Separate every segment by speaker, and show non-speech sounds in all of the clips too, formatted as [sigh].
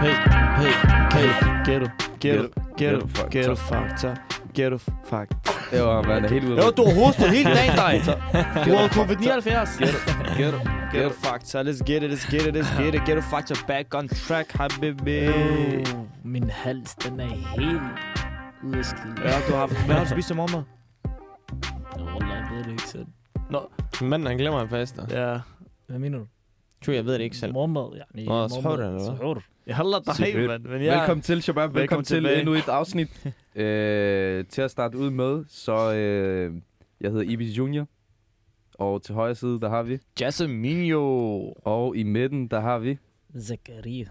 Speaker 1: Hey, hey, hey, ghetto, ghetto,
Speaker 2: Ghetto
Speaker 1: ghetto,
Speaker 2: fakta.
Speaker 1: ghetto fakta, ghetto fakta.
Speaker 2: Det var, man er helt ude.
Speaker 1: Jo, du har hostet hele
Speaker 2: [laughs]
Speaker 1: dagen, dig. Du har covid-79.
Speaker 2: Ghetto,
Speaker 1: Ghetto
Speaker 2: ghetto.
Speaker 1: fakta, let's get it, let's get it, let's get it. Ghetto fakta back on track, habibi.
Speaker 2: Oh.
Speaker 3: Øh, min hals, den er helt ude af skide.
Speaker 1: Ja, du har haft, hvad har du spist til morgenmad?
Speaker 3: Wallah, jeg ved det ikke selv.
Speaker 2: Manden, han glemmer, han faster.
Speaker 1: Ja.
Speaker 3: Hvad mener du?
Speaker 2: Tror jeg ved det ikke selv.
Speaker 3: Morgenmad, ja. Nej,
Speaker 2: Nå, sahur, eller hvad?
Speaker 3: Sahur.
Speaker 1: Jeg holder dig,
Speaker 4: Selvfølgelig.
Speaker 1: mand. Men
Speaker 4: Ja.
Speaker 1: jeg...
Speaker 4: Velkommen til, Shabab. Velkommen,
Speaker 1: Velkommen
Speaker 4: Velkommen til
Speaker 1: tilbage.
Speaker 4: endnu et afsnit. øh, til at starte ud med, så... Øh, jeg hedder Ibis Junior. Og til højre side, der har vi.
Speaker 1: Jasminio.
Speaker 4: Og i midten, der har vi.
Speaker 3: Zakaria.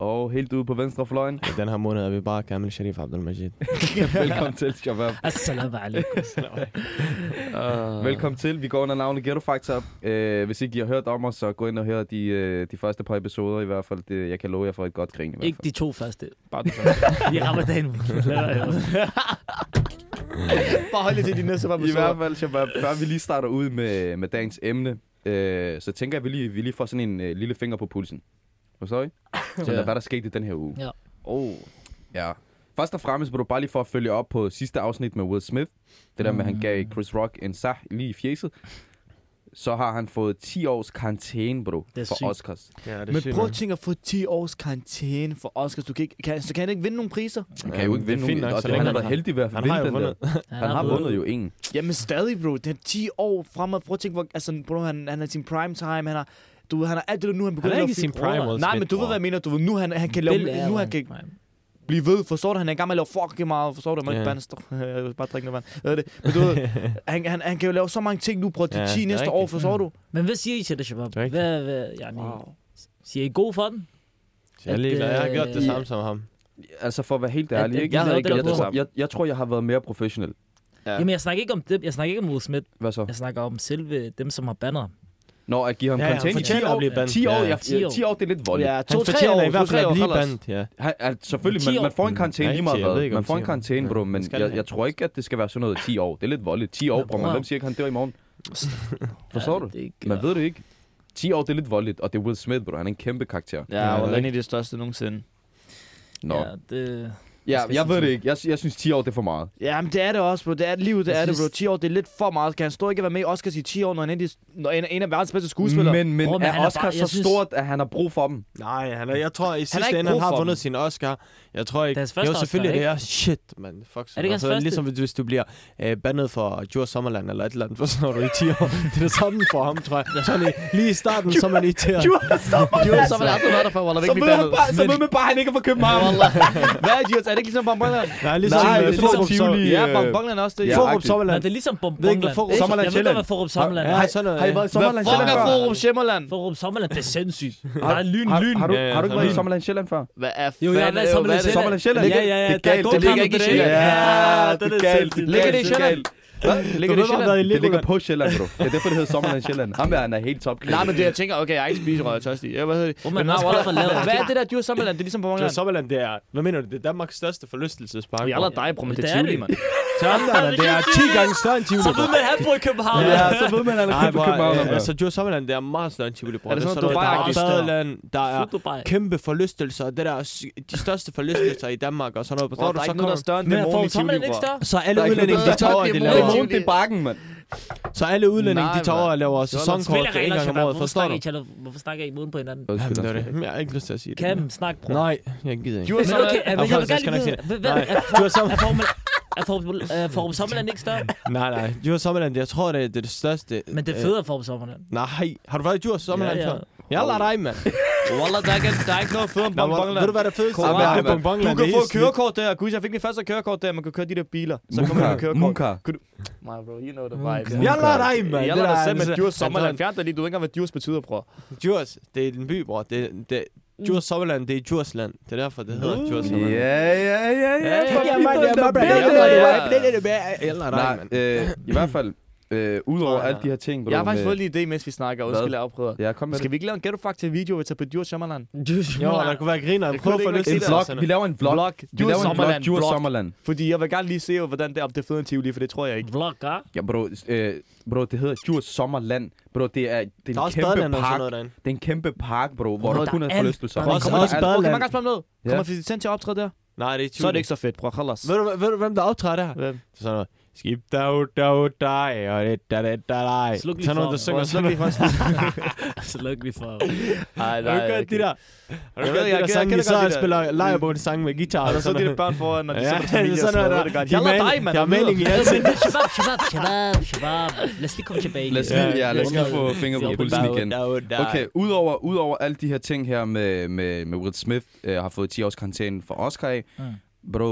Speaker 4: Og helt ude på venstre fløjen.
Speaker 2: Den her måned er vi bare Kamil Sharif Abdul Majid.
Speaker 4: Velkommen til, Shabab.
Speaker 3: Assalamu alaikum.
Speaker 2: Øh.
Speaker 1: Uh,
Speaker 4: Velkommen til. Vi går under navnet Ghetto Factor. Øh, hvis ikke I har hørt om os, så gå ind og hør de, øh, de første par episoder i hvert fald. Det, jeg kan love jer for et godt grin i hvert
Speaker 3: ikke
Speaker 4: fald.
Speaker 3: de to første.
Speaker 1: Bare [laughs] det første.
Speaker 3: Vi rammer dagen.
Speaker 1: Bare hold det til de næste par
Speaker 4: I hvert
Speaker 1: episoder.
Speaker 4: fald, Shabab, før vi lige starter ud med, med dagens emne, øh, så tænker jeg, at vi lige, vi lige får sådan en øh, lille finger på pulsen. Forstår I? Så
Speaker 2: Ja.
Speaker 4: ja. hvad der skete i den her uge.
Speaker 3: Ja.
Speaker 4: Oh. Ja. Først og fremmest vil du bare lige for at følge op på sidste afsnit med Will Smith. Det der med, at han gav Chris Rock en sag lige i fjeset. Så har han fået 10 års karantæne, bro,
Speaker 3: Det er
Speaker 4: for
Speaker 3: sygt.
Speaker 4: Oscars.
Speaker 2: Ja, det
Speaker 1: Men prøv at tænke at få 10 års karantæne for Oscars. Du kan ikke, kan, så kan han ikke vinde nogen priser?
Speaker 4: Han kan jo ikke vinde nogen, og det, han har været heldig ved at
Speaker 2: Han
Speaker 4: vinde
Speaker 2: har jo
Speaker 4: den
Speaker 2: vundet.
Speaker 4: der. Han har vundet jo en.
Speaker 1: Jamen stadig, bro. Det er 10 år fremad. Prøv at tænke, hvor, altså, bro, han, han er sin prime time. Han har, du ved, han har alt det, der nu han
Speaker 2: Han
Speaker 1: begynder
Speaker 2: er
Speaker 1: at
Speaker 2: ikke i sin
Speaker 1: lave film.
Speaker 2: prime, altså. Will
Speaker 1: Nej,
Speaker 2: Smith,
Speaker 1: men du ved,
Speaker 2: bror.
Speaker 1: hvad jeg mener. Du ved, nu han, han kan lave, nu han kan blive ved, forstår du? Han er i gang med at lave fucking meget, forstår du? Man yeah.
Speaker 2: Ja.
Speaker 1: ikke bande stå- [laughs] Jeg vil bare drikke noget vand. Hvad er det? Men du
Speaker 2: [laughs]
Speaker 1: ved, han, han, han kan jo lave så mange ting nu, bror. De
Speaker 2: Ja,
Speaker 1: 10
Speaker 2: det er
Speaker 1: næste
Speaker 2: rigtigt. Mm.
Speaker 1: år, forstår du?
Speaker 3: Men hvad siger I til det, Shabab?
Speaker 2: Rigtigt.
Speaker 3: Hvad, hvad, yani,
Speaker 1: Wow.
Speaker 3: Siger I god for den?
Speaker 2: Jeg, er ligeglad. jeg har gjort det
Speaker 3: Øh,
Speaker 2: samme som ham.
Speaker 4: Altså for at være helt
Speaker 3: Ja,
Speaker 4: ærlig,
Speaker 3: det-
Speaker 4: ikke?
Speaker 3: jeg havde ikke
Speaker 4: jeg,
Speaker 3: gjort det
Speaker 4: tror,
Speaker 3: samme.
Speaker 4: jeg, jeg tror, jeg har været mere professionel.
Speaker 2: Ja.
Speaker 3: Jamen, jeg snakker ikke om dem. Jeg snakker ikke om Will Smith.
Speaker 4: Hvad så?
Speaker 3: Jeg snakker om selve dem, som har bandet ham.
Speaker 4: Når at give ham
Speaker 2: Ja,
Speaker 4: ja,
Speaker 2: han
Speaker 4: content i 10
Speaker 2: fortjener at
Speaker 4: år.
Speaker 2: blive bandt.
Speaker 4: 10 år,
Speaker 2: Ja.
Speaker 4: jeg,
Speaker 3: 10 år.
Speaker 4: 10 år, det er lidt voldeligt.
Speaker 1: Ja,
Speaker 2: Han
Speaker 1: 2-3
Speaker 2: fortjener
Speaker 1: år.
Speaker 2: i hvert fald
Speaker 1: 2-3
Speaker 2: at
Speaker 1: år,
Speaker 2: blive
Speaker 1: Hallas.
Speaker 2: bandt, ja.
Speaker 4: Han, altså, selvfølgelig,
Speaker 3: 10
Speaker 4: man,
Speaker 3: år.
Speaker 4: man får en karantæne
Speaker 2: Nej,
Speaker 4: lige
Speaker 2: ti
Speaker 4: meget
Speaker 2: år, jeg ved
Speaker 4: hvad.
Speaker 2: ikke, om
Speaker 4: Man får
Speaker 2: ti
Speaker 4: en
Speaker 2: år.
Speaker 4: karantæne, bro,
Speaker 2: Ja,
Speaker 4: men
Speaker 2: det skal
Speaker 4: jeg,
Speaker 2: det.
Speaker 4: jeg tror ikke, at det skal være sådan noget 10 år. Det er lidt voldeligt. 10 år,
Speaker 3: Men
Speaker 4: bro, men
Speaker 3: bror.
Speaker 4: hvem siger ikke, han dør i morgen? Forstår
Speaker 3: Ja,
Speaker 4: du?
Speaker 3: det er ikke-
Speaker 4: Man ved det ikke. 10 år, det er lidt voldeligt, og det er Will Smith, bro. Han er en kæmpe karakter.
Speaker 2: Ja,
Speaker 1: Ja,
Speaker 2: det er
Speaker 1: og Lenny er det største nogensinde.
Speaker 4: Nå.
Speaker 3: Ja, det...
Speaker 4: Ja,
Speaker 3: skal
Speaker 4: jeg
Speaker 3: sige
Speaker 4: ved det
Speaker 3: sådan.
Speaker 4: ikke. Jeg, jeg synes, 10 år, det er for meget.
Speaker 1: Ja, men det er det også, bro. Det er livet, det
Speaker 3: Jeg
Speaker 1: er det, bro.
Speaker 3: synes-
Speaker 1: 10 år, det er lidt for meget. Kan han stå ikke at være med i Oscars i 10 år, når han er en af de- når en, en af verdens bedste skuespillere?
Speaker 4: Men, men
Speaker 3: Bror, men han
Speaker 4: er
Speaker 3: er
Speaker 4: Oscar
Speaker 3: bare-
Speaker 4: så
Speaker 3: jeg synes-
Speaker 4: stort, at han har brug for dem?
Speaker 2: Nej, han er, jeg tror i
Speaker 1: ikke
Speaker 2: sidste ende, han
Speaker 1: god for
Speaker 2: har vundet
Speaker 1: den.
Speaker 2: sin Oscar. Jeg tror ikke...
Speaker 3: Deres første
Speaker 2: jo,
Speaker 3: Oscar,
Speaker 2: selvfølgelig
Speaker 3: ikke?
Speaker 2: det er shit, man. Fuck, så
Speaker 3: ikke hans
Speaker 2: altså,
Speaker 3: første?
Speaker 2: Ligesom hvis du bliver øh, bandet for Djurs Sommerland eller et eller andet, [laughs] for så når du i 10 år. Det er det samme for ham, tror jeg. Sådan i, lige i starten, så er man irriteret.
Speaker 1: Djurs, så vil jeg aldrig være der for, Wallah. Det er
Speaker 4: Så
Speaker 1: ikke
Speaker 4: ved,
Speaker 1: mit
Speaker 4: han
Speaker 1: andet.
Speaker 4: bare, så
Speaker 1: Men-
Speaker 4: ved man bare, at han ikke er fra København.
Speaker 1: Wallah. Hvad er Djurs? Er det ikke ligesom Bongbongland?
Speaker 2: Nej, ligesom,
Speaker 4: Nej,
Speaker 2: øh,
Speaker 4: jeg tror,
Speaker 2: ligesom
Speaker 4: Tivoli,
Speaker 2: Som-
Speaker 1: Ja,
Speaker 4: øh,
Speaker 1: Bongbongland er også det.
Speaker 4: ja.
Speaker 2: Forup
Speaker 4: agtigt.
Speaker 3: Nej,
Speaker 2: Sommerland.
Speaker 3: det er ligesom
Speaker 2: Ved ikke,
Speaker 3: Bombongland.
Speaker 2: hvad Forup
Speaker 3: Jeg
Speaker 2: Sommerland
Speaker 3: ved godt, hvad
Speaker 2: Sjælland.
Speaker 3: Forup Sommerland er.
Speaker 2: Ja, sådan noget.
Speaker 4: Har I været i
Speaker 1: Hvad
Speaker 4: Sommerland
Speaker 1: fuck
Speaker 4: Sjælland
Speaker 1: er
Speaker 4: før?
Speaker 1: Forum Sjælland?
Speaker 3: Forup Sommerland,
Speaker 2: [laughs]
Speaker 3: det er sindssygt.
Speaker 4: Har-
Speaker 3: Der er lyn,
Speaker 4: har-
Speaker 3: lyn.
Speaker 4: Har, du,
Speaker 2: Ja, ja,
Speaker 4: har du ikke været i
Speaker 2: sådan.
Speaker 4: Sommerland Sjælland før?
Speaker 1: Hvad er
Speaker 3: Jo, jeg har været i Sommerland Sjælland.
Speaker 4: Sommerland Sjælland?
Speaker 3: Ja, ja, ja.
Speaker 4: Det er galt,
Speaker 3: gode
Speaker 4: det ligger
Speaker 3: kampe
Speaker 1: ikke i
Speaker 3: på det.
Speaker 1: Sjælland.
Speaker 3: Ja, det er sindssygt.
Speaker 1: Ligger det i Sjælland? Ligger det i Sjælland?
Speaker 2: været i
Speaker 4: Det ligger
Speaker 2: Legoland.
Speaker 4: på Sjælland, bro. Det er derfor, det hedder Sommerland Sjælland. Ham der, han er helt top.
Speaker 1: Nej, men det jeg tænker, okay, jeg har ikke spist røg, jeg er tørstig. Jeg, hvad hedder det?
Speaker 3: Hvor man
Speaker 1: Men
Speaker 3: også
Speaker 1: nej,
Speaker 3: bare får lavet-
Speaker 1: Hvad er det der Djurs Sommerland? Det er ligesom
Speaker 2: Djurs
Speaker 1: Bongbongland.
Speaker 2: Sommerland, det er... Hvad mener du? Det er Danmarks største forlystelsespark.
Speaker 1: Jeg er aldrig dig, bro, men det er
Speaker 3: Det er
Speaker 1: Tivoli,
Speaker 3: det.
Speaker 1: mand.
Speaker 2: Til andre, men det er 10 gange større end Tivoli.
Speaker 3: Så ved man, at han bor i København.
Speaker 2: Ja,
Speaker 4: så ved man, at han
Speaker 2: Nej,
Speaker 4: er fra København.
Speaker 2: bror, øh, altså Djurs Sommerland, det er meget større end Tivoli, bror.
Speaker 1: Er det sådan,
Speaker 2: noget,
Speaker 1: at Dubai
Speaker 2: der er
Speaker 1: er
Speaker 2: stadeland, der er
Speaker 3: Slut Dubai.
Speaker 2: kæmpe forlystelser, og det der er sy- de største forlystelser i Danmark og sådan noget.
Speaker 1: Bro,
Speaker 2: Bro,
Speaker 1: der er
Speaker 2: så,
Speaker 1: ikke noget, der er større end
Speaker 3: Men
Speaker 1: det
Speaker 3: er
Speaker 1: morgen
Speaker 3: Forup
Speaker 1: i Tivoli,
Speaker 3: Sommerland ikke
Speaker 1: bror.
Speaker 3: større?
Speaker 2: så
Speaker 4: Der
Speaker 2: alle
Speaker 4: er ikke
Speaker 2: udlændinge,
Speaker 4: noget,
Speaker 2: de
Speaker 1: der er
Speaker 2: tager over,
Speaker 1: større
Speaker 2: de
Speaker 1: end
Speaker 4: Det er
Speaker 1: Tivoli.
Speaker 2: laver.
Speaker 4: nogen, det er bakken, mand.
Speaker 2: Så alle udlændinge,
Speaker 1: Nej,
Speaker 2: de tager over
Speaker 1: mand.
Speaker 2: og laver
Speaker 1: Sådan.
Speaker 2: sæsonkort
Speaker 3: Spiller
Speaker 2: en
Speaker 3: regler,
Speaker 2: gang om
Speaker 3: Shabab.
Speaker 2: året,
Speaker 3: Hvorfor
Speaker 2: forstår
Speaker 3: snakker
Speaker 2: du?
Speaker 3: I tjalla- Hvorfor snakker I uden på hinanden?
Speaker 2: Jamen, det er det. Jamen, Jeg har ikke lyst til at sige det.
Speaker 3: Cam, snak, bror.
Speaker 2: Nej, jeg gider ikke.
Speaker 1: Djurs
Speaker 3: Men okay,
Speaker 1: Sommerland.
Speaker 3: men jeg vil
Speaker 2: Jeg skal
Speaker 3: gerne lige
Speaker 2: nok sige
Speaker 3: vide,
Speaker 2: det.
Speaker 3: hvad- hvad er det? Er
Speaker 2: Du er så-
Speaker 3: er Forum- Er Forum- er Forum Sommerland ikke større?
Speaker 2: Nej, nej. Djurs Sommerland, jeg tror, det er det største.
Speaker 3: Men det er
Speaker 2: øh,
Speaker 3: federe Forum Sommerland.
Speaker 2: Nej, har du været i Djurs Sommerland
Speaker 3: Ja, ja.
Speaker 2: før? Jeg lader dig, mand.
Speaker 1: Wallah, der er ikke- der er ikke noget federe end
Speaker 2: Nå, men
Speaker 1: Bongbongland.
Speaker 2: Ved du, hvad der fedeste
Speaker 4: Kom,
Speaker 2: er?
Speaker 4: mand.
Speaker 2: Det er
Speaker 1: Du
Speaker 2: bonbonland.
Speaker 1: kan
Speaker 2: det
Speaker 1: få
Speaker 2: er helt
Speaker 1: kørekort der. Gud, jeg fik mit første kørekort der. Man kan køre de der biler. Så kommer man med kørekort.
Speaker 4: Munkar.
Speaker 1: My bro, you know the vibes.
Speaker 2: slidt. Jeg lader dig, mand. Det
Speaker 1: Jeg lader
Speaker 2: der
Speaker 1: dig
Speaker 2: er
Speaker 1: selv med
Speaker 2: altså-
Speaker 1: Djurs Sommerland.
Speaker 2: Altså,
Speaker 1: Fjern dig lige, du ved ikke engang, hvad Djurs betyder, bror.
Speaker 2: Djurs, det er en by, bror. Det, det,
Speaker 3: Mm.
Speaker 2: Djurs Sommerland, det er Djursland. Det er derfor, det hedder Djurs Sommerland.
Speaker 4: Ja, ja, ja, ja.
Speaker 1: Ja, ja,
Speaker 4: Fuck,
Speaker 1: ja,
Speaker 4: vi
Speaker 1: mand,
Speaker 4: dømmer
Speaker 1: jeg er bare
Speaker 4: billedet.
Speaker 1: blandet.
Speaker 4: Ja,
Speaker 1: ja.
Speaker 2: Jeg lader dig,
Speaker 4: Nej,
Speaker 2: mand.
Speaker 4: øh, i hvert fald, Øh, Udover
Speaker 2: Åh, ja.
Speaker 4: alle de her ting, bro.
Speaker 1: Jeg har faktisk
Speaker 4: med-
Speaker 1: fået lige en idé, mens vi snakker.
Speaker 4: Hvad?
Speaker 1: Undskyld, jeg afprøver.
Speaker 4: Ja, kom med
Speaker 1: Skal vi ikke lave en ghetto fact til video, vi tager på Djurs Sommerland?
Speaker 2: Jo, der kunne være grineren. Prøv
Speaker 1: Jeg kunne
Speaker 2: at få lidt
Speaker 1: ikke rigtig
Speaker 4: En
Speaker 1: det,
Speaker 4: vlog.
Speaker 2: Sådan.
Speaker 4: Vi laver en vlog.
Speaker 1: Vlog.
Speaker 4: Vi
Speaker 1: Djurs
Speaker 4: laver en vlog.
Speaker 1: Sommerland.
Speaker 4: Djurs
Speaker 1: Vlog.
Speaker 4: Sommerland.
Speaker 1: Fordi jeg vil gerne lige se, hvordan det er, om det er federe end Tivoli, for det tror jeg ikke.
Speaker 3: Vlog,
Speaker 2: [laughs]
Speaker 3: ah?
Speaker 4: Ja, bro, øh, bro, det hedder Djurs Sommerland. Bro, det er, det
Speaker 2: Der
Speaker 4: er
Speaker 2: er
Speaker 4: en
Speaker 2: også badeland
Speaker 4: kæmpe
Speaker 2: og sådan
Speaker 4: park.
Speaker 2: noget derinde.
Speaker 4: Det er en kæmpe park, bro, hvor
Speaker 3: Bro,
Speaker 4: du
Speaker 3: der
Speaker 4: kun
Speaker 3: er
Speaker 4: har
Speaker 3: alt.
Speaker 4: forlystelser.
Speaker 3: Der
Speaker 4: Bro,
Speaker 3: er
Speaker 2: Også,
Speaker 4: kommer der
Speaker 2: også
Speaker 4: alt?
Speaker 1: Okay, man
Speaker 2: badeland.
Speaker 1: kan godt spørge om noget.
Speaker 4: Ja.
Speaker 1: Kommer Fizitent til at optræde der?
Speaker 2: Nej, det er i
Speaker 1: Så er det
Speaker 2: Tivoli.
Speaker 1: ikke så fedt, bror. Khalas.
Speaker 2: Ved du, hvad- ved du, hvem der optræder der?
Speaker 1: Hvem?
Speaker 2: Så sådan noget. Skib dog dog dig, og det da da da dig.
Speaker 3: Sluk lige
Speaker 2: Sådan noget,
Speaker 3: for
Speaker 2: der synger
Speaker 3: ham.
Speaker 1: Sluk lige for
Speaker 3: Sluk lige for.
Speaker 1: [laughs] Ej,
Speaker 2: Har du hørt de der? Har du
Speaker 1: Jeg
Speaker 2: hørt
Speaker 1: ved,
Speaker 2: de
Speaker 1: jeg
Speaker 2: der
Speaker 1: kender-
Speaker 2: sange, de
Speaker 1: kender godt de
Speaker 2: så
Speaker 1: der-
Speaker 2: spiller lejrebånd sang med guitar?
Speaker 1: Og
Speaker 2: og
Speaker 1: der så
Speaker 2: sådan
Speaker 1: de der
Speaker 2: noget?
Speaker 1: børn foran, når de
Speaker 2: Ja,
Speaker 1: sender til familie
Speaker 2: det er
Speaker 1: og
Speaker 2: [laughs] sådan
Speaker 1: sådan noget.
Speaker 2: noget
Speaker 1: ved det
Speaker 2: der.
Speaker 1: godt.
Speaker 2: De
Speaker 1: Jeg lader
Speaker 2: mal-
Speaker 1: dig, mand.
Speaker 2: de har
Speaker 1: du ved.
Speaker 2: maling i ansigtet.
Speaker 3: Shabab, shabab, shabab, shabab. Lad os lige komme tilbage.
Speaker 4: Lad os
Speaker 2: Ja,
Speaker 4: lige, ja, lad os
Speaker 2: ja.
Speaker 4: lige få fingre på
Speaker 3: Ja,
Speaker 4: pulsen
Speaker 2: Dog,
Speaker 4: igen.
Speaker 2: dog, dog.
Speaker 4: Okay, udover, udover alle de her ting her med, med, med Will Smith, øh, har fået 10 års karantæne for Oscar af, mm. bro,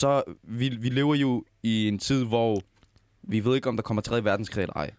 Speaker 4: så vi, vi lever jo i en tid, hvor vi ved ikke, om der kommer 3. verdenskrig eller ej.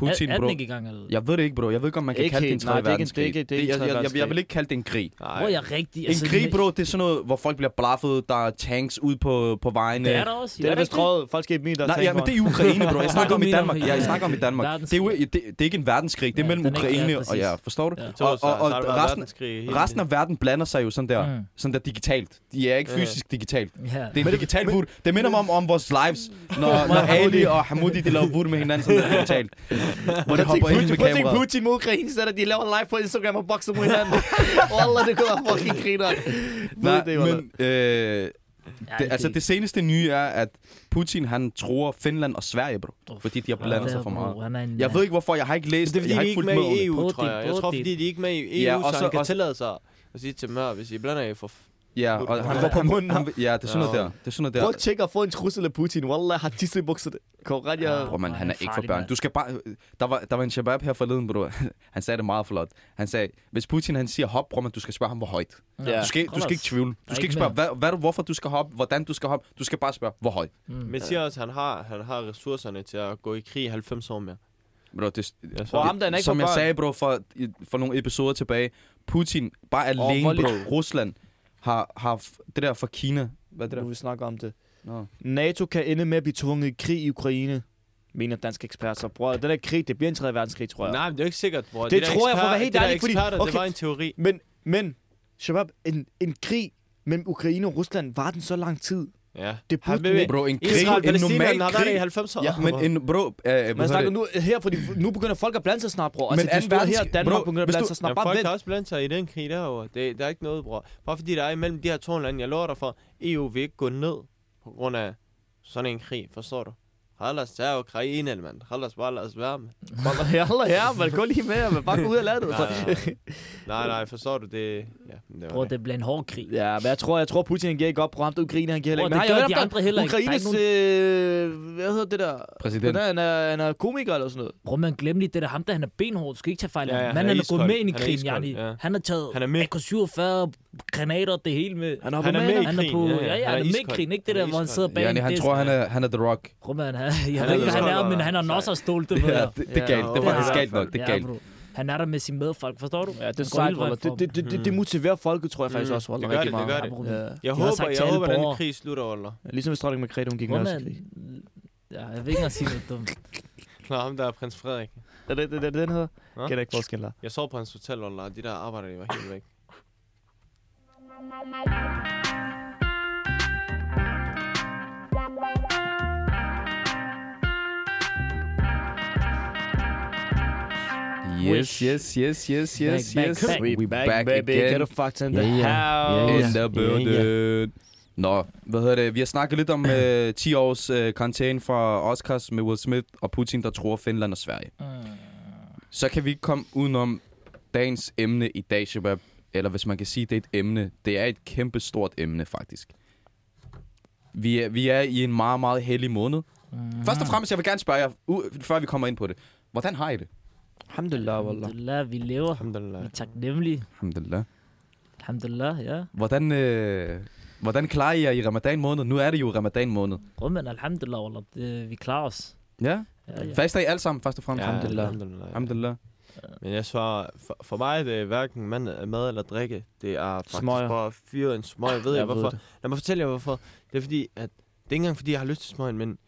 Speaker 4: Putin,
Speaker 3: er, er
Speaker 4: bro.
Speaker 3: den ikke i gang, eller?
Speaker 4: Jeg ved det ikke, bro. Jeg ved ikke, om man kan
Speaker 1: Ikke
Speaker 4: kalde det en
Speaker 1: helt. Nej,
Speaker 4: 3.
Speaker 1: det er ikke en-
Speaker 4: verdenskrig.
Speaker 1: det er ikke- det er ikke en
Speaker 4: jeg, jeg, jeg,
Speaker 1: tredje
Speaker 4: jeg vil ikke kalde det en krig.
Speaker 2: Nej.
Speaker 3: Hvor jeg rigtig...
Speaker 4: En krig, bro, det er sådan noget, hvor folk bliver blaffet, der er tanks ude på, på vejene.
Speaker 3: Det er der også.
Speaker 1: Det er da vist røget. Folk skal i min, der
Speaker 4: Nej, ja, men det er i Ukraine,
Speaker 3: [laughs]
Speaker 4: bro. Jeg snakker om i Danmark. Ja, jeg snakker om i Danmark. Det er, jo,
Speaker 3: Verdenskrig.
Speaker 4: det, det er ikke en verdenskrig. Det er
Speaker 3: Ja,
Speaker 4: mellem
Speaker 3: den er ikke- ja,
Speaker 4: Ukraine og...
Speaker 3: præcis.
Speaker 4: Ja, forstår du?
Speaker 3: Ja.
Speaker 2: Så-
Speaker 4: og-
Speaker 2: så-
Speaker 4: og-
Speaker 2: så har der
Speaker 4: og
Speaker 2: været
Speaker 4: resten-
Speaker 2: verdenskrig hele
Speaker 4: Resten
Speaker 2: tiden.
Speaker 4: af verden blander sig jo sådan der,
Speaker 3: Mm.
Speaker 4: sådan der digitalt. De er ikke
Speaker 2: Ja.
Speaker 4: fysisk digitalt.
Speaker 3: Ja.
Speaker 4: Det er en digital vood. Det minder mig om, om vores lives,
Speaker 3: [laughs]
Speaker 4: når, når Ali og Hamoudi de laver vood med hinanden sådan der digitalt. Hvor de hopper ind med
Speaker 1: Putin, Putin,
Speaker 4: kameraet.
Speaker 1: Putin mod Ukraine, så er der, de laver live på Instagram og bokser mod
Speaker 4: [laughs]
Speaker 1: hinanden. Wallah, det kunne være fucking griner.
Speaker 4: Nej,
Speaker 1: Ved det, wallah.
Speaker 4: men øh,
Speaker 3: Ja,
Speaker 4: det, altså det seneste nye er, at Putin han tror Finland og Sverige, bro.
Speaker 3: Åh,
Speaker 4: Fordi de har
Speaker 3: fuck,
Speaker 4: blandet
Speaker 3: der,
Speaker 4: sig for
Speaker 3: bro.
Speaker 4: meget.
Speaker 3: Han er en-
Speaker 4: Jeg ved ikke hvorfor, jeg har ikke læst,
Speaker 2: Det er fordi, de
Speaker 4: jeg har
Speaker 2: er
Speaker 4: ikke
Speaker 2: ikke
Speaker 4: fulgt
Speaker 2: med
Speaker 4: med
Speaker 2: i E
Speaker 4: ordentligt.
Speaker 2: EU,
Speaker 3: Både
Speaker 2: tror
Speaker 3: det-
Speaker 2: jeg. Jeg
Speaker 3: både
Speaker 2: tror,
Speaker 3: det-
Speaker 2: fordi de er ikke med i EU,
Speaker 4: Ja, og
Speaker 2: så
Speaker 4: så
Speaker 2: han kan
Speaker 4: også-
Speaker 2: tillade sig at sige til dem her, hvis I blander jer for... f-
Speaker 4: Ja, og han,
Speaker 2: Han
Speaker 1: var på
Speaker 4: han-
Speaker 1: munden.
Speaker 4: han- Ja, det er sådan noget
Speaker 2: Ja.
Speaker 4: der. Det er sådan noget
Speaker 1: Prøv at
Speaker 4: der.
Speaker 1: tjekke at få en trussel af Putin. Wallah, har tisse i bukserne. Kom ret, jeg...
Speaker 4: Bro, man, han
Speaker 3: Han
Speaker 4: er
Speaker 3: er
Speaker 4: ikke for
Speaker 3: farlig,
Speaker 4: børn.
Speaker 3: mand.
Speaker 4: Du skal bare... Der var, der var en shabab her forleden, bro. [laughs] Han sagde det meget flot. Han sagde, hvis Putin han siger hop, bror, man, du skal spørge ham, hvor højt.
Speaker 3: Ja.
Speaker 4: Du skal, du skal ikke tvivle.
Speaker 3: er
Speaker 4: Du skal
Speaker 3: ikke
Speaker 4: ikke spørge, hvad, hvad, du- hvorfor du skal hoppe, hvordan du skal hoppe. Du skal bare spørge, hvor højt.
Speaker 2: Men siger også, at han har, han har ressourcerne til at gå i krig i 90 år mere.
Speaker 4: Bro, det,
Speaker 2: Jeg
Speaker 1: Bro, ham der er ikke
Speaker 4: som
Speaker 1: for
Speaker 4: jeg
Speaker 1: børn.
Speaker 4: sagde, bro, for, for nogle episoder tilbage. Putin, bare
Speaker 1: Åh,
Speaker 4: alene,
Speaker 1: hvor
Speaker 4: bro. Rusland har, har f- det der fra Kina. Hvad er det
Speaker 1: Nu
Speaker 4: der?
Speaker 1: vi snakker om det.
Speaker 4: Nå.
Speaker 1: NATO kan ende med at blive tvunget i krig i Ukraine, mener danske eksperter. Bror, den der krig, det bliver en 3. verdenskrig, tror jeg.
Speaker 2: Nej, men det er jo ikke sikkert, bror.
Speaker 1: Det tror jeg, for at være helt ærlig, fordi-
Speaker 2: eksperter, det
Speaker 1: okay.
Speaker 2: var en teori.
Speaker 1: Men, men, Shabab, en, en krig mellem Ukraine og Rusland, var den så lang tid?
Speaker 2: Ja.
Speaker 1: Det
Speaker 2: Han
Speaker 1: burde
Speaker 2: vil-
Speaker 1: den ikke.
Speaker 4: Bro, en krig,
Speaker 2: Israel
Speaker 4: en normal
Speaker 2: Palæstina har været
Speaker 4: krig.
Speaker 2: der i 90 år.
Speaker 4: Ja, men en, bro, øh,
Speaker 1: Man
Speaker 4: man
Speaker 1: snakker nu her, fordi nu begynder folk at blande sig snart, bror.
Speaker 4: Men
Speaker 1: Altså, de
Speaker 4: anden
Speaker 1: stod her,
Speaker 4: verdenskrig-
Speaker 1: Danmark
Speaker 4: bro,
Speaker 1: begynder at
Speaker 4: hvis
Speaker 1: blande
Speaker 4: du-
Speaker 1: sig
Speaker 2: Jamen,
Speaker 1: snart. Bare
Speaker 2: folk
Speaker 1: vent.
Speaker 2: kan også blande sig i den krig derovre. Det, der er ikke noget, bror. Bare fordi der er imellem de her to lande, jeg lover dig for, EU vil ikke gå ned på grund af sådan en krig, forstår du? Hallas, der er Ukraine, mand. Hallas, bare lad os være med.
Speaker 1: Jalla, [laughs] ja, man går lige med, og man bare går ud af landet.
Speaker 2: Nej, nej. nej, nej, forstår du det? Ja, det
Speaker 3: Bro,
Speaker 2: var det.
Speaker 3: det bliver en hård krig.
Speaker 1: [laughs] Ja, men jeg tror, jeg tror Putin han giver ikke op på ham, det Ukraine, han giver heller
Speaker 3: Bror,
Speaker 1: ikke. har I
Speaker 3: det gør
Speaker 1: hørt
Speaker 3: de
Speaker 1: om den
Speaker 3: andre heller ikke. Der er
Speaker 1: Ukraines, øh, hvad hedder det der?
Speaker 4: Præsident.
Speaker 1: Den er, han er, han er komiker eller sådan noget.
Speaker 3: Bror, man glemmer lige det der ham, der han er benhård. Du skal ikke tage fejl af
Speaker 2: Ja,
Speaker 3: ja,
Speaker 2: ja,
Speaker 3: ja,
Speaker 2: han er
Speaker 3: Manden han er gået
Speaker 2: iskold.
Speaker 3: med ind i
Speaker 2: Han er
Speaker 3: krigen,
Speaker 2: iskold,
Speaker 3: Jani.
Speaker 2: ja.
Speaker 3: Han har taget
Speaker 2: Han er med.
Speaker 3: AK-47, granater, det hele med.
Speaker 1: Han er,
Speaker 2: Han er med i
Speaker 3: Han er
Speaker 2: krigen.
Speaker 3: på, ja, ja, han er med i
Speaker 2: iskold.
Speaker 3: krigen, ikke det der, hvor han
Speaker 2: iskold.
Speaker 3: sidder bag
Speaker 4: Ja, han
Speaker 3: en
Speaker 4: tror, han er, han er The Rock.
Speaker 3: Bror, man, han, jeg
Speaker 2: Han
Speaker 3: ved
Speaker 2: er
Speaker 3: ikke, hvad han
Speaker 2: iskold,
Speaker 3: er, men
Speaker 2: eller?
Speaker 3: han har
Speaker 2: Sej.
Speaker 3: nosser stolt, det ved
Speaker 4: Ja,
Speaker 3: jeg.
Speaker 4: det, det er galt. Det er
Speaker 2: Ja,
Speaker 4: faktisk
Speaker 2: ja.
Speaker 4: galt nok. Det er
Speaker 3: Ja,
Speaker 4: galt.
Speaker 3: bro. Han er der med sin medfolk, forstår du?
Speaker 1: Ja, det er
Speaker 3: Han Mm. går hele
Speaker 1: sejt,
Speaker 3: vejen
Speaker 1: Roller.
Speaker 3: for
Speaker 1: Det, det, det, det, det motiverer folket, tror jeg faktisk også, Roller,
Speaker 2: Det gør
Speaker 1: rigtig
Speaker 2: det, det
Speaker 1: meget.
Speaker 2: gør
Speaker 3: Ja, bror,
Speaker 1: Ja.
Speaker 2: Jeg
Speaker 3: De har
Speaker 2: håber,
Speaker 3: sagt til
Speaker 2: jeg
Speaker 3: alle
Speaker 2: håber, at den
Speaker 3: borgere.
Speaker 2: krig slutter, Oller.
Speaker 1: Ligesom hvis dronning Margrethe, hun gik
Speaker 3: Bror,
Speaker 1: med os.
Speaker 3: man, ja, jeg vil ikke engang sige noget dumt.
Speaker 2: Klar, ham der er prins Frederik.
Speaker 1: Er det, det, det, den hedder?
Speaker 2: Nå?
Speaker 1: Kan jeg ikke forskel der.
Speaker 2: Jeg sov på hans hotel, Oller, og de der arbejdere, de var helt væk.
Speaker 4: Yes, yes, yes, yes, yes,
Speaker 3: Back, back,
Speaker 4: yes.
Speaker 3: back.
Speaker 4: We back
Speaker 1: Get
Speaker 4: again
Speaker 1: a fuck in
Speaker 4: the
Speaker 1: the
Speaker 4: Yeah,
Speaker 1: house.
Speaker 4: in the building. Nå, hvad hedder det? Vi har snakket lidt om øh, 10 års øh, karantæne fra Oscars med Will Smith og Putin, der tror Finland og Sverige. Så kan vi ikke komme udenom dagens emne i dag, Shabab. Eller hvis man kan sige, det er et emne. Det er et kæmpe stort emne, faktisk. Vi er, vi er i en meget, meget heldig måned. Først og fremmest, jeg vil gerne spørge jer, u- før vi kommer ind på det. Hvordan har I det?
Speaker 1: Alhamdulillah, wallah.
Speaker 3: Alhamdulillah, vi lever.
Speaker 2: Alhamdulillah.
Speaker 3: Vi er taknemmelige.
Speaker 4: Alhamdulillah.
Speaker 3: Alhamdulillah, ja.
Speaker 4: Hvordan, øh, hvordan klarer I jer i ramadan måned? Nu er det jo ramadan måned.
Speaker 3: Bror, man, alhamdulillah, wallah, det, vi klarer os.
Speaker 4: Ja.
Speaker 3: Ja, ja.
Speaker 4: Faster I alle sammen, først og fremmest?
Speaker 1: Alhamdulillah.
Speaker 2: alhamdulillah.
Speaker 4: Alhamdulillah.
Speaker 2: Men jeg svarer, for, for mig det er hverken mand, mad eller drikke. Det er faktisk
Speaker 1: Smøger.
Speaker 2: bare fyret en smøg. Jeg ved jeg
Speaker 1: Jeg
Speaker 2: ikke
Speaker 1: ved
Speaker 2: hvorfor. Lad mig fortælle jer hvorfor. Det er fordi, at det er ikke engang fordi, jeg har lyst til smøgen, men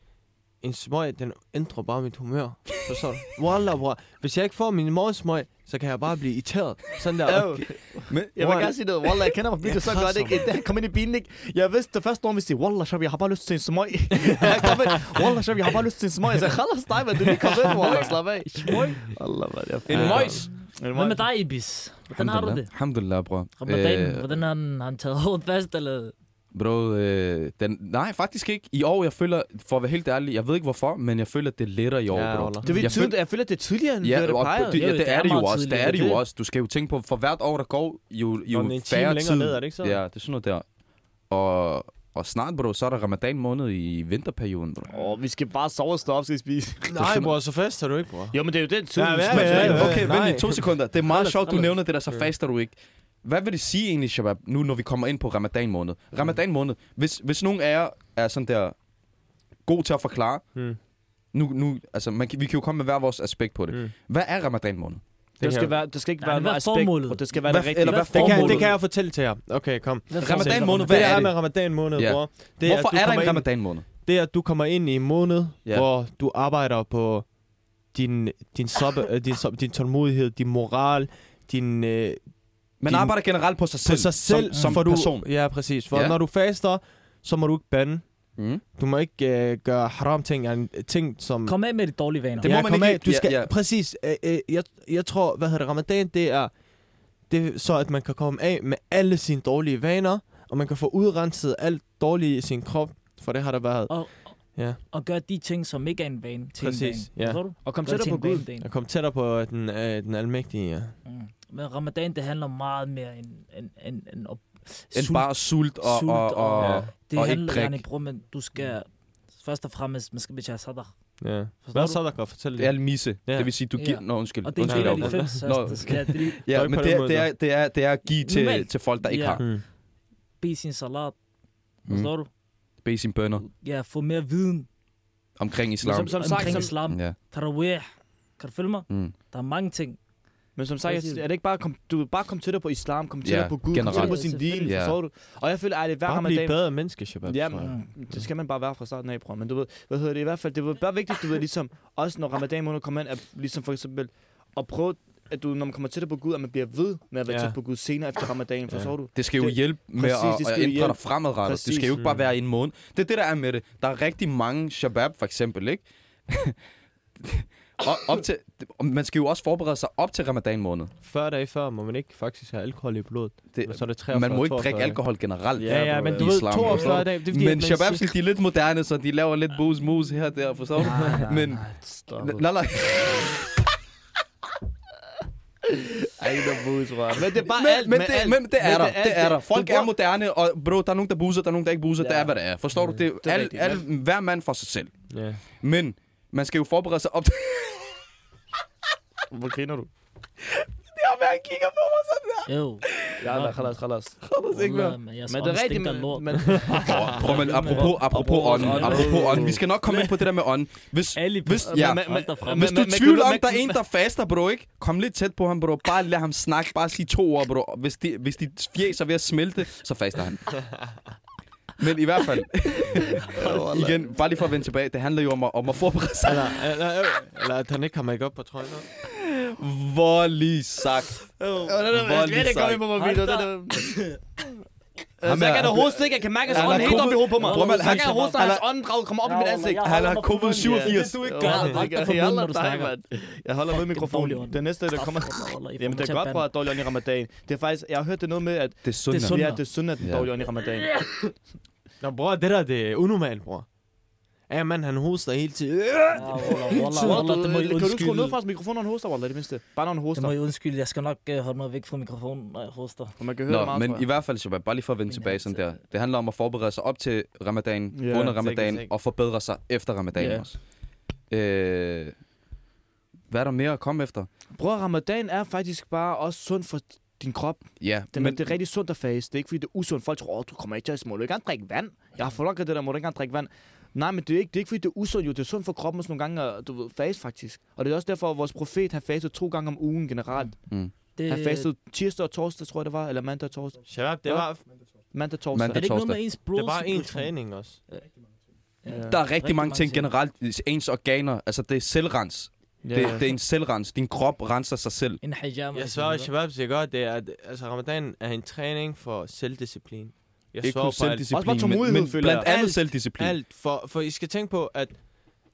Speaker 2: en smøg, den ændrer bare mit humør. Forstår du? Wallah, bror. Hvis jeg ikke får min morgensmøg, så kan jeg bare blive irriteret. Sådan der.
Speaker 1: Øv.
Speaker 2: Okay.
Speaker 4: Men,
Speaker 1: Jeg vil
Speaker 2: Wallah.
Speaker 1: gerne sige noget. Wallah, jeg kender mig virkelig så
Speaker 2: Ja,
Speaker 1: godt, ikke? Da jeg kom ind i bilen, ikke? Jeg vidste det første år, vi siger, Wallah, Shabi, jeg har bare lyst til en [laughs] smøg. jeg kom ind, Wallah, Shabi, jeg har bare lyst til en smøg. Jeg sagde, Khalas dig, man, du lige kom ind, Wallah, slap af. Smøg? Allah, man, jeg
Speaker 4: en
Speaker 2: Ja.
Speaker 4: møjs.
Speaker 1: Hvad
Speaker 3: Hvad med dig, Ibis? Hvordan har du
Speaker 4: Øh,
Speaker 3: det?
Speaker 4: Alhamdulillah, bror.
Speaker 3: Ramadan,
Speaker 4: Øh,
Speaker 3: hvordan har han, har han taget hårdt fast, eller?
Speaker 4: Bro, øh, den, nej, faktisk ikke. I år, jeg føler, for at være helt ærlig, jeg ved ikke hvorfor, men jeg føler, det er lettere i år,
Speaker 2: Ja,
Speaker 4: bro.
Speaker 2: Wallah.
Speaker 1: Det
Speaker 4: Jeg
Speaker 1: vil
Speaker 4: føl-
Speaker 1: tydeligt, jeg føler, at det er tidligere, end
Speaker 4: Ja,
Speaker 1: det
Speaker 4: og
Speaker 1: plejer.
Speaker 4: det, ja,
Speaker 3: Det
Speaker 4: det,
Speaker 3: er
Speaker 4: er det jo
Speaker 3: meget
Speaker 4: også. Det
Speaker 3: tidligt.
Speaker 4: er det
Speaker 1: Det er
Speaker 4: jo
Speaker 1: det.
Speaker 4: også. Du skal jo tænke på, for hvert år, der går, jo, jo
Speaker 2: Nå, men en time
Speaker 4: færre
Speaker 2: længere
Speaker 4: tid.
Speaker 2: ned, er det ikke sådan?
Speaker 4: Ja, det er sådan noget der. Og, og snart, bro, så er der ramadan måned i vinterperioden, bro.
Speaker 1: Åh, vi skal bare sove og stå op, skal vi spise.
Speaker 2: Nej, bror, så fast er du ikke, bror.
Speaker 1: [laughs] Jo, men det er jo den tid,
Speaker 2: Ja,
Speaker 1: vi
Speaker 2: ja,
Speaker 1: skal-
Speaker 2: ja, ja.
Speaker 4: okay, vent
Speaker 2: nej.
Speaker 4: lige to sekunder. Det er meget
Speaker 2: Anders,
Speaker 4: sjovt, du
Speaker 2: Anders.
Speaker 4: nævner det der, så faster du ikke. Hvad vil det sige egentlig, Shabab, nu når vi kommer ind på ramadan måned?
Speaker 2: Mm.
Speaker 4: Ramadan måned, hvis, hvis nogen af jer er sådan der god til at forklare,
Speaker 2: Mm.
Speaker 4: nu, nu, altså, man, kan- vi kan jo komme med hver vores aspekt på det.
Speaker 2: Mm.
Speaker 4: Hvad er ramadan måned?
Speaker 1: Det skal
Speaker 2: kan-
Speaker 1: være, der skal ikke
Speaker 3: Nej,
Speaker 1: være
Speaker 3: men hvad
Speaker 1: noget
Speaker 3: er
Speaker 1: aspekt,
Speaker 3: formålet?
Speaker 1: og det skal være
Speaker 4: Hvad-
Speaker 1: det rigtige.
Speaker 4: eller hvad
Speaker 2: Det kan,
Speaker 4: Formålet.
Speaker 2: det kan jeg fortælle til jer. Okay, kom.
Speaker 3: Hvad for-
Speaker 4: Ramadan måned,
Speaker 2: Hvad
Speaker 4: Hvad
Speaker 2: det er
Speaker 4: er
Speaker 2: med ramadan måned,
Speaker 4: Ja.
Speaker 2: bror. Det
Speaker 4: Det Hvorfor
Speaker 2: at du
Speaker 4: er, er der
Speaker 2: kommer
Speaker 4: en
Speaker 2: ind-
Speaker 4: ramadan måned?
Speaker 2: det er, at du kommer ind i en måned,
Speaker 4: Ja.
Speaker 2: ja. hvor du arbejder på din, din, sub, øh, din, sub, din tålmodighed, din moral, din, øh,
Speaker 4: Man
Speaker 2: Din-
Speaker 4: arbejder generelt på sig selv,
Speaker 2: på sig selv.
Speaker 4: som,
Speaker 2: for
Speaker 4: som
Speaker 2: du,
Speaker 4: person.
Speaker 2: Ja, præcis. For
Speaker 4: Ja.
Speaker 2: ja. når du faster, så må du ikke bande.
Speaker 4: Mm.
Speaker 2: Du må ikke øh, gøre haram ting, altså, ting som...
Speaker 3: Kom af med de dårlige vaner.
Speaker 4: Det må man
Speaker 2: kom
Speaker 4: ikke-
Speaker 2: af. Du
Speaker 4: ja,
Speaker 2: skal,
Speaker 4: ja.
Speaker 2: Præcis. Øh, øh, jeg, jeg tror, hvad hedder det, ramadan, det er, det er så, at man kan komme af med alle sine dårlige vaner, og man kan få udrenset alt dårlige i sin krop, for det har der været.
Speaker 3: Og,
Speaker 2: Ja.
Speaker 3: og gør de ting, som ikke er en vane, til
Speaker 2: Præcis,
Speaker 3: en vane.
Speaker 2: ja.
Speaker 3: Tror du?
Speaker 1: Og kom
Speaker 3: Gør det
Speaker 1: tættere
Speaker 3: til
Speaker 1: på
Speaker 3: en
Speaker 1: Gud.
Speaker 3: vane, det er en
Speaker 2: Jeg kom tættere på den, øh, den almægtige, ja.
Speaker 3: Mm. Men ramadan, det handler meget mere end... end, end, end, op,
Speaker 4: End bare sult og...
Speaker 3: Sult
Speaker 4: og, og,
Speaker 3: og-
Speaker 4: og
Speaker 2: Ja.
Speaker 3: det
Speaker 4: og ikke
Speaker 3: handler,
Speaker 4: drik.
Speaker 3: Janne, bror, men du skal... Først og fremmest, man skal betale sadaq.
Speaker 4: Mm.
Speaker 2: Ja.
Speaker 3: Forstår
Speaker 2: Hvad
Speaker 3: du?
Speaker 2: så, der kan fortælle
Speaker 4: Det er almise.
Speaker 2: Ja.
Speaker 4: Det vil sige, du giver...
Speaker 3: Ja.
Speaker 4: Nå, undskyld.
Speaker 3: Og det er en
Speaker 2: Undskyld,
Speaker 3: del af de
Speaker 2: Jacob.
Speaker 3: fem
Speaker 4: Nå.
Speaker 3: største. Ja, det er
Speaker 4: Ja,
Speaker 2: Tryk
Speaker 4: men
Speaker 2: på
Speaker 4: det,
Speaker 2: den
Speaker 4: er,
Speaker 2: måde,
Speaker 4: det, er, det, er, det er at give til,
Speaker 3: Normalt.
Speaker 4: til folk, der ikke
Speaker 3: Ja.
Speaker 4: har.
Speaker 2: Mm.
Speaker 3: bede sin salat,
Speaker 4: Mm.
Speaker 2: Altså-
Speaker 3: forstår du?
Speaker 4: Bede sine bønder
Speaker 3: Ja, få mere viden
Speaker 4: omkring
Speaker 1: Men
Speaker 4: islam.
Speaker 1: som, som sagt,
Speaker 3: omkring
Speaker 1: som,
Speaker 3: islam.
Speaker 4: Ja.
Speaker 3: Tarawih. Kan du følge mig?
Speaker 4: Mm.
Speaker 3: Der er mange ting.
Speaker 1: men som sagt,
Speaker 3: Hvad siger
Speaker 1: jeg- er det ikke bare, kom, du vil bare komme tættere på islam, komme tættere
Speaker 4: Ja,
Speaker 1: på Gud, komme
Speaker 4: generelt.
Speaker 1: tættere på sin
Speaker 3: Ja,
Speaker 1: din,
Speaker 3: selvfølgelig.
Speaker 4: Ja.
Speaker 1: forstår du? Og jeg føler ærligt, hver
Speaker 2: Bare blive
Speaker 1: ramadan,
Speaker 2: bedre menneske, Shabab.
Speaker 1: Jamen,
Speaker 2: tror jeg.
Speaker 3: Mm.
Speaker 1: det skal man bare være fra starten af, bror. Men du ved, hvad hedder det i hvert fald, det var bare vigtigt, du ved, ligesom, også når ramadan måned kommer ind, at ligesom for eksempel, at prøve, at du, når man kommer tættere på Gud, at man bliver ved med at være
Speaker 2: Ja.
Speaker 1: tæt på Gud senere efter ramadan, forstår du?
Speaker 4: Det skal jo
Speaker 1: Det-
Speaker 4: hjælpe med
Speaker 1: præcis, det
Speaker 4: at,
Speaker 1: skal
Speaker 4: at
Speaker 1: jo
Speaker 4: ændre
Speaker 1: hjælpe.
Speaker 4: dig fremadrettet. Præcis. Det skal jo ikke
Speaker 2: Præcis.
Speaker 4: bare være i en måned. Det er det, der er med det. Der er rigtig mange shabab, for eksempel, ikke? og op til, man skal jo også forberede sig op til ramadan måned.
Speaker 2: 40 dage før må man ikke faktisk have alkohol i blodet.
Speaker 4: Det,
Speaker 2: Men så er det 43,
Speaker 4: man må ikke
Speaker 2: 42,
Speaker 4: drikke
Speaker 2: ikke?
Speaker 4: alkohol generelt.
Speaker 2: Ja, ja, men
Speaker 4: i
Speaker 2: du ved,
Speaker 4: islam,
Speaker 2: 42 dage,
Speaker 4: forstår
Speaker 2: det er
Speaker 4: du?
Speaker 2: fordi, at
Speaker 4: Men
Speaker 2: man
Speaker 4: shabab,
Speaker 2: siger-
Speaker 4: de er lidt moderne, så de laver lidt booze moves her og der, forstår du? Men,
Speaker 1: Stop.
Speaker 4: nej, nej.
Speaker 1: Ej, der er booze, bror. Men det er bare
Speaker 4: men,
Speaker 1: alt,
Speaker 4: men,
Speaker 1: med
Speaker 4: det,
Speaker 1: alt.
Speaker 4: men det
Speaker 1: Men det er
Speaker 4: er der, det,
Speaker 1: alt,
Speaker 4: er
Speaker 1: det-
Speaker 4: der. Folk
Speaker 1: det er-
Speaker 4: er moderne, og bro, der er nogen, der buser, der er nogen, der ikke buser, ja. det
Speaker 1: Ja. Mm,
Speaker 4: er, hvad det er. Forstår du? Det, er
Speaker 1: det er
Speaker 4: al,
Speaker 1: rigtigt,
Speaker 4: al, hver mand for sig selv.
Speaker 2: Ja.
Speaker 4: Men man skal jo forberede
Speaker 1: [laughs]
Speaker 4: sig op til...
Speaker 1: Hvor griner du?
Speaker 4: det er, hvad han kigger på mig sådan der.
Speaker 3: Jo.
Speaker 1: Ja, nej, khalas, khalas.
Speaker 4: Khalas, ikke mere.
Speaker 3: Men jeg
Speaker 1: Men det er rigtigt,
Speaker 3: men...
Speaker 1: men,
Speaker 3: Lort.
Speaker 1: men
Speaker 4: Prøv, prøv, men apropos, apropos ånd, apropos ånd. Vi skal nok komme ind på det der med ånd. Hvis,
Speaker 3: Ali,
Speaker 4: hvis,
Speaker 3: bror.
Speaker 4: ja,
Speaker 1: Men- men-
Speaker 3: Hold da frem.
Speaker 1: men-
Speaker 4: hvis du
Speaker 1: men-
Speaker 4: tvivler om,
Speaker 1: men-
Speaker 4: der er en, der faster, bro, ikke? Kom lidt tæt på ham, bro. Bare lad ham snakke. Bare sige to ord, bro. Hvis de, hvis de fjes er ved at smelte, så faster
Speaker 1: [laughs]
Speaker 4: han. Men i hvert fald, igen, bare lige for at vende tilbage, det handler jo om at, om at forberede sig.
Speaker 2: Eller, eller, eller, at han ikke har make op på trøjen.
Speaker 4: Hvor lige sagt. Voldelig sagt.
Speaker 1: på mig,
Speaker 3: Hold
Speaker 1: Vito.
Speaker 3: da.
Speaker 1: Det er- Øh,
Speaker 4: Ham
Speaker 1: Så
Speaker 4: er-
Speaker 1: kan der hoste, ikke? Jeg kan mærke, at
Speaker 4: Han
Speaker 1: hans
Speaker 4: har
Speaker 1: ånd helt op i
Speaker 4: kuppet-
Speaker 1: hovedet på mig.
Speaker 4: Bror, man,
Speaker 1: Så
Speaker 4: han-
Speaker 1: kan jeg hoste, og hans ånd drag- kommer op i mit ansigt.
Speaker 4: Han har covid 87.
Speaker 1: du ikke
Speaker 3: gør, det er ikke- jeg holder dig,
Speaker 1: Jeg holder med
Speaker 3: Fuck, dårlig
Speaker 1: mikrofonen.
Speaker 3: ånd.
Speaker 1: Det næste, der kommer... Jamen, det er godt
Speaker 3: Ah,
Speaker 1: for at dårlig ånd i ramadan. Det er faktisk... Jeg har hørt det noget med, at
Speaker 4: Det er sundt.
Speaker 3: Det
Speaker 4: mand.
Speaker 3: er sundt.
Speaker 1: det er, det er sundt, at den
Speaker 4: Ja.
Speaker 1: dårlige ånd i ramadan.
Speaker 2: Nå, bror, det der, det er unormalt, bror. Ja, mand, han hoster hele tiden.
Speaker 1: Wallah,
Speaker 3: Det må I
Speaker 1: Kan du ikke skrue ned
Speaker 3: undskylde.
Speaker 1: fra os mikrofonen, når han hoster, Wallah, i det mindste? Bare når han
Speaker 3: Det
Speaker 1: hoster.
Speaker 3: må I undskylde. Jeg skal nok øh, holde mig væk fra mikrofonen, når jeg hoster.
Speaker 1: Og man kan høre det
Speaker 4: Nå,
Speaker 1: meget,
Speaker 4: men
Speaker 1: tror
Speaker 4: i
Speaker 1: jeg.
Speaker 4: hvert fald, Shabab, bare lige for at vende
Speaker 3: Min
Speaker 4: tilbage sådan der.
Speaker 3: hals,
Speaker 4: Det handler om at forberede sig op til ramadan,
Speaker 1: Ja,
Speaker 4: under
Speaker 2: sikkert,
Speaker 4: ramadan,
Speaker 2: sikkert.
Speaker 4: og forbedre sig efter ramadan
Speaker 2: Ja.
Speaker 4: også. Øh, hvad er der mere at komme efter?
Speaker 1: Bror, ramadan er faktisk bare også sundt for din krop.
Speaker 4: Ja,
Speaker 1: Det, men, det er rigtig sundt at faste. Det er ikke, fordi det er usundt. Folk tror, "Åh, du kommer ikke til at små. Du vil ikke gerne drikke vand. Jeg har forlokket det der, må du ikke gerne drikke vand. Nej, men det er ikke, det er ikke fordi det er usundt. Jo, det er sundt for kroppen også nogle gange at du ved, faste, faktisk. Og det er også derfor, at vores profet har fastet to gange om ugen generelt.
Speaker 3: Mm. Det,
Speaker 1: Han fastet tirsdag og torsdag, tror jeg det var. Eller mandag og torsdag.
Speaker 2: Shabab, det
Speaker 1: Hvad?
Speaker 2: var,
Speaker 1: mandag og torsdag.
Speaker 3: Er det
Speaker 1: Mandag.
Speaker 4: Mandag.
Speaker 3: ikke noget
Speaker 4: torsdag.
Speaker 3: med ens
Speaker 2: det var en
Speaker 3: blodsituation?
Speaker 2: træning også.
Speaker 4: Der er rigtig, rigtig mange ting generelt. Ens organer, altså det er selvrens.
Speaker 1: Ja,
Speaker 4: Ja. Det, det er en selvrens. Din krop renser sig selv.
Speaker 3: En
Speaker 4: altså,
Speaker 3: hijama.
Speaker 2: Jeg svarer, at Shabab siger godt, det er, at altså, ramadan er en træning for selvdisciplin. Jeg
Speaker 4: Ikke
Speaker 2: svarer
Speaker 4: kun
Speaker 2: på alt.
Speaker 1: Også bare
Speaker 4: selvdisciplin, men,
Speaker 1: tålmodighed,
Speaker 4: men
Speaker 1: føler jeg.
Speaker 4: blandt andet
Speaker 2: Alt,
Speaker 4: selvdisciplin.
Speaker 2: Alt, for, for I skal tænke på, at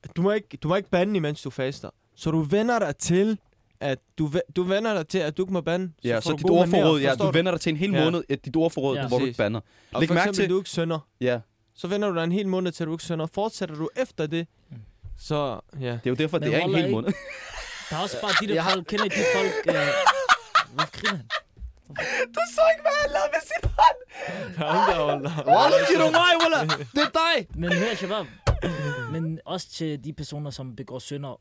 Speaker 2: at du må ikke, du må ikke bande, imens du faster. Så du vender dig til, at du, ve- du vender dig til, at du ikke må bande.
Speaker 4: Ja,
Speaker 2: får
Speaker 4: så
Speaker 2: du
Speaker 4: dit
Speaker 2: gode manerer,
Speaker 4: ordforråd, ja,
Speaker 2: forstår
Speaker 4: du vender dig til en hel
Speaker 2: Ja.
Speaker 4: måned, at dit ordforråd,
Speaker 3: Ja.
Speaker 4: hvor du ikke
Speaker 2: Præcis.
Speaker 4: bander.
Speaker 2: Og
Speaker 4: Læg
Speaker 2: for
Speaker 4: mærke
Speaker 2: eksempel,
Speaker 4: til-
Speaker 2: du ikke sønder.
Speaker 4: Ja,
Speaker 2: Så vender du dig en hel måned til, at du ikke sønder. Fortsætter du efter det, så [laughs] ja.
Speaker 4: det er jo derfor,
Speaker 3: Men
Speaker 4: det er en
Speaker 3: Wallah,
Speaker 4: hel
Speaker 3: ikke?
Speaker 4: måned.
Speaker 3: Der er også bare de der folk, kender I de folk... Øh... Hvorfor griner han?
Speaker 4: Du så ikke, hvad han lavede med sit hånd!
Speaker 1: Wallah, siger du mig, Wallah? Det er dig!
Speaker 3: Men hør, Shabab. Men også til de personer, som begår
Speaker 1: [laughs]
Speaker 3: synder.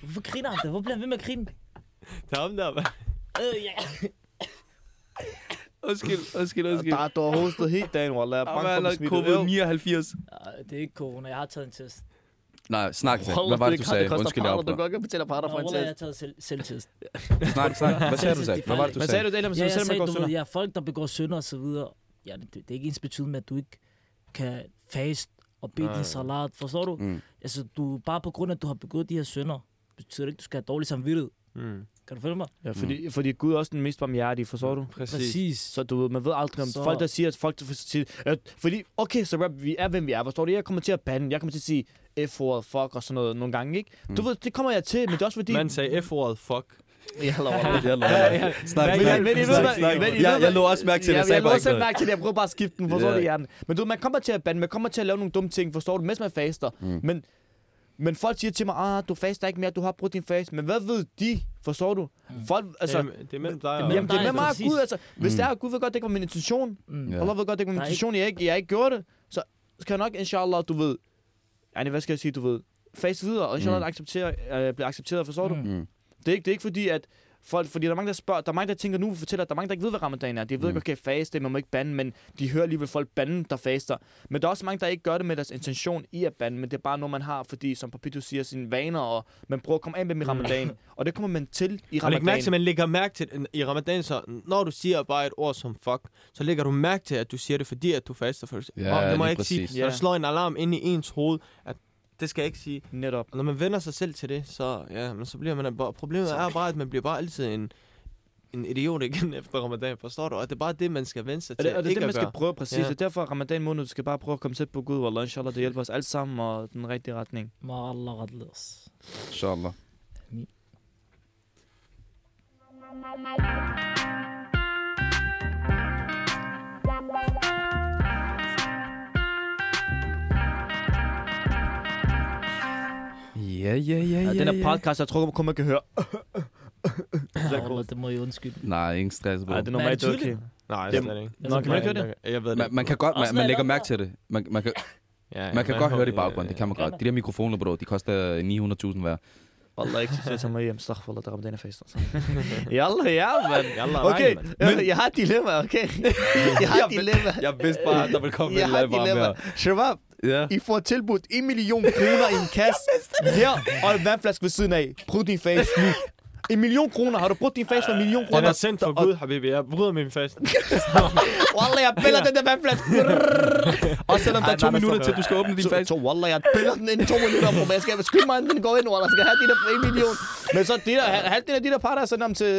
Speaker 3: Hvorfor griner han da? Hvorfor bliver han ved med at grine?
Speaker 2: Det er ham der, mand.
Speaker 3: Øh, ja.
Speaker 4: [laughs] Undskyld, undskyld, undskyld.
Speaker 1: [laughs] Der er dog hostet helt dagen, Wallah. Jeg er bange for at blive smidt ud.
Speaker 4: COVID-89.
Speaker 3: Ej, Ah, Det er ikke corona. Jeg har taget en test.
Speaker 4: Nej, snak til.
Speaker 1: Wallah,
Speaker 4: Hvad var det, du
Speaker 1: kan-
Speaker 4: sagde?
Speaker 1: koster
Speaker 4: Undskyld, jeg
Speaker 1: parter, Du
Speaker 4: afbrød.
Speaker 1: kan ikke betale parter
Speaker 3: Nå,
Speaker 1: for en
Speaker 3: Wallah, jeg
Speaker 1: test.
Speaker 3: har taget selv, selvtest.
Speaker 4: Snak, snak. Hvad sagde du, sagde? Hvad var det, du
Speaker 1: Men sagde
Speaker 4: sagde?
Speaker 1: du det, eller
Speaker 3: Ja,
Speaker 1: selv,
Speaker 3: jeg
Speaker 1: selvom jeg
Speaker 3: sagde,
Speaker 1: går
Speaker 3: du ved,
Speaker 1: sønder?
Speaker 3: ja, folk, der begår synder og så videre. Ja, det, det er ikke ens betydende med, at du ikke kan fast og bede
Speaker 2: Nej.
Speaker 3: din salat. Forstår du?
Speaker 4: Mm.
Speaker 3: Altså, du, bare på grund af, at du har begået de her synder, betyder det ikke, at du skal have dårlig samvittighed.
Speaker 2: Mm,
Speaker 3: Kan du følge mig?
Speaker 1: Ja, fordi, fordi Gud er også den mest barmhjertige, forstår du?
Speaker 2: præcis.
Speaker 3: Præcis.
Speaker 1: Så du ved, man ved aldrig om
Speaker 3: Så-
Speaker 1: så... folk, der siger, at folk... der Siger, at, fordi, okay, så rap, vi er, hvem vi er, forstår du? Jeg kommer til at bande, jeg kommer til at sige F-ordet, fuck og sådan noget nogle gange, ikke? Mm. Du ved, det kommer jeg til, men det er også fordi...
Speaker 2: Man sagde F-ordet, fuck.
Speaker 1: Jeg [laughs] laver det.
Speaker 4: Jeg lå- Snak,
Speaker 3: Mm.
Speaker 1: Men-
Speaker 4: snak,
Speaker 1: men- men I ved,
Speaker 4: snak,
Speaker 1: hvad-
Speaker 4: snak.
Speaker 1: men I ved,
Speaker 4: Jeg- Jeg
Speaker 1: hvad-
Speaker 4: lå også mærke til det,
Speaker 1: Ja,
Speaker 4: jeg
Speaker 1: jeg,
Speaker 4: sagde
Speaker 1: lå
Speaker 4: bare ikke
Speaker 1: selv
Speaker 4: noget.
Speaker 1: mærke til det. Jeg prøver bare at skifte den, forstår
Speaker 4: Ja.
Speaker 1: du, hjernen. Men du, ved, man kommer til at bande, man kommer til at lave nogle dumme ting, forstår du, mens man faster.
Speaker 4: Mm.
Speaker 1: Mm. Men, men folk siger til mig, ah, du faster ikke mere, du har brudt din fast. Men hvad ved de, forstår du?
Speaker 3: Mm.
Speaker 1: Folk,
Speaker 2: Altså,
Speaker 1: altså, jamen,
Speaker 2: det er mellem dig og...
Speaker 3: Jamen,
Speaker 1: jamen det er
Speaker 3: Nej,
Speaker 1: med mig og
Speaker 3: præcis.
Speaker 1: Gud, altså. Hvis
Speaker 4: Mm.
Speaker 1: det er, at Gud ved godt, det ikke var min intention.
Speaker 3: Mm.
Speaker 4: Ja.
Speaker 1: Ja. Allah ved godt, det ikke var
Speaker 3: Der
Speaker 1: min
Speaker 3: er
Speaker 1: intention, jeg ikke, jeg ikke gjorde det. Så skal jeg nok, inshallah, du ved... Ej, hvad skal jeg sige, du ved... Face videre, og inshallah
Speaker 4: Mm.
Speaker 1: mm. acceptere, øh, bliver accepteret, forstår mm. du?
Speaker 4: Mm.
Speaker 1: Det er, ikke, det er ikke fordi, at folk, fordi der er mange, der spørger, der er mange, der tænker nu, vi fortæller, at der er mange, der ikke ved, hvad ramadan er. De ved
Speaker 4: Mm.
Speaker 1: mm. okay, faste, man må ikke bande, men de hører alligevel folk bande, der faster. Men der er også mange, der ikke gør det med deres intention i at bande, men det er bare noget, man har, fordi som Papito siger, sine vaner, og man prøver at komme af med dem i ramadan. og det kommer man til i
Speaker 2: Og læg
Speaker 1: ramadan.
Speaker 2: mærke til, man lægger mærke til, i ramadan, så når du siger bare et ord som fuck, så lægger du mærke til, at du siger det, fordi at du faster for eksempel.
Speaker 4: Ja,
Speaker 2: Åh, det må
Speaker 4: lige
Speaker 2: jeg ikke sige.
Speaker 4: præcis.
Speaker 2: Så
Speaker 1: Ja.
Speaker 2: der slår en alarm ind i ens hoved, at det skal jeg ikke sige.
Speaker 1: Netop.
Speaker 2: Og når man vender sig selv til det, så, ja, men så bliver man... Bare, problemet er bare, at man bliver bare altid en, en idiot igen [laughs] efter ramadan, forstår du? Og det er bare det, man skal vende sig
Speaker 1: Og
Speaker 2: til.
Speaker 1: det, og det er
Speaker 2: ikke
Speaker 1: det, man
Speaker 2: at
Speaker 1: skal
Speaker 2: gøre.
Speaker 1: prøve præcis.
Speaker 2: Ja.
Speaker 1: Ja. Og derfor er ramadan måned, du skal bare prøve at komme tæt på Gud, og inshallah, det hjælper os alle sammen og den rigtige retning.
Speaker 3: Ma Allah radle os.
Speaker 4: Inshallah. Ja, ja, ja,
Speaker 1: Ja, den her podcast, jeg tror kun, man kan høre.
Speaker 3: Allah, det må I undskylde.
Speaker 4: Nej, ingen stress, bro.
Speaker 1: Ej, det er
Speaker 3: Men er
Speaker 1: normalt
Speaker 3: det
Speaker 1: okay.
Speaker 3: tydeligt?
Speaker 2: Nej,
Speaker 1: Jamen,
Speaker 2: slet ikke.
Speaker 1: Nå, kan man ikke høre det?
Speaker 2: Jeg ved det.
Speaker 4: Man,
Speaker 2: ikke.
Speaker 4: man kan godt, man,
Speaker 3: Også
Speaker 4: man
Speaker 3: lad
Speaker 4: lægger
Speaker 3: op,
Speaker 4: mærke til det. Man, man kan,
Speaker 2: Ja, ja,
Speaker 4: man kan godt høre det i
Speaker 2: håber-
Speaker 4: baggrunden, det kan man
Speaker 3: Ja,
Speaker 4: godt.
Speaker 3: man-
Speaker 4: De der mikrofoner, bro, de koster 900.000 hver.
Speaker 1: Wallah, ikke så som mig hjem. Stakhfallah, der ramte den her fest. [laughs] altså. Jalla, ja, mand.
Speaker 2: Jalla,
Speaker 1: [laughs] Okay,
Speaker 2: nej,
Speaker 1: jeg, jeg har et dilemma, [laughs] okay? Jeg har et dilemma.
Speaker 4: Jeg vidste bare, at der ville [laughs] komme
Speaker 1: Jeg har et dilemma. Shabab,
Speaker 4: Ja.
Speaker 1: I får tilbudt 1 million kroner [laughs] i en kasse. Her og en vandflaske ved siden af. Bryd din face nu. En million kroner. Har du brugt din face for en million
Speaker 2: Den
Speaker 1: kroner?
Speaker 2: er sendt for Gud, Habibi. Jeg bryder min [laughs] fast.
Speaker 1: Wallah, jeg piller den der vandflaske.
Speaker 4: Og selvom der
Speaker 1: Ej,
Speaker 4: er
Speaker 1: nej, der
Speaker 4: to minutter
Speaker 1: står-
Speaker 4: til, du skal åbne din
Speaker 1: Så,
Speaker 4: face.
Speaker 1: så wallah, jeg piller den inden to minutter, bro. Men jeg skal skynde mig, inden den går ind, wallah. Jeg skal have de der 1 million. Men så de der, halvdelen af de der par, der er sendt om til,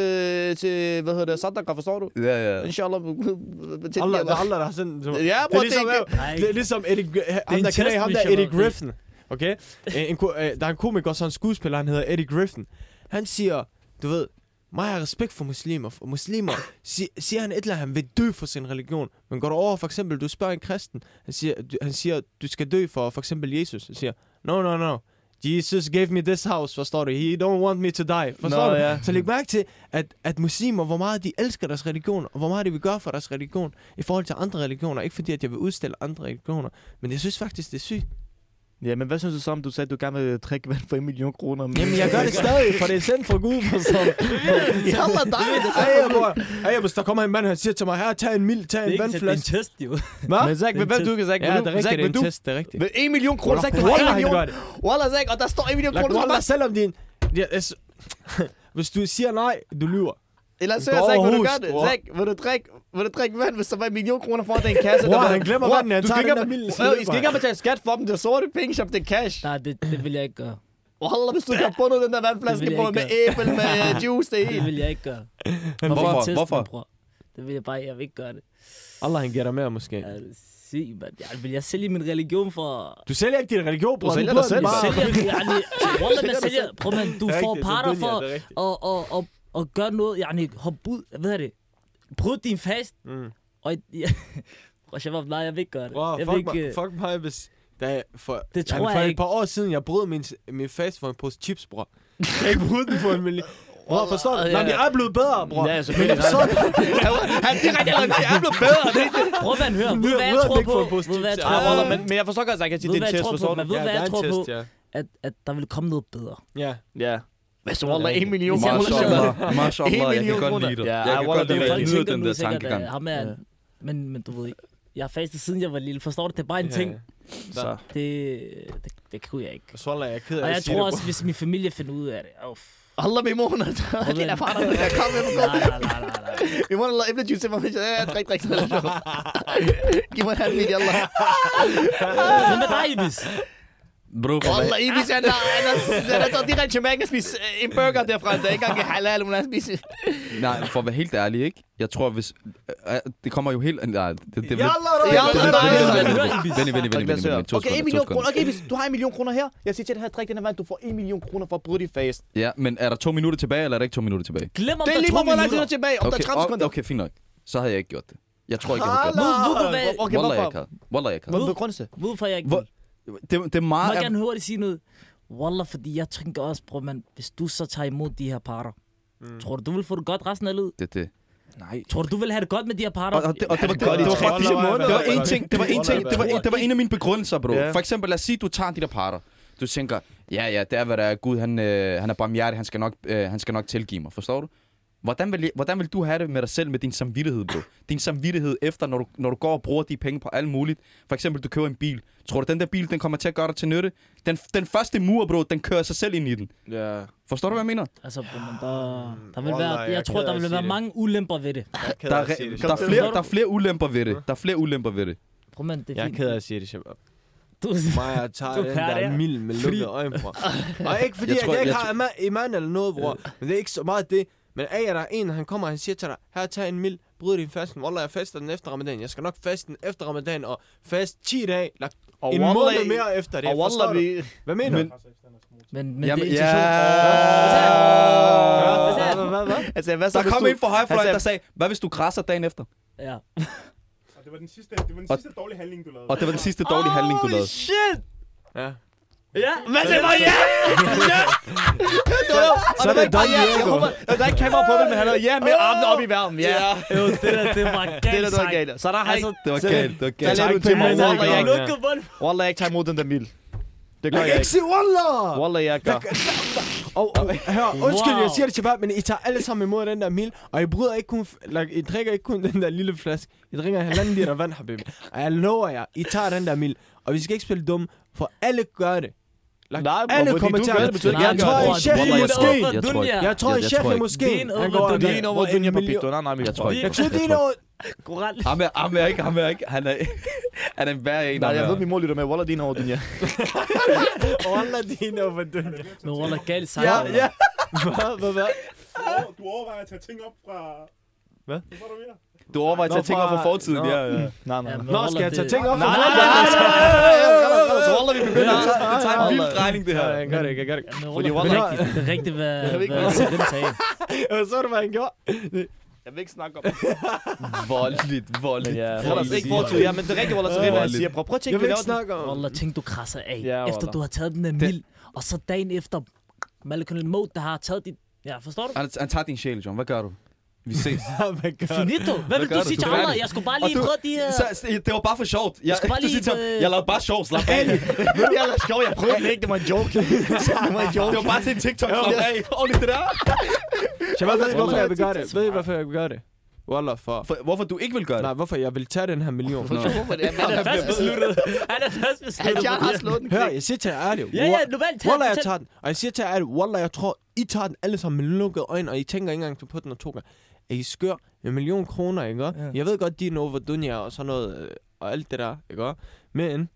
Speaker 1: til, hvad hedder det, Sadaka, forstår du?
Speaker 4: Ja, ja.
Speaker 1: Inshallah. [laughs] til
Speaker 2: Allah,
Speaker 1: de
Speaker 2: det
Speaker 1: her-
Speaker 2: er Allah, der har sendt den.
Speaker 1: Ja,
Speaker 2: det
Speaker 1: bror,
Speaker 2: er ligesom,
Speaker 1: det er
Speaker 2: det,
Speaker 3: Nej.
Speaker 2: det er ligesom Eddie, Gr- ham,
Speaker 3: en
Speaker 2: der kender I
Speaker 3: test,
Speaker 2: ham
Speaker 3: vi
Speaker 2: der,
Speaker 3: skal
Speaker 2: Eddie
Speaker 3: lave.
Speaker 2: Griffin. Okay? Øh, en, ko- øh, der er en komiker, sådan en skuespiller, han hedder Eddie Griffin. Han siger, du ved, mig har respekt for muslimer. For muslimer, si- siger han et eller andet, han vil dø for sin religion. Men går du over, for eksempel, du spørger en kristen, han siger, du, han siger, du skal dø for for eksempel Jesus. Han siger, no, no, no. Jesus gave me this house, forstår du? He don't want me to die, forstår
Speaker 1: Nå,
Speaker 2: du?
Speaker 1: ja.
Speaker 2: Så læg mærke til, at, at muslimer, hvor meget de elsker deres religion, og hvor meget de vil gøre for deres religion, i forhold til andre religioner. Ikke fordi, at jeg vil udstille andre religioner, men jeg synes faktisk, det er sygt.
Speaker 1: Ja, men hvad synes du så om, du sagde, at du gerne vil drikke vand for en million kroner? Men...
Speaker 2: Jamen, jeg gør det [laughs] stadig, for det er sendt fra Gud, forstår du?
Speaker 1: Jalla dig, det er
Speaker 2: Ej, bror. Ej, hvis der kommer en mand, han siger til mig, her, tag en mild, tag en vandflaske.
Speaker 3: test, jo.
Speaker 2: Hvad?
Speaker 1: Men Zach,
Speaker 3: Det er
Speaker 1: hvad
Speaker 3: en
Speaker 1: ved
Speaker 3: test.
Speaker 1: du, Zach?
Speaker 2: Ja, det er rigtigt, det er
Speaker 1: Zach,
Speaker 2: en
Speaker 1: du?
Speaker 2: test, det er rigtigt.
Speaker 1: Ved 1 million kroner, Zach, du har 1
Speaker 2: Wallah, han
Speaker 1: million.
Speaker 2: gør det.
Speaker 1: Wallah, Zach, og der står 1 million
Speaker 2: Lad
Speaker 1: kroner.
Speaker 2: Wallah,
Speaker 1: Like,
Speaker 2: selvom din... Ja, jeg s- Hvis du siger nej, du lyver.
Speaker 1: Eller så,
Speaker 2: Går
Speaker 1: Zach, vil du
Speaker 2: hus,
Speaker 1: gøre det?
Speaker 2: bror.
Speaker 1: Zach, vil du drikke Vil du drikke vand, hvis der var en million kroner for at det er en kasse?
Speaker 5: Bror,
Speaker 1: der var-
Speaker 5: han glemmer
Speaker 1: Bror,
Speaker 5: vandet, han
Speaker 1: du
Speaker 5: tager
Speaker 1: skal
Speaker 5: den
Speaker 1: ikke
Speaker 5: der mild
Speaker 1: have- Bror, I skal
Speaker 5: slipper.
Speaker 1: ikke have betalt skat for dem. Det er sorte penge, som det er cash.
Speaker 3: Nej, det, det vil jeg ikke gøre.
Speaker 1: Wallah, hvis du ikke har bundet den der vandflaske
Speaker 3: Det vil
Speaker 1: på
Speaker 3: jeg
Speaker 1: med
Speaker 3: ikke
Speaker 1: æble, med øh, juice, det er
Speaker 3: Det
Speaker 1: helt.
Speaker 3: vil jeg ikke gøre.
Speaker 4: Hvorfor?
Speaker 3: teste mig,
Speaker 4: Hvorfor?
Speaker 3: bror? Det vil jeg bare, jeg vil ikke gøre det.
Speaker 2: Allah, han giver dig mere måske.
Speaker 3: Jeg vil sige, man. Jeg vil jeg sælge min religion for...
Speaker 5: Du sælger ikke din religion, bror.
Speaker 1: sælger
Speaker 5: bliver
Speaker 1: dig selv,
Speaker 5: den
Speaker 3: Jeg
Speaker 5: bare.
Speaker 2: [laughs]
Speaker 3: sælger, yani, wallah, man sælger, prøv man, du
Speaker 2: Det er
Speaker 3: får
Speaker 2: rigtigt,
Speaker 3: parter
Speaker 2: selvfølgelig
Speaker 3: for
Speaker 2: er det rigtigt.
Speaker 3: at, at, at, at gøre noget, yani, hop ud, hvad er det? Bryd din fast,
Speaker 2: Mm.
Speaker 3: og... [laughs] Ja, bror, Shabab, nej, jeg vil ikke gøre det.
Speaker 2: Wow,
Speaker 3: jeg vil
Speaker 2: fuck, mig,
Speaker 3: ikke, øh,
Speaker 2: fuck mig, hvis... Da, for,
Speaker 3: Det
Speaker 2: jamen,
Speaker 3: tror
Speaker 2: for
Speaker 3: jeg
Speaker 2: et
Speaker 3: ikke.
Speaker 2: par år siden, jeg brød min, min fast for en pose chips, bror. Jeg ikke brød den for en million. Bror, forstår du?
Speaker 3: Ja,
Speaker 2: Nå,
Speaker 3: ja.
Speaker 2: de er blevet bedre, bror.
Speaker 1: Ja,
Speaker 3: [laughs]
Speaker 1: selvfølgelig.
Speaker 2: Men forstår du?
Speaker 1: Han direkte allerede, jeg er blevet bedre. Det, det.
Speaker 3: Prøv at høre,
Speaker 2: [laughs]
Speaker 3: ved
Speaker 2: lyder-
Speaker 3: du, hvad jeg
Speaker 2: lyder
Speaker 3: tror
Speaker 2: ikke for en
Speaker 3: på?
Speaker 2: positiv
Speaker 3: Ved du, hvad jeg
Speaker 2: ting.
Speaker 3: tror
Speaker 2: Ej,
Speaker 3: på?
Speaker 2: wallah,
Speaker 1: men, men jeg forstår godt, at jeg kan sige, det
Speaker 3: Ved
Speaker 1: er
Speaker 3: hvad
Speaker 1: en
Speaker 3: jeg
Speaker 1: test,
Speaker 3: tror på?
Speaker 1: forstår du?
Speaker 3: Men ved
Speaker 2: Ja,
Speaker 3: du, hvad
Speaker 2: der er
Speaker 3: jeg
Speaker 2: en
Speaker 3: tror på?
Speaker 2: test, ja.
Speaker 3: At, at der vil komme noget bedre.
Speaker 2: Ja.
Speaker 1: Ja. Hvad så, Wallah, en million kroner?
Speaker 4: Mashallah,
Speaker 1: En
Speaker 4: mashallah, jeg
Speaker 1: million
Speaker 4: kan godt
Speaker 1: kroner.
Speaker 4: lide det.
Speaker 1: Ja,
Speaker 4: Jeg kan
Speaker 1: wallah,
Speaker 4: godt lide
Speaker 1: det
Speaker 4: det.
Speaker 1: er
Speaker 4: Jeg
Speaker 3: tænker
Speaker 4: nyder den
Speaker 3: nu
Speaker 4: der
Speaker 3: sikkert, at
Speaker 4: tankegang.
Speaker 3: Ham er,
Speaker 1: Ja.
Speaker 3: men, men du ved ikke. Jeg har fastet siden jeg var lille. Forstår du? Det er bare en
Speaker 2: Ja,
Speaker 3: ting.
Speaker 2: ja.
Speaker 4: Så.
Speaker 3: Det, det, det kunne jeg ikke.
Speaker 2: Så er jeg er ked af
Speaker 3: Og
Speaker 2: at
Speaker 3: jeg
Speaker 2: sige
Speaker 3: tror
Speaker 2: det,
Speaker 3: også, hvis min familie finder ud af det. Oh,
Speaker 1: Allah, min mor, hun er der. [laughs] Det er far, der er kommet.
Speaker 3: nej, nej, nej, nej, nej.
Speaker 1: Min mor, der lavede æblejuice til mig. Ja, drik, drik. Giv mig en halv million, Allah.
Speaker 3: Hvad med dig, Ibis?
Speaker 4: Bro, for hvad?
Speaker 1: Wallah, Ibis, han har- han har han har taget direkte til Mærken og spist øh, en burger derfra. Der er ikke engang halal, hun har spist.
Speaker 4: Nej, for at være helt ærlig, ikke? Jeg tror, hvis... øh, øh, Det kommer jo helt... Nej, det, det, det,
Speaker 5: Jalla, der
Speaker 1: Ja,
Speaker 5: er-
Speaker 1: der er-
Speaker 4: Vent, vent, vent, vent, vent,
Speaker 1: Okay, en million kroner. Okay, Ibis, du har en million kroner her. Jeg siger til dig her, drik den her vand. Du får en million kroner for at bryde dit fast.
Speaker 4: Ja, men er der to minutter tilbage, eller er der ikke to minutter tilbage?
Speaker 3: Glem om
Speaker 1: Det
Speaker 3: der
Speaker 1: er lige
Speaker 3: to
Speaker 1: meget, hvor lang tid der
Speaker 3: minutter.
Speaker 1: er tilbage. Om der er 30
Speaker 4: og-
Speaker 1: sekunder.
Speaker 4: okay, fint nok. Så havde jeg ikke gjort det. Jeg tror ikke, jeg havde gjort
Speaker 3: Ved,
Speaker 4: det.
Speaker 3: ved du hvad?
Speaker 1: Okay,
Speaker 4: Wallah, jeg
Speaker 1: hvorfor?
Speaker 4: ikke havde. Wallah, jeg ikke havde.
Speaker 1: Hvad er begrundelsen?
Speaker 3: Ved du, hvorfor jeg ikke
Speaker 4: Hvor- Ah,
Speaker 3: vil?
Speaker 4: Det, det er
Speaker 3: Må
Speaker 4: meget...
Speaker 3: jeg gerne hurtigt sige noget? Wallah, fordi jeg tænker også, bror, man, hvis du så tager imod de her parter, mm. tror du, du vil få det godt resten af livet?
Speaker 4: Det, det.
Speaker 3: Tror du, du vil have det godt med de her parter?
Speaker 4: Og, og, det, og det, var, det,
Speaker 1: godt,
Speaker 4: det,
Speaker 1: I
Speaker 4: var
Speaker 1: tror.
Speaker 4: faktisk...
Speaker 5: måneder.
Speaker 4: Det var en ting, det var en ting, det var,
Speaker 3: Wallah,
Speaker 4: det var en af mine begrundelser, bro.
Speaker 1: Ja.
Speaker 4: For eksempel, lad os sige, du tager de der parter. Du tænker, ja, ja, det er, hvad der er. Gud, han, øh, han er barmhjertig, han skal, nok, øh, han skal nok tilgive mig, forstår du? Hvordan vil, hvordan vil du have det med dig selv, med din samvittighed, bro? Din samvittighed efter, når du, når du går og bruger de penge på alt muligt. For eksempel, du køber en bil. Tror du, den der bil, den kommer til at gøre dig til nytte? Den, den første mur, bro, den kører sig selv ind i den.
Speaker 2: Ja.
Speaker 4: Forstår du, hvad jeg mener?
Speaker 3: Altså, bror, man, der, der vil
Speaker 2: Mm. Wallah,
Speaker 3: være,
Speaker 2: jeg
Speaker 3: jeg,
Speaker 2: er
Speaker 3: tror,
Speaker 2: ked af
Speaker 3: der
Speaker 2: at
Speaker 3: vil
Speaker 2: sige
Speaker 3: være
Speaker 2: det.
Speaker 3: mange ulemper ved det.
Speaker 2: Jeg er ked
Speaker 4: Der
Speaker 2: af
Speaker 4: er,
Speaker 2: at sige det.
Speaker 4: der, er
Speaker 3: Kom,
Speaker 4: flere,
Speaker 3: kom.
Speaker 4: der er flere ulemper ved det. Der er flere ulemper ved det.
Speaker 3: Prøv, man, det er
Speaker 2: Jeg er
Speaker 3: fint.
Speaker 2: ked af at sige det,
Speaker 3: [laughs]
Speaker 2: Shabab.
Speaker 3: Du,
Speaker 2: [laughs] Maja jeg tager
Speaker 3: Du
Speaker 2: den
Speaker 3: er
Speaker 2: der
Speaker 3: der.
Speaker 2: mild med lukkede øjne,
Speaker 3: [laughs]
Speaker 2: bror. Og ikke fordi,
Speaker 4: Jeg
Speaker 2: jeg,
Speaker 4: tror- Øh.
Speaker 2: jeg ikke
Speaker 4: jeg
Speaker 2: har ima- iman eller noget, bror. Men det er ikke så meget det. Men af jer, der er en, han kommer, og han siger til dig, her tag en mild, bryd din fasten. Wallah, jeg faster den efter ramadan. Jeg skal nok faste den efter ramadan og fast 10 dage. Lagt
Speaker 1: Og
Speaker 2: en måned mere efter det.
Speaker 1: Og
Speaker 2: Forstår
Speaker 1: Wallah, vi...
Speaker 2: du? Hvad mener du?
Speaker 3: men, men
Speaker 4: Jamen,
Speaker 3: det er
Speaker 4: ja.
Speaker 3: intention.
Speaker 4: Øh.
Speaker 2: Hvad sagde
Speaker 3: Hvad sagde
Speaker 2: han?
Speaker 3: han?
Speaker 2: Hvad, hvad?
Speaker 1: Altså, hvad så,
Speaker 4: Der
Speaker 1: hvis
Speaker 4: kom
Speaker 1: du-
Speaker 4: en fra højrefløjen,
Speaker 1: Altså-
Speaker 4: der sagde, hvad hvis du græsser dagen efter?
Speaker 3: Ja.
Speaker 6: Og det var den sidste, det var den
Speaker 4: Og-
Speaker 6: sidste dårlige handling, du lavede.
Speaker 4: Og det var den sidste dårlige handling, du lavede.
Speaker 1: shit!
Speaker 2: Ja.
Speaker 3: Ja,
Speaker 1: Hvad sagde du? Ja! Ja! Det var- og
Speaker 2: Så
Speaker 1: der
Speaker 2: er
Speaker 1: var
Speaker 2: det
Speaker 1: ikke bare
Speaker 2: Don
Speaker 1: ja, jeg
Speaker 2: Diego.
Speaker 1: håber- Der er ikke kamera på det, men han havde ja med armene op i varmen. Ja,
Speaker 3: jo, det der, det var galt
Speaker 1: det er det, der er
Speaker 3: sagt.
Speaker 1: galt. Så der har
Speaker 3: Altså,
Speaker 1: ikke...
Speaker 4: Det var
Speaker 1: Så-
Speaker 4: galt, det var
Speaker 1: Der
Speaker 4: galt.
Speaker 1: lader du til mig.
Speaker 2: pænt.
Speaker 1: Wallah, jeg
Speaker 2: Ja.
Speaker 1: ikke...
Speaker 3: Lukket mund.
Speaker 1: Wallah, jeg ikke tager imod den der mil. Det gør
Speaker 2: Jeg kan
Speaker 1: jeg
Speaker 4: [laughs]
Speaker 2: ikke
Speaker 1: ikke.
Speaker 2: se Wallah!
Speaker 1: Wallah, jeg gør.
Speaker 2: Og, og hør, undskyld,
Speaker 3: Wow.
Speaker 2: jeg siger det til bare, men I tager alle sammen imod den der mil, og I bryder ikke kun, f- like, I drikker ikke kun den der lille flaske, I drikker en halvanden liter vand, habibi. Og jeg lover jer, I tager den der mil, og vi skal ikke spille dumme, for alle gør det. Like,
Speaker 1: Nej, bror,
Speaker 2: alle
Speaker 1: fordi
Speaker 2: kommer
Speaker 1: du
Speaker 2: til
Speaker 1: gør
Speaker 2: at...
Speaker 1: det, betyder
Speaker 2: jeg,
Speaker 1: ikke,
Speaker 2: jeg
Speaker 1: jeg gør
Speaker 2: tror,
Speaker 1: det.
Speaker 2: en chef i
Speaker 4: Wallah, jeg tror
Speaker 2: moskeen,
Speaker 4: ikke- jeg tror ikke-
Speaker 2: jeg tror,
Speaker 4: jeg-
Speaker 2: en
Speaker 4: jeg
Speaker 2: chef
Speaker 4: tror
Speaker 2: i
Speaker 4: ikke-
Speaker 2: moskeen,
Speaker 3: Din over
Speaker 2: han går og
Speaker 3: Dunya.
Speaker 2: gør-
Speaker 1: Din over
Speaker 2: og en
Speaker 1: Dunja
Speaker 2: million-
Speaker 1: Pigdo. Nej, nej, men
Speaker 4: Jeg tror ikke.
Speaker 2: Jeg tror, din over...
Speaker 3: Korrekt.
Speaker 4: Ham er, ham er ikke, ham er ikke. Han er, han er en værre en.
Speaker 1: Nej,
Speaker 4: ham
Speaker 1: jeg
Speaker 4: er.
Speaker 1: ved, min mor lytter med. Wallah, din over
Speaker 2: [laughs]
Speaker 1: Dunja.
Speaker 2: Wallah, din over Dunja.
Speaker 3: Men Walla, galt sagt.
Speaker 2: Ja,
Speaker 3: Wallah.
Speaker 2: ja. Hvad, hvad, hvad?
Speaker 6: Du over- Du overvejer at tage ting op fra...
Speaker 2: Hvad?
Speaker 6: Hvad var du mere?
Speaker 4: Du overvejer til at tænke over på fortiden.
Speaker 2: Nå.
Speaker 4: Ja, ja.
Speaker 1: Nej, nej.
Speaker 3: Ja, men
Speaker 2: Nå,
Speaker 3: Wallah,
Speaker 2: skal jeg tage
Speaker 3: det-
Speaker 2: ting op?
Speaker 1: Nej, nej, nej, nej, nej, nej, nej. Så Wallah, vi begynder.
Speaker 4: Det tager en vild drejning, det her.
Speaker 2: Ja, jeg gør det ikke, jeg gør det ikke.
Speaker 3: Ja, men
Speaker 1: Fordi
Speaker 3: Wallah, det
Speaker 1: Wallah-
Speaker 3: er rigtigt. Det er rigtigt, hvad,
Speaker 1: Jeg ved ikke,
Speaker 3: hvad
Speaker 1: hvad-
Speaker 3: Selim sagde.
Speaker 2: Og så er det, hvad han gjorde.
Speaker 1: Jeg vil ikke snakke om
Speaker 4: Voldeligt, voldeligt.
Speaker 1: Ja,
Speaker 4: voldeligt.
Speaker 1: Wallace, ikke fortid. Ja, men det er rigtigt, Wallace, det er, hvad jeg siger. Prøv, prøv at tænke,
Speaker 2: Jeg vil
Speaker 1: vi
Speaker 2: ikke
Speaker 1: laver den.
Speaker 2: snakke om...
Speaker 3: Wallah, tænk, du krasser af.
Speaker 1: Ja,
Speaker 3: Efter
Speaker 1: Wallah.
Speaker 3: du har taget den der mil, og så dagen efter, Malcolm Moe, der har taget dit... Ja, forstår du?
Speaker 4: [laughs] Han, han tager din sjæl, John. Hvad gør du? Vi ses.
Speaker 2: Hvad gør du?
Speaker 3: Finito. Hvad vil
Speaker 4: gør
Speaker 3: du
Speaker 4: du?
Speaker 3: sige
Speaker 4: Du
Speaker 3: til
Speaker 4: er
Speaker 3: Allah?
Speaker 4: færdig.
Speaker 3: Jeg skulle bare
Speaker 4: Og
Speaker 3: lige
Speaker 4: du-
Speaker 3: prøve de her...
Speaker 4: [laughs] Så, så- det var bare for sjovt. Jeg,
Speaker 3: skal bare
Speaker 4: du
Speaker 3: lige,
Speaker 4: siger til ham,
Speaker 3: øh,
Speaker 4: jeg lavede bare sjov, slap af.
Speaker 1: Det er ellers sjovt, jeg prøvede det ikke, det var en
Speaker 2: [laughs]
Speaker 1: joke. Det var en joke.
Speaker 4: Det var bare til en TikTok, slap af. Ordentligt det der.
Speaker 2: Shabab, ved I, hvorfor jeg vil gøre det? Ved I, hvorfor jeg vil gøre det? Wallah, for...
Speaker 4: For, hvorfor du ikke vil gøre det?
Speaker 2: Nej, hvorfor jeg vil tage den her million?
Speaker 4: Nå.
Speaker 1: Hvorfor det?
Speaker 3: Han er fast besluttet. Han er fast besluttet.
Speaker 1: Han har slået den.
Speaker 2: Hør, [laughs] jeg siger til jer ærligt.
Speaker 3: Ja, ja,
Speaker 2: wa-
Speaker 3: normalt. tag-
Speaker 2: Wallah, jeg
Speaker 3: tag-
Speaker 2: tager den. Og jeg siger til jer ærligt, Wallah, jeg tror, I tager den alle sammen med lukkede øjne, og I tænker ikke engang på den og to gange. er I skør? En million kroner, ikke?
Speaker 3: Ja.
Speaker 2: Ja. Jeg ved godt, de er Nova Dunja og sådan noget, øh, og alt det der, ikke?
Speaker 3: [laughs]
Speaker 2: Men,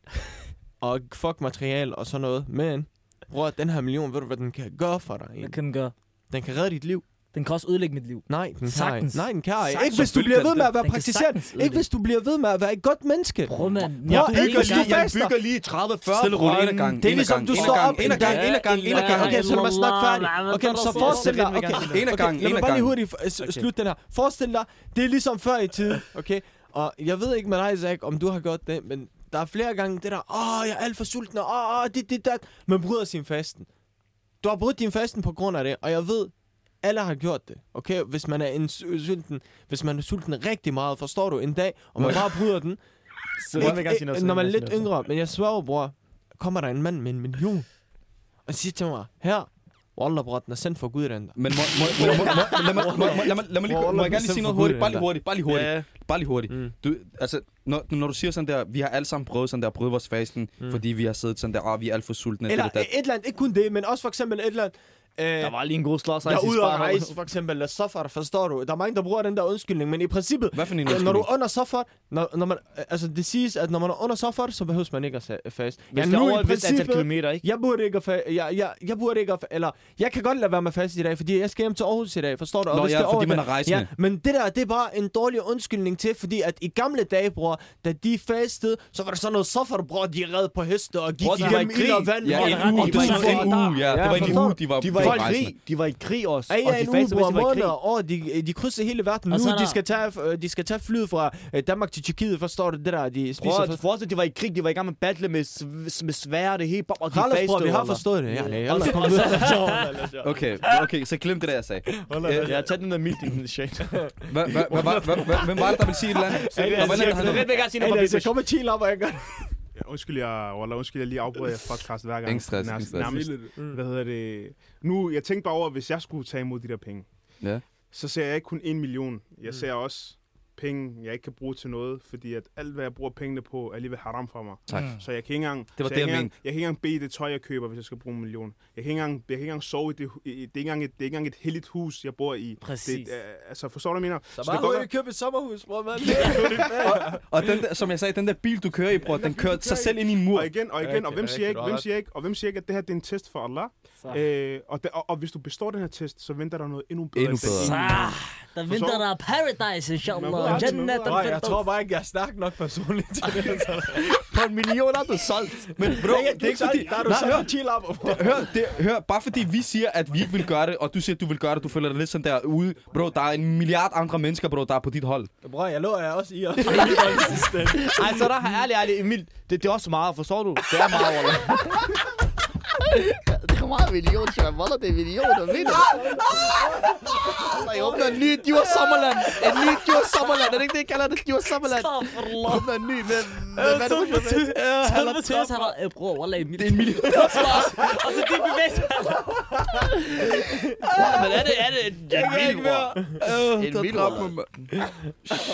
Speaker 2: og fuck material og sådan noget, men, bror, den her million, ved du, hvad den kan gøre for dig?
Speaker 3: Hvad
Speaker 2: egentlig?
Speaker 3: kan den gøre?
Speaker 2: Den kan redde dit liv.
Speaker 3: Den kan også ødelægge mit liv.
Speaker 2: Nej, den kan
Speaker 3: Sagtens.
Speaker 2: ej. Nej, den kan ej.
Speaker 4: Sagtens.
Speaker 2: Ikke hvis du
Speaker 4: Selvfølgelig
Speaker 2: bliver
Speaker 4: kan
Speaker 2: ved med
Speaker 4: den det.
Speaker 2: at være
Speaker 3: Den kan
Speaker 2: praktiserende.
Speaker 3: sagtens
Speaker 2: Ikke
Speaker 3: ødelægge.
Speaker 2: hvis du bliver ved med at være et godt menneske.
Speaker 3: Prøv, mand.
Speaker 1: Jeg
Speaker 3: er
Speaker 1: bygger
Speaker 3: ikke
Speaker 1: lige,
Speaker 3: engang-
Speaker 1: jeg
Speaker 2: faster.
Speaker 1: bygger lige 30, 40,
Speaker 4: Stille og roligt. En ad
Speaker 1: 40.
Speaker 4: gangen.
Speaker 2: Det er
Speaker 4: En ad
Speaker 2: ligesom,
Speaker 4: gangen.
Speaker 2: du
Speaker 4: En ad
Speaker 2: står
Speaker 4: gangen.
Speaker 2: op
Speaker 4: En ad gangen. En ad gangen. En ad gangen.
Speaker 2: Okay, så lad mig snakke færdig. Okay, så forestil dig.
Speaker 1: Sæt lidt
Speaker 2: Okay,
Speaker 1: mere gang.
Speaker 4: En ad gangen.
Speaker 2: lad
Speaker 4: En
Speaker 2: mig
Speaker 4: ad
Speaker 2: bare lige
Speaker 4: gangen.
Speaker 2: hurtigt øh, s- slutte den her. Forestil dig, det er ligesom før i tiden, okay? Og jeg ved ikke med dig, Zach, om du har gjort det, men der er flere gange det der, åh, jeg er alt for sulten, og åh, åh, det, det, der. Man bryder sin fasten. Du har brudt din fasten på grund af det, og jeg ved, alle har gjort det, okay? Hvis man er, en su- sulten, hvis man er sulten rigtig meget, forstår du, en dag, og man bare bryder den,
Speaker 1: Så lad mig gerne sige noget.
Speaker 2: ikke,
Speaker 1: så
Speaker 2: øh, når
Speaker 1: lad
Speaker 2: man er
Speaker 1: mig
Speaker 2: lidt
Speaker 1: sige noget.
Speaker 2: yngre, men jeg svarer, bror, kommer der en mand med en million, og siger til mig, her, Wallah, bror, den er sendt for Gud, den der.
Speaker 4: Men må, må, må, må, må, lad mig- må, må, lad mig- lad mig lige, må jeg gerne lige sige noget hurtigt? Bare lige hurtigt. Bare lige hurtigt. Bare lige hurtigt.
Speaker 2: Mm.
Speaker 4: Du, altså, når, når du siger sådan der, vi har alle sammen prøvet sådan der, prøvet vores fasten,
Speaker 2: Mm.
Speaker 4: fordi vi har siddet sådan der, ah, vi er alt for sultne.
Speaker 2: Eller
Speaker 4: det, det,
Speaker 2: et eller andet, ikke kun det, men også for eksempel et eller andet, øh,
Speaker 1: Der var lige en god slås.
Speaker 2: jeg er ude at rejse, for eksempel, eller suffer, forstår du? Der er mange, der bruger den der undskyldning, men i princippet,
Speaker 4: Hvad for en
Speaker 2: Ja, når du
Speaker 4: undskyldning?
Speaker 2: er under suffer, når, når man, altså det siges, at når man er under suffer, så behøver man ikke at sa- fast.
Speaker 1: Hvis det er over et vist antal kilometer, ikke?
Speaker 2: Jeg burde ikke at fa- jeg, jeg, jeg burde ikke at fa- eller jeg kan godt lade være med at faste i dag, fordi jeg skal hjem til Aarhus i dag, forstår du?
Speaker 4: Nå,
Speaker 2: hvis
Speaker 4: ja,
Speaker 2: det over
Speaker 4: fordi man
Speaker 2: det-
Speaker 4: er rejsende.
Speaker 2: Ja, men det der, det er bare en dårlig undskyldning til, fordi at i gamle dage, bror, da de fastede, så var der sådan noget suffer, bror, de red på heste og gik
Speaker 4: Bror, de var i
Speaker 2: igennem ild
Speaker 4: krig.
Speaker 2: og vand.
Speaker 4: Ja,
Speaker 2: bror,
Speaker 4: en
Speaker 2: der-
Speaker 4: uge,
Speaker 2: og
Speaker 4: det var
Speaker 2: du
Speaker 4: sådan
Speaker 2: får-
Speaker 4: en uge, ja. Det var en
Speaker 2: forstår
Speaker 4: uge,
Speaker 2: du?
Speaker 4: de var
Speaker 1: De var
Speaker 4: på
Speaker 1: i
Speaker 4: rejsen.
Speaker 1: krig. De var i krig også.
Speaker 2: Ja,
Speaker 1: og
Speaker 2: ja,
Speaker 1: de
Speaker 2: en uge,
Speaker 1: faste,
Speaker 2: bror,
Speaker 1: mens de var i
Speaker 2: måneder
Speaker 1: krig.
Speaker 2: og år, de, de krydser hele verden
Speaker 3: Og
Speaker 2: nu,
Speaker 3: så er der-
Speaker 2: de skal, tage, øh, de skal tage flyet fra øh, Danmark til Tyrkiet, forstår du det der, de spiser
Speaker 1: Prøv
Speaker 2: først.
Speaker 1: at forestille, de var i krig, de var i gang med at battle med, sv- med svære og det hele, og de
Speaker 2: Carlos, bror,
Speaker 1: fastede,
Speaker 2: vi har
Speaker 1: Wallah.
Speaker 2: forstået det. Ja, det er
Speaker 1: Og så- og [laughs] så-
Speaker 4: Okay, okay, så glem det der, jeg sagde.
Speaker 1: Øh, Jeg har taget den der mild i den shade.
Speaker 4: Hvad- hvad- hvad var- hvad- hvad- Hvem var det, der ville sige et eller andet? Der var en eller anden, der havde
Speaker 1: vil gerne sige
Speaker 2: så kom og chill op, og jeg gør
Speaker 6: Ja, undskyld, jeg, Walla, undskyld, jeg lige afbryder jer podcast hver gang.
Speaker 4: Ingen stress, ingen
Speaker 6: Nærmest,
Speaker 4: stress.
Speaker 6: nærmest, hvad hedder det? Nu, jeg tænkte bare over, hvis jeg skulle tage imod de der penge,
Speaker 4: Ja.
Speaker 6: så ser jeg ikke kun en million. Jeg ser også penge, jeg ikke kan bruge til noget, fordi at alt, hvad jeg bruger pengene på, er alligevel haram for mig.
Speaker 4: Tak.
Speaker 6: Så jeg kan ikke engang,
Speaker 4: Det var det,
Speaker 6: så jeg,
Speaker 4: jeg
Speaker 6: kan ikke
Speaker 4: mente.
Speaker 6: engang, jeg kan ikke engang bede i det tøj, jeg køber, hvis jeg skal bruge en million. Jeg kan ikke engang, jeg kan ikke engang sove i det, hu- i- i- det er ikke engang et, det er ikke engang et heldigt hus, jeg bor i.
Speaker 3: Præcis.
Speaker 6: Det, øh, altså, forstår du, hvad jeg mener? Så,
Speaker 2: Bare
Speaker 6: det går,
Speaker 2: hurtigt købe et sommerhus, bror, mand.
Speaker 4: Og den der, som jeg sagde, den der bil, du kører i, bror, den kørte sig selv ind i en mur.
Speaker 6: og igen, og igen, og
Speaker 2: Rigtigt,
Speaker 6: hvem
Speaker 2: rigtigt,
Speaker 6: siger ikke,
Speaker 2: du har
Speaker 6: hvem
Speaker 2: ret.
Speaker 6: siger ikke, og hvem siger ikke, at det her det er en test for Allah? Øh, og, da, og, og, hvis du består den her test, så venter der noget endnu bedre.
Speaker 4: Endnu
Speaker 6: end den
Speaker 4: bedre.
Speaker 6: ene.
Speaker 3: Ah, der venter der er paradise,
Speaker 6: Man
Speaker 3: inshallah.
Speaker 6: ved aldrig, man ved
Speaker 3: Jannat,
Speaker 2: Bror, jeg
Speaker 3: al-firdaus.
Speaker 2: tror bare ikke, jeg er stærk nok personligt til det.
Speaker 4: [laughs] På en million er du solgt. Men bro,
Speaker 2: Det er ikke fordi, der er du
Speaker 4: Nej, hør.
Speaker 2: sådan chill op.
Speaker 4: Hør, det, hør, bare fordi vi siger, at vi ikke vil gøre det, og du siger, at du vil gøre det, du føler dig lidt sådan der ude. Bro, der er en milliard andre mennesker, bro, der er på dit hold.
Speaker 2: Bror, jeg lå jeg også i os.
Speaker 1: Ej, så der har ærlig, ærlig, Emil, det, det er også meget, forstår du? Det er meget, Wallah.
Speaker 7: Det kommer en million, Shaman. Wallah, det er en million, hvad mener du? Altså, jeg åbner en ny Djurs Sommerland. En ny Djurs Sommerland. Er det ikke det, jeg kalder det? Djurs Sommerland.
Speaker 3: Astaghfirullah.
Speaker 7: Åbner en ny. Hvad, hvad, hvad er det, du med?
Speaker 3: Helvede til os, han har... Øh, bror, wallah, Emil.
Speaker 4: Det er en million.
Speaker 3: Og så det bevæger [laughs] sig.
Speaker 1: Men er det, er det en mild, bror?
Speaker 4: En million.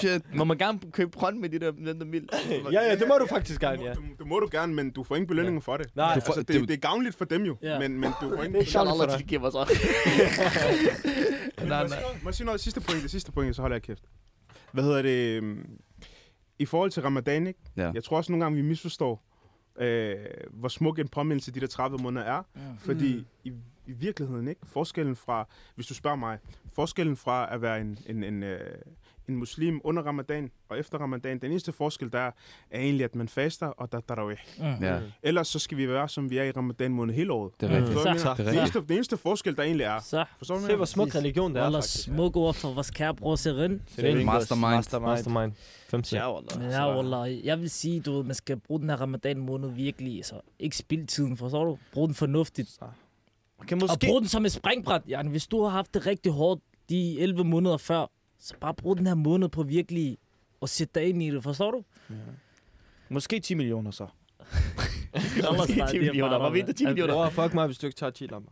Speaker 4: Shit.
Speaker 1: Må man gerne købe grøn med de der, den der mild?
Speaker 2: Ja, ja, det må du faktisk gerne, ja.
Speaker 6: Det, må- det må du gerne, men du får ingen belønning for det.
Speaker 2: Nej,
Speaker 6: Du får, altså, det,
Speaker 4: det-
Speaker 6: det, er gavnligt for dem jo,
Speaker 3: Ja.
Speaker 6: men, men du får ingen
Speaker 7: Inshallah, de giver mig så.
Speaker 6: Men Må jeg sige noget- må jeg sige noget? Sidste point, det sidste point, så holder jeg kæft. Hvad hedder det? øhm, I forhold til ramadan, ikke?
Speaker 4: Ja.
Speaker 6: Jeg tror også nogle gange, vi misforstår, øh, hvor smuk en påmindelse de der 30 måneder er. Ja. Fordi mm. i, i virkeligheden, ikke? Forskellen fra, hvis du spørger mig, forskellen fra at være en, en, en, øh, en muslim under ramadan og efter ramadan, den eneste forskel, der er, er egentlig, at man faster, og der, der er jo
Speaker 4: Ja,
Speaker 6: Ellers så skal vi være, som vi er i ramadan måned hele året.
Speaker 4: det er rigtigt.
Speaker 6: Forstår du, hvad jeg
Speaker 3: Så-
Speaker 6: mener?
Speaker 4: Det er
Speaker 6: Det
Speaker 4: rigtigt.
Speaker 6: eneste, det eneste forskel, der egentlig er.
Speaker 3: Så.
Speaker 6: Forstår du, hvad
Speaker 2: Se,
Speaker 6: jeg
Speaker 2: hvor
Speaker 6: mener?
Speaker 2: smuk religion det er,
Speaker 3: Wallah,
Speaker 2: faktisk.
Speaker 3: smuk ord for vores kære bror Serin.
Speaker 2: Det er en
Speaker 4: Mastermind.
Speaker 2: Mastermind. 5
Speaker 1: Ja, Wallah.
Speaker 3: Ja, wallah. Jeg vil sige, du ved, man skal bruge den her ramadan måned virkelig, så ikke spild tiden, forstår du? Brug den fornuftigt.
Speaker 1: Kan
Speaker 3: Og
Speaker 1: måske...
Speaker 3: brug den som et springbræt. Ja, hvis du har haft det rigtig hårdt de 11 måneder før, så bare brug den her måned på virkelig at sætte dig ind i det, forstår du?
Speaker 1: Måske 10 millioner så.
Speaker 3: Ellers, nej, det er
Speaker 1: 10 millioner,
Speaker 3: bare-
Speaker 1: var vi ikke 10 millioner?
Speaker 2: Bror, fuck mig, hvis du ikke tager chill op.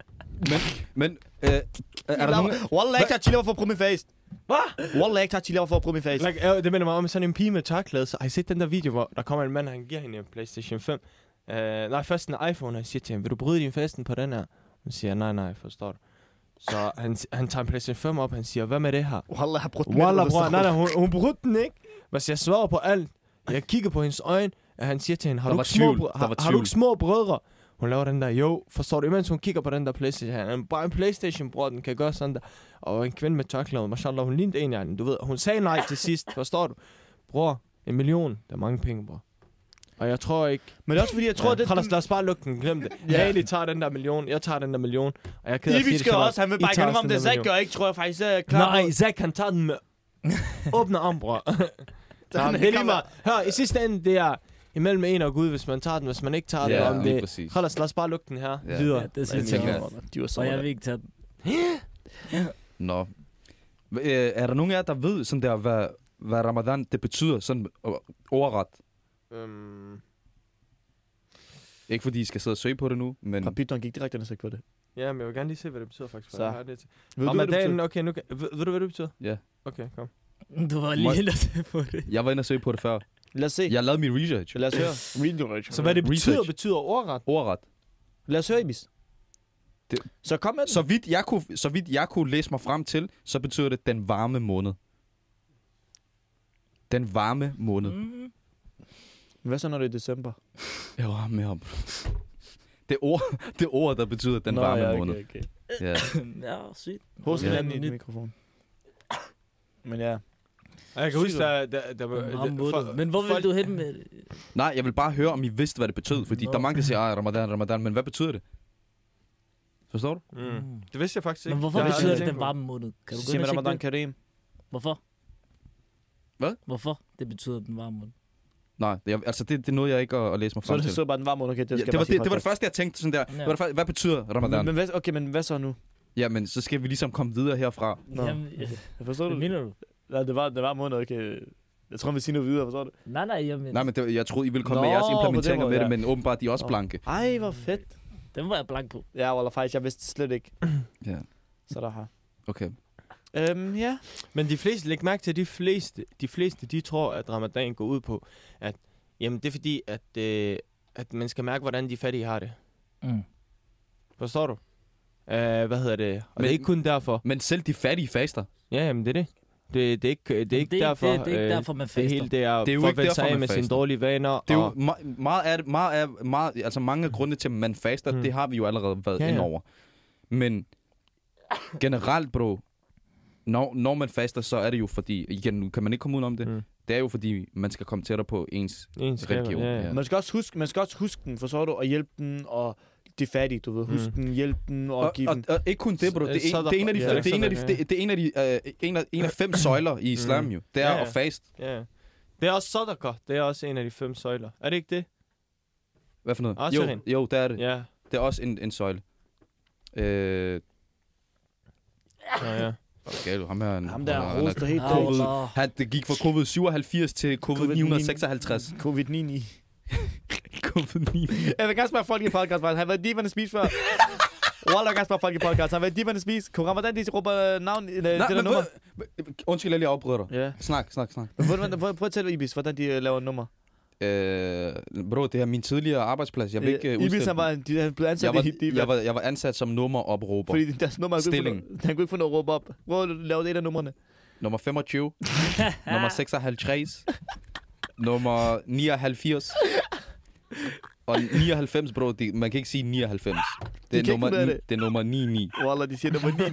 Speaker 4: Men, øh, er- er der nogen...
Speaker 1: Wallah, ikke tager chili over for at prøve min face.
Speaker 2: Hvad?
Speaker 1: Wallah, ikke tager chili over for at prøve min face.
Speaker 2: Like, øh, det minder mig om sådan en pige med tørklæde. Så har I set den der video, hvor der kommer en mand, og han giver hende en Playstation Øh, 5? Uh, nej, først en iPhone, og jeg siger til hende, vil du bryde din fasten på den her? Hun siger, nej, nej, forstår du. Så han, han tager en PlayStation 5 op, han siger, hvad med det her?
Speaker 7: Wallah, jeg har brugt
Speaker 2: Wallah, bror, nej, nej, hun, hun brugte den ikke. Hvis jeg svarer på alt, jeg kigger på hendes øjne, at han siger til hende, har,
Speaker 4: Der
Speaker 2: du
Speaker 4: var
Speaker 2: ikke, små,
Speaker 4: tvivl,
Speaker 2: brø-
Speaker 4: der
Speaker 2: har,
Speaker 4: var
Speaker 2: har du
Speaker 4: tvivl."
Speaker 2: ikke små brødre? Hun laver den der, jo, forstår du, imens hun kigger på den der Playstation, han er bare en Playstation, bror, den kan gøre sådan der. Og en kvinde med tørklæde, mashallah, hun lignede en af hende, du ved, hun sagde nej til sidst,
Speaker 1: [laughs]
Speaker 2: forstår du? Bror, en million, der er mange penge, bror. Og jeg tror ikke...
Speaker 1: Men det er også fordi, jeg tror,
Speaker 2: ja,
Speaker 1: ja, det...
Speaker 2: Lad os bare lukke den, glem det. ja. Jeg egentlig tager den der million, jeg tager den der million, og jeg er ked af at sige
Speaker 1: Ibi
Speaker 2: det
Speaker 1: skal
Speaker 2: til dig.
Speaker 1: også, han
Speaker 2: I
Speaker 1: vil bare
Speaker 2: tager
Speaker 1: kende
Speaker 2: også
Speaker 1: om
Speaker 2: den
Speaker 1: det.
Speaker 2: der
Speaker 1: Zack
Speaker 2: million.
Speaker 1: gør ikke, tror jeg faktisk, er klar.
Speaker 2: Nej, Zack, han tager den med åbne arm, [laughs] bror. Nå, men det er lige meget. Hør, i sidste ende, det er imellem en og Gud, hvis man tager den, hvis man ikke tager
Speaker 4: Ja,
Speaker 2: den. Om
Speaker 4: lige
Speaker 2: det,
Speaker 4: præcis.
Speaker 2: Hold os, lad os bare lukke den her
Speaker 4: Ja.
Speaker 2: videre.
Speaker 3: Ja, det
Speaker 4: Jeg
Speaker 3: synes
Speaker 4: tænker,
Speaker 3: jeg.
Speaker 4: at-
Speaker 3: også.
Speaker 1: De var
Speaker 3: Og jeg
Speaker 1: sådan.
Speaker 3: vil ikke tage den.
Speaker 4: Nå. Hva- øh, Er der nogen af jer, der ved sådan der, hvad, hvad ramadan det betyder sådan øh, overret?
Speaker 2: Øhm,
Speaker 4: Ikke fordi I skal sidde og søge på det nu, men...
Speaker 1: Rapidon gik direkte ind og sagde på det.
Speaker 2: ja, men jeg vil gerne lige se, hvad det betyder faktisk.
Speaker 1: Så.
Speaker 2: Så. Jeg har det til.
Speaker 1: Ved du, hvad det
Speaker 2: Ramadan,
Speaker 1: betyder?
Speaker 2: okay, nu kan, ved, ved, du, hvad det betyder?
Speaker 4: Ja.
Speaker 2: Okay, kom.
Speaker 3: Du var
Speaker 4: Må-
Speaker 3: lige ellers [laughs] på det.
Speaker 4: Jeg var inde og søge på det før.
Speaker 1: Lad os se.
Speaker 4: Jeg lavede min research.
Speaker 1: Lad os høre. Read the rich.
Speaker 2: Så hvad det
Speaker 4: Research.
Speaker 2: betyder, betyder ordret.
Speaker 4: Overret.
Speaker 1: Lad os høre, Ibis.
Speaker 4: Det-
Speaker 1: Så kom med den.
Speaker 4: Så vidt, jeg kunne, så vidt jeg kunne læse mig frem til, så betyder det den varme måned. Den varme måned. Mm.
Speaker 3: Mm.
Speaker 1: Hvad så, når det er december?
Speaker 4: Jeg var med om. Det ord, det ord, der betyder den Nå, varme ja, okay. måned.
Speaker 1: okay.
Speaker 4: Ja.
Speaker 3: [laughs] Ja, sygt.
Speaker 1: Host
Speaker 4: Ja.
Speaker 1: ja. i dit mikrofon. Men ja.
Speaker 2: Og jeg kan huske, der... der, der,
Speaker 3: Om
Speaker 2: der,
Speaker 3: ham mod det. Men hvor vil du hen med det?
Speaker 4: Nej, jeg vil bare høre, om I vidste, hvad det betød. Fordi
Speaker 3: Nå.
Speaker 4: der er mange, der siger, "Ej, ramadan, ramadan, men hvad betyder det? Forstår du?
Speaker 2: Mm. Det vidste jeg faktisk ikke.
Speaker 3: Men hvorfor
Speaker 2: Jeg har
Speaker 3: betyder
Speaker 2: aldrig
Speaker 3: det
Speaker 2: tænkt
Speaker 3: den
Speaker 2: på.
Speaker 3: varme måned? Kan du
Speaker 1: Så
Speaker 3: gå
Speaker 1: siger
Speaker 3: ind
Speaker 1: man
Speaker 3: og tjekke
Speaker 1: Ramadan
Speaker 3: det?
Speaker 1: Karim.
Speaker 3: Hvorfor?
Speaker 4: Hvad?
Speaker 3: Hvorfor det betyder den varme måned?
Speaker 4: Nej, jeg, altså det, det nåede jeg ikke at, at læse mig
Speaker 1: Så er
Speaker 4: frem
Speaker 1: det
Speaker 4: til.
Speaker 1: så bare den varme måned. Okay,
Speaker 4: Ja,
Speaker 1: det, skal
Speaker 4: det, var
Speaker 1: jeg
Speaker 4: det, det var
Speaker 1: bare
Speaker 4: det første, jeg tænkte sådan der.
Speaker 3: Ja.
Speaker 4: Ja. Hvad, hvad betyder
Speaker 1: sige
Speaker 4: ramadan?
Speaker 1: Men, men, hvad, okay, men hvad så nu?
Speaker 4: Jamen, så skal vi ligesom komme videre herfra.
Speaker 1: Nå.
Speaker 3: Jamen,
Speaker 1: Jeg forstår
Speaker 3: hvad
Speaker 1: du?
Speaker 3: mener du?
Speaker 1: Nej, det var, det var måned, okay. Jeg tror, vi siger noget videre, forstår du?
Speaker 3: Nej, nej, jeg mener.
Speaker 4: Nej, men det, jeg troede, I ville komme Nå, med
Speaker 1: Nå,
Speaker 4: jeres
Speaker 1: på den
Speaker 4: implementeringer
Speaker 1: måde,
Speaker 4: med det,
Speaker 1: ja.
Speaker 4: men åbenbart, de er også
Speaker 1: Nå.
Speaker 4: blanke.
Speaker 1: Ej, hvor fedt.
Speaker 3: Den var jeg blank på.
Speaker 1: Ja, Walla, faktisk, jeg vidste slet ikke.
Speaker 4: [clears throat] Ja.
Speaker 1: Så der har.
Speaker 4: Okay.
Speaker 1: Øhm, ja.
Speaker 2: Men de fleste, læg mærke til, at de fleste, de fleste, de tror, at ramadan går ud på, at jamen, det er fordi, at, øh, at man skal mærke, hvordan de fattige har det.
Speaker 3: Mm.
Speaker 2: Forstår du? Øh, hvad hedder det? Og
Speaker 4: Men-
Speaker 2: Men, det er ikke kun derfor.
Speaker 4: Men selv de fattige faster.
Speaker 2: Ja, jamen, det er det. Det, det, er, ikke, det er
Speaker 3: Jamen,
Speaker 2: ikke derfor.
Speaker 3: Det, det er ikke
Speaker 2: øh,
Speaker 3: derfor, man
Speaker 2: det
Speaker 3: faster.
Speaker 2: hele det er,
Speaker 4: Det er jo
Speaker 2: for
Speaker 4: ikke
Speaker 2: at vælge
Speaker 4: derfor,
Speaker 2: sig af
Speaker 4: man
Speaker 2: med sine
Speaker 4: faster.
Speaker 2: dårlige vaner.
Speaker 4: Det er jo
Speaker 2: og,
Speaker 4: me- meget af det, meget af, meget, altså mange af grundene til, at man faster, mm.
Speaker 2: Mm.
Speaker 4: det har vi jo allerede været
Speaker 2: Ja,
Speaker 4: ja,
Speaker 2: ja.
Speaker 4: ind over. Men generelt, bro, når, når man faster, så er det jo fordi, igen, nu kan man ikke komme ud om det, mm.
Speaker 2: Mm.
Speaker 4: det er jo fordi, man skal komme tættere på ens
Speaker 2: ens
Speaker 4: religion.
Speaker 2: Ja, ja.
Speaker 1: Man skal også huske, man skal også huske den, forstår du? Og hjælpe den, og de fattige, du ved. Husk den, hjælpe den, og,
Speaker 4: Mm. Og,
Speaker 1: give
Speaker 4: og,
Speaker 1: den.
Speaker 4: og ikke kun det, bro. Det
Speaker 2: Så
Speaker 4: er
Speaker 2: er
Speaker 4: en-
Speaker 2: der-
Speaker 4: det er en af de-
Speaker 2: ja,
Speaker 4: det er en af de-
Speaker 2: sådan,
Speaker 4: det- det er en af de, øh, en af- en af fem søjler i islam, jo. Det er
Speaker 2: Ja, ja.
Speaker 4: at faste.
Speaker 2: ja. ja. Det er også sodakah. Det er også en af de fem søjler. Er det ikke det?
Speaker 4: Hvad for noget?
Speaker 2: Også
Speaker 4: Jo,
Speaker 2: en.
Speaker 4: jo, det er det.
Speaker 2: Ja.
Speaker 4: Det er også en, en søjle. Øh,
Speaker 2: Nå, ja.
Speaker 4: okay, du, ham her... han-
Speaker 1: Ham der
Speaker 4: han er- han er-
Speaker 1: hoster helt
Speaker 3: Ah,
Speaker 1: dårligt.
Speaker 3: Allah.
Speaker 4: Han, det gik fra covid-87 til covid-956.
Speaker 1: Covid-9.
Speaker 4: covid-9.
Speaker 1: Jeg vil gerne spørge folk i podcast, man. Har været diverne spist før? Wallah, jeg vil gerne spørge folk i podcast. Har været diverne spist? Kunne Ramadan, de råber øh, navn, øh, det
Speaker 4: [laughs] Nej,
Speaker 1: der
Speaker 4: men
Speaker 1: nummer?
Speaker 4: hvad- Undskyld, jeg lige afbryder dig.
Speaker 1: Ja.
Speaker 4: Snak, snak, snak.
Speaker 1: Men hvordan- hvordan- Prøv at tælle Ibis, hvordan de øh, laver nummer.
Speaker 4: Øh, bro, det her er min tidligere arbejdsplads. Jeg vil ikke
Speaker 1: Øh,
Speaker 4: øh,
Speaker 1: Ibis,
Speaker 4: udstille
Speaker 1: han var, de, han blev ansat
Speaker 4: jeg
Speaker 1: i hit
Speaker 4: var, jeg, var, jeg var ansat som nummeropråber.
Speaker 1: Fordi deres nummer, han kunne, ikke få
Speaker 4: Stilling.
Speaker 1: noget, han kunne ikke få noget at råbe op. Prøv at lave det af numrene.
Speaker 4: Nummer 25.
Speaker 1: [laughs]
Speaker 4: nummer 56. nummer 79. Og 99, bro. Det, man kan ikke sige 99. Det er,
Speaker 1: kan ikke
Speaker 4: nummer,
Speaker 1: finde ud af
Speaker 4: ni-
Speaker 1: det.
Speaker 4: det er nummer 99.
Speaker 1: Wallah, de siger nummer 9.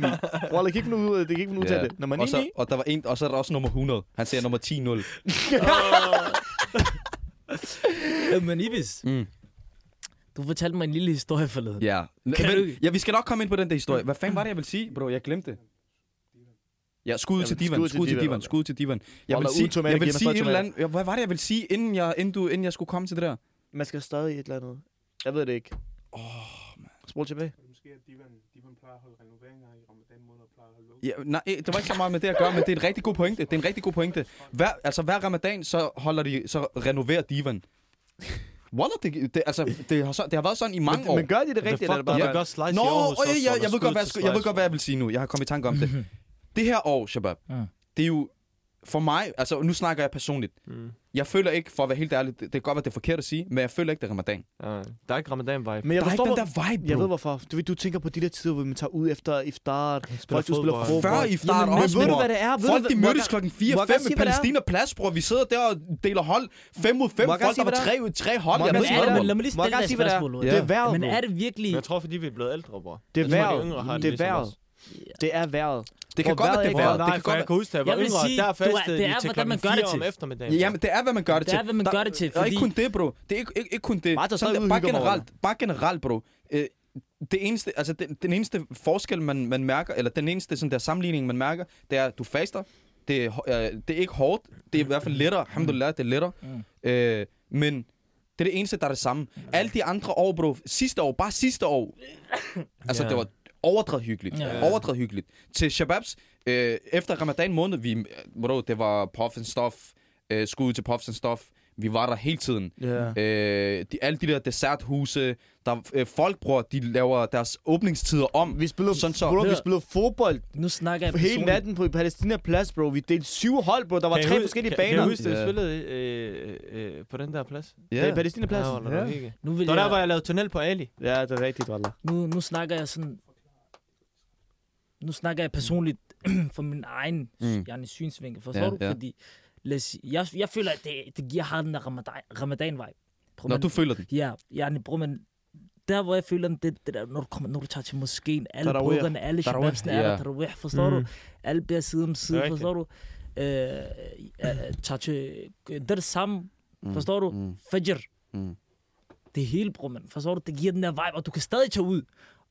Speaker 1: Wallah, kan ikke finde ud øh, af det. Kan ikke finde ud af det. Nummer 9.
Speaker 4: og, så, og, der var en, og så er der også nummer 100. Han ser nummer 10-0.
Speaker 3: Jamen, Ibis,
Speaker 4: Mm.
Speaker 3: du fortalte mig en lille historie forleden.
Speaker 4: Ja.
Speaker 3: Kan
Speaker 4: Men,
Speaker 3: du-
Speaker 4: ja, vi skal nok komme ind på den der historie. Hvad fanden var det, jeg ville sige, bro? Jeg glemte det. Ja, skud ud
Speaker 1: Jamen,
Speaker 4: til divan, skud til divan, skud til divan. Jeg
Speaker 1: Hold
Speaker 4: vil
Speaker 1: da ud,
Speaker 4: sige,
Speaker 1: tomat,
Speaker 4: jeg
Speaker 1: giv mig
Speaker 4: vil sige
Speaker 1: flere
Speaker 4: et eller
Speaker 1: tomater.
Speaker 4: andet. ja, Hvad var det, jeg ville sige, inden jeg, inden, du, inden jeg skulle komme til det der?
Speaker 1: Man skal stadig et eller andet. Jeg ved det ikke. Åh, oh, man. Spol tilbage.
Speaker 6: Måske at Divan, Divan plejer at holde renoveringer i ramadan måned og plejer at holde lukket.
Speaker 4: Ja, nej, eh, det var ikke så meget med det at gøre, men det er en rigtig god pointe. Det er en rigtig god pointe. Hver, altså hver ramadan, så holder de, så renoverer divan. Wallah, det, det, altså, det, har, så, det har været sådan i mange år.
Speaker 1: Men gør de det
Speaker 2: The
Speaker 1: rigtigt,
Speaker 2: fuck,
Speaker 1: eller er det bare...
Speaker 2: der
Speaker 1: Ja.
Speaker 2: var godt slice i
Speaker 4: Nå,
Speaker 2: Aarhus
Speaker 4: øh,
Speaker 2: også,
Speaker 4: jeg,
Speaker 2: hvor
Speaker 4: jeg,
Speaker 2: der
Speaker 4: ved godt, hvad jeg,
Speaker 2: skud
Speaker 4: skulle-
Speaker 2: til
Speaker 4: jeg ved
Speaker 2: slice.
Speaker 4: godt, hvad jeg vil sige nu. Jeg har kommet i tanke om
Speaker 2: [laughs]
Speaker 4: det. det her år, Shabab,
Speaker 3: Mm.
Speaker 4: det er jo for mig, altså nu snakker jeg personligt.
Speaker 2: Mm.
Speaker 4: Jeg føler ikke, for at være helt ærlig, det, det kan godt være, det er forkert at sige, men jeg føler ikke, det er ramadan.
Speaker 2: Ja, der er ikke ramadan-vibe.
Speaker 1: Men jeg
Speaker 4: der er
Speaker 1: forstår,
Speaker 4: ikke den
Speaker 1: hvor-
Speaker 4: der vibe, bro.
Speaker 1: Jeg ved hvorfor. Du, ved, du tænker på de der tider, hvor man tager ud efter iftar. Folk, du spiller
Speaker 2: fodbold.
Speaker 1: fodbold.
Speaker 4: Før i
Speaker 1: Jamen,
Speaker 4: starten
Speaker 1: men
Speaker 4: også,
Speaker 1: ved du,
Speaker 4: bror.
Speaker 1: hvad det er? Ved du,
Speaker 4: Folk,
Speaker 1: hvad-
Speaker 4: de mødtes
Speaker 1: Må jeg-
Speaker 4: klokken
Speaker 1: må
Speaker 4: 4
Speaker 1: jeg
Speaker 4: 5
Speaker 1: godt sige,
Speaker 4: i
Speaker 1: hvad det er?
Speaker 4: Palæstina Plads, bror. Vi sidder der og deler hold 5 mod 5.
Speaker 1: Må jeg godt
Speaker 4: Folk, der
Speaker 1: sige,
Speaker 4: var
Speaker 1: hvad det er?
Speaker 4: tre ud tre hold.
Speaker 1: Må
Speaker 4: Jeg
Speaker 1: jeg
Speaker 4: ved
Speaker 3: Men,
Speaker 1: godt
Speaker 4: ikke,
Speaker 3: er
Speaker 1: sige, hvad
Speaker 4: hvad
Speaker 3: det,
Speaker 4: det
Speaker 3: men lad
Speaker 4: er.
Speaker 3: mig lige
Speaker 1: Må jeg
Speaker 3: stille dig
Speaker 1: godt
Speaker 3: et
Speaker 1: sige, hvad det er?
Speaker 3: spørgsmål.
Speaker 1: Det er vejret,
Speaker 3: Men
Speaker 1: bro.
Speaker 3: er det virkelig...
Speaker 2: Men jeg tror, fordi vi er blevet ældre, bror.
Speaker 1: Det er
Speaker 2: Jeg tror, de
Speaker 1: vejret.
Speaker 2: yngre har det
Speaker 1: Det er
Speaker 2: ligesom
Speaker 1: vejret.
Speaker 2: os.
Speaker 1: Det er vejret.
Speaker 4: Det kan
Speaker 1: Hvor
Speaker 4: godt være,
Speaker 1: vejret
Speaker 4: det er
Speaker 1: ikke
Speaker 4: vejret.
Speaker 1: er-
Speaker 4: Det kan
Speaker 2: for
Speaker 4: godt
Speaker 2: jeg kan huske, da jeg var
Speaker 3: Jeg vil
Speaker 2: yngre,
Speaker 3: sige,
Speaker 2: der
Speaker 3: du er-
Speaker 2: fastede
Speaker 3: det
Speaker 2: de
Speaker 3: er,
Speaker 2: til
Speaker 3: hvordan man
Speaker 2: klokken
Speaker 3: gør det
Speaker 2: 4 om
Speaker 3: til.
Speaker 2: eftermiddagen.
Speaker 4: være- Jamen, det er, hvad man gør det
Speaker 3: Det
Speaker 4: til.
Speaker 3: er, hvad man
Speaker 4: Der-
Speaker 3: gør det til,
Speaker 4: Og ikke
Speaker 3: fordi-
Speaker 4: kun det, bro. Det er ikke, ikke, ikke kun det.
Speaker 1: Bare tage
Speaker 4: Sådan
Speaker 1: stadig
Speaker 4: der-
Speaker 1: ud og
Speaker 4: bare,
Speaker 1: hygge mig over
Speaker 4: generelt, bare generelt, bro. Øh, det eneste, altså den, den eneste forskel, man, man mærker, eller den eneste sådan der sammenligning, man mærker, det er, at du faster. Det er, hå- øh, det er ikke hårdt. Det er i hvert fald lettere. Alhamdulillah, det er lettere.
Speaker 3: Mm.
Speaker 4: Øh, men det er det eneste, der er det samme. Alle de andre år, bro. Sidste år, bare sidste år. altså,
Speaker 2: Ja.
Speaker 4: det var overdrevet hyggeligt.
Speaker 3: Ja.
Speaker 4: Overdrevet hyggeligt. Til Shababs, øh, efter ramadan måned, vi, bro, det var puff and stuff. Øh, skud til puffs and stuff. Vi var der hele tiden.
Speaker 1: Ja.
Speaker 4: Øh, de, alle de der desserthuse, der øh, folk bruger, de laver deres åbningstider om.
Speaker 1: Vi spillede,
Speaker 4: Sådan så.
Speaker 1: bro, vi spillede fodbold
Speaker 3: Nu snakker jeg
Speaker 1: hele
Speaker 3: personligt.
Speaker 1: natten på Palæstina Plads, bro. Vi delte syv hold, bro. Der var
Speaker 2: Kan I
Speaker 1: tre
Speaker 2: huske-
Speaker 1: forskellige
Speaker 2: kan- Kan
Speaker 1: baner.
Speaker 2: jeg huske, at jeg
Speaker 4: Ja.
Speaker 2: spillede øh, øh, på den der plads?
Speaker 1: Det er Palæstina Plads.
Speaker 2: Ja, hvor der var hygge.
Speaker 3: Nu vil
Speaker 2: Det var der, hvor
Speaker 3: jeg...
Speaker 2: jeg lavede tunnel på Ali.
Speaker 1: Ja, det er rigtigt, Wallah.
Speaker 3: Nu, nu snakker jeg sådan... Nu snakker jeg personligt [clears throat] for min egen
Speaker 4: Mm.
Speaker 3: mm. jeg synsvinkel, forstår
Speaker 4: Ja,
Speaker 3: du?
Speaker 4: ja.
Speaker 3: Fordi lad os, sige- jeg, jeg føler, at det, det giver har den der ramadan, ramadan-vibe. Prøv,
Speaker 4: Når
Speaker 3: man-
Speaker 4: du føler den.
Speaker 3: Ja, jeg bruger man... Der, hvor jeg føler, den, det, det der, når, du kommer, når du tager til moskeen, alle
Speaker 1: Tarawih.
Speaker 3: brødrene, alle
Speaker 4: Tarawih,
Speaker 3: shababsene er
Speaker 4: ja. Mm.
Speaker 3: der, tarawih, forstår du? Alle bliver side om
Speaker 2: Det
Speaker 3: side,
Speaker 2: er
Speaker 3: forstår du? Øh, øh, tager til der sammen, forstår du?
Speaker 4: Mm.
Speaker 3: Fajr.
Speaker 4: Mm.
Speaker 3: Det hele, bror, man. Forstår du? Det giver den der vibe, og du kan stadig tage ud